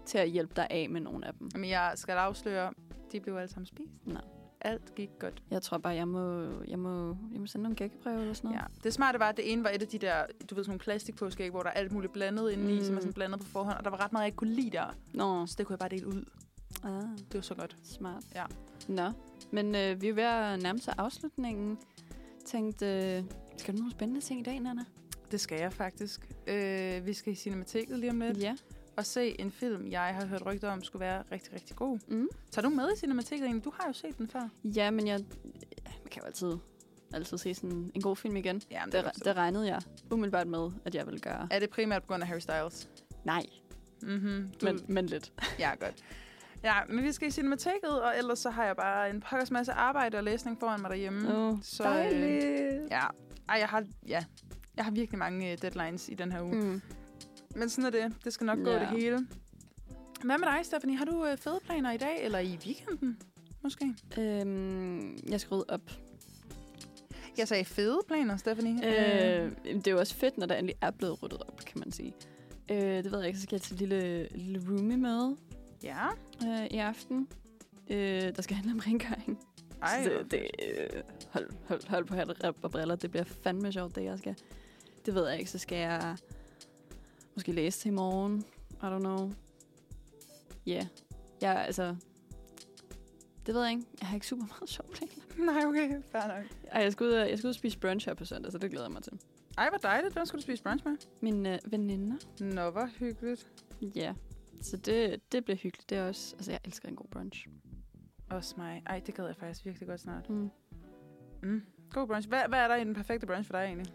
[SPEAKER 2] til at hjælpe dig af med nogle af dem.
[SPEAKER 3] men jeg skal afsløre, de blev alle sammen spist.
[SPEAKER 2] Nå.
[SPEAKER 3] Alt gik godt.
[SPEAKER 2] Jeg tror bare, jeg må, jeg må, jeg må sende nogle gækkebreve eller sådan noget.
[SPEAKER 3] Ja. Det smarte var, at det ene var et af de der, du ved, sådan nogle plastikpåskeæg, hvor der er alt muligt blandet indeni,
[SPEAKER 2] Mm.
[SPEAKER 3] mm. som er sådan blandet på forhånd, og der var ret meget, jeg ikke kunne lide der.
[SPEAKER 2] Nå,
[SPEAKER 3] Så det kunne jeg bare dele ud.
[SPEAKER 2] ah,
[SPEAKER 3] Det var så godt.
[SPEAKER 2] smart.
[SPEAKER 3] Ja.
[SPEAKER 2] Nå, men øh, vi er ved at nærme sig afslutningen. Tænkte, øh, skal du nogle spændende ting i dag, Nana?
[SPEAKER 3] Det skal jeg faktisk. Øh, vi skal i Cinemateket lige om lidt
[SPEAKER 2] Ja.
[SPEAKER 3] og se en film, jeg har hørt rygter om, skulle være rigtig, rigtig god.
[SPEAKER 2] Mm.
[SPEAKER 3] Tager du med i Cinemateket egentlig? Du har jo set den før.
[SPEAKER 2] Ja, men jeg... Man kan jo altid altid se sådan en god film igen.
[SPEAKER 3] Ja, men det, er
[SPEAKER 2] Det,
[SPEAKER 3] godt
[SPEAKER 2] det
[SPEAKER 3] set.
[SPEAKER 2] regnede jeg umiddelbart med, at jeg ville gøre.
[SPEAKER 3] er det primært på grund af Harry Styles?
[SPEAKER 2] Nej,
[SPEAKER 3] Mm-hmm. Du,
[SPEAKER 2] men, men lidt.
[SPEAKER 3] Ja, godt. Ja, men vi skal i cinemateket, og ellers så har jeg bare en pokkers masse arbejde og læsning foran mig derhjemme.
[SPEAKER 2] Åh,
[SPEAKER 3] Mm. så, øh, ja. Ej, jeg har, ja. jeg har virkelig mange øh, deadlines i den her uge. Mm.
[SPEAKER 2] Mm.
[SPEAKER 3] Men sådan er det. Det skal nok gå
[SPEAKER 2] Ja.
[SPEAKER 3] det hele. Hvad med dig, Stephanie? Har du øh, fede planer i dag, eller i weekenden? Måske.
[SPEAKER 2] Øhm, jeg skal rydde op.
[SPEAKER 3] Jeg sagde fede planer, Stephanie.
[SPEAKER 2] Øh, jamen, det er jo også fedt, når der endelig er blevet ryddet op, kan man sige. Øh, det ved jeg ikke, så skal jeg til et lille, lille roomie med
[SPEAKER 3] Ja.
[SPEAKER 2] øh, i aften, øh, der skal handle om rengøring.
[SPEAKER 3] Ej,
[SPEAKER 2] så
[SPEAKER 3] hvor
[SPEAKER 2] det, det, øh, hold, hold, hold på hat og briller, det bliver fandme sjovt, det jeg skal. Det ved jeg ikke, så skal jeg måske læse til i morgen. I don't know. Ja, yeah. jeg altså... Det ved jeg ikke. Jeg har ikke super meget sjov plan.
[SPEAKER 3] Nej, okay. Fair nok.
[SPEAKER 2] Ej, jeg skal ud og, jeg skal ud og spise brunch her på søndag, så det glæder jeg mig til.
[SPEAKER 3] Ej, hvor dejligt. Hvem skulle du spise brunch med?
[SPEAKER 2] Mine øh, veninder.
[SPEAKER 3] Nå, hvor hyggeligt.
[SPEAKER 2] Ja, så det, det bliver hyggeligt. Det er også, altså jeg elsker en god brunch.
[SPEAKER 3] Også mig. Ej, det gad jeg faktisk virkelig godt snart.
[SPEAKER 2] Mm.
[SPEAKER 3] Mm. God brunch. Hvad, hvad er der i den perfekte brunch for dig egentlig?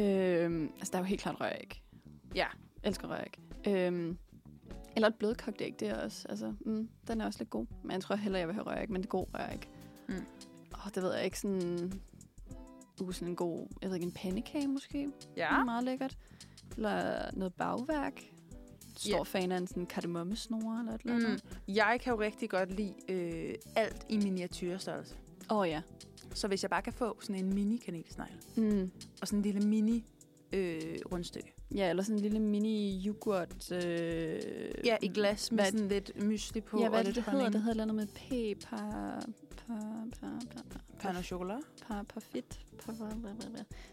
[SPEAKER 2] Øhm, altså der er jo helt klart røræg.
[SPEAKER 3] Ja.
[SPEAKER 2] Elsker røræg. Øhm, eller et blødkogt æg, det er også, altså, mm, den er også lidt god. Men jeg tror heller, jeg vil have røræg, men det er god røræg.
[SPEAKER 3] Mm.
[SPEAKER 2] Åh, det ved jeg ikke, sådan, uh, sådan en god, jeg ved ikke, en pandekage måske. Det er
[SPEAKER 3] Ja.
[SPEAKER 2] meget lækkert. Eller noget bagværk. Stor
[SPEAKER 3] Ja.
[SPEAKER 2] fan af en sådan kardemommesnore eller et eller
[SPEAKER 3] Mm.
[SPEAKER 2] andet.
[SPEAKER 3] Jeg kan jo rigtig godt lide øh, alt i miniatyrstørrelse.
[SPEAKER 2] Åh oh, ja.
[SPEAKER 3] Så hvis jeg bare kan få sådan en mini kanelsnegl
[SPEAKER 2] Mm.
[SPEAKER 3] og sådan en lille mini øh, rundstykke.
[SPEAKER 2] Ja, eller sådan en lille mini yoghurt. Øh,
[SPEAKER 3] Ja, i glas med
[SPEAKER 2] hvad-
[SPEAKER 3] sådan lidt mysli på.
[SPEAKER 2] Ja, hvad er
[SPEAKER 3] og
[SPEAKER 2] det,
[SPEAKER 3] lidt
[SPEAKER 2] det hedder?
[SPEAKER 3] honning.
[SPEAKER 2] Det hedder noget med P, par, par, par, par,
[SPEAKER 3] Pan og chokolade.
[SPEAKER 2] par, par fit, par, par, par, par.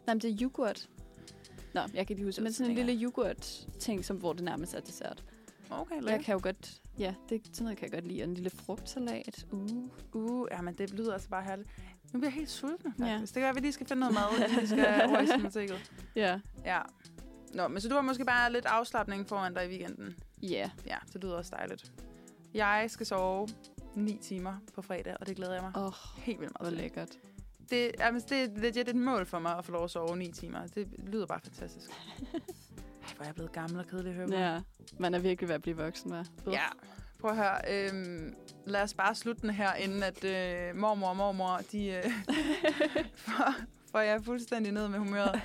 [SPEAKER 2] Nej, men det er yoghurt. Nå, jeg kan ikke lige huske,
[SPEAKER 3] Det
[SPEAKER 2] men sådan en
[SPEAKER 3] tænker
[SPEAKER 2] lille yoghurt-ting, som, hvor det nærmest er dessert.
[SPEAKER 3] Okay,
[SPEAKER 2] Jeg
[SPEAKER 3] lækkert.
[SPEAKER 2] kan jo godt, ja, det, sådan noget kan jeg godt lide. Og en lille frugtsalat. Uh.
[SPEAKER 3] Uh, ja, men det lyder altså bare herligt. Nu bliver jeg helt sulten,
[SPEAKER 2] Ja.
[SPEAKER 3] faktisk. Ja. Det kan være, at vi lige skal finde noget mad, inden vi skal over i cinemateket.
[SPEAKER 2] Ja.
[SPEAKER 3] Ja. Nå, men så du har måske bare lidt afslappning foran dig i weekenden.
[SPEAKER 2] Ja.
[SPEAKER 3] Ja, det lyder også dejligt. Jeg skal sove 9 timer på fredag, og det glæder jeg mig
[SPEAKER 2] Åh, oh,
[SPEAKER 3] helt vildt
[SPEAKER 2] hvor
[SPEAKER 3] meget til.
[SPEAKER 2] lækkert.
[SPEAKER 3] Det, jamen, det er legit et mål for mig at få lov at sove 9 timer. Det lyder bare fantastisk. Ej, hvor er jeg blevet gammel og kedelig at høre på.
[SPEAKER 2] Ja, man er virkelig ved at blive voksen, hva'? Uh.
[SPEAKER 3] ja. Prøv at høre, øhm, lad os bare slutte den her, inden at øh, mormor og mormor, de øh, får, får jeg fuldstændig ned med humøret.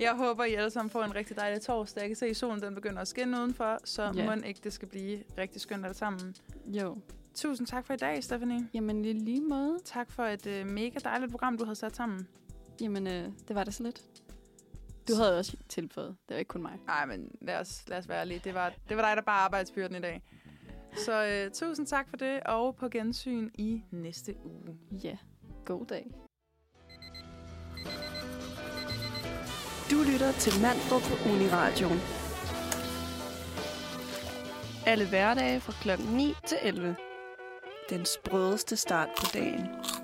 [SPEAKER 3] Jeg håber, I alle sammen får en rigtig dejlig torsdag. Jeg kan se, at solen den begynder at skinne udenfor, så
[SPEAKER 2] Ja.
[SPEAKER 3] yeah. må ikke det skal blive rigtig skønt alt sammen.
[SPEAKER 2] Jo.
[SPEAKER 3] Tusind tak for i dag, Stephanie.
[SPEAKER 2] Jamen, lige, lige måde.
[SPEAKER 3] Tak for et øh, mega dejligt program, du havde sat sammen.
[SPEAKER 2] Jamen, øh, det var det så lidt. Du havde også tilføjet. Det var ikke kun mig.
[SPEAKER 3] Nej, men lad os, lad os være lige. Det var, det var dig, der bare arbejdsbyrden i dag. Så øh, tusind tak for det, og på gensyn i næste uge.
[SPEAKER 2] Ja. God dag.
[SPEAKER 1] Du lytter til Manfred på Uniradioen. Alle hverdage fra kl. 9 til 11. Den sprødeste start på dagen.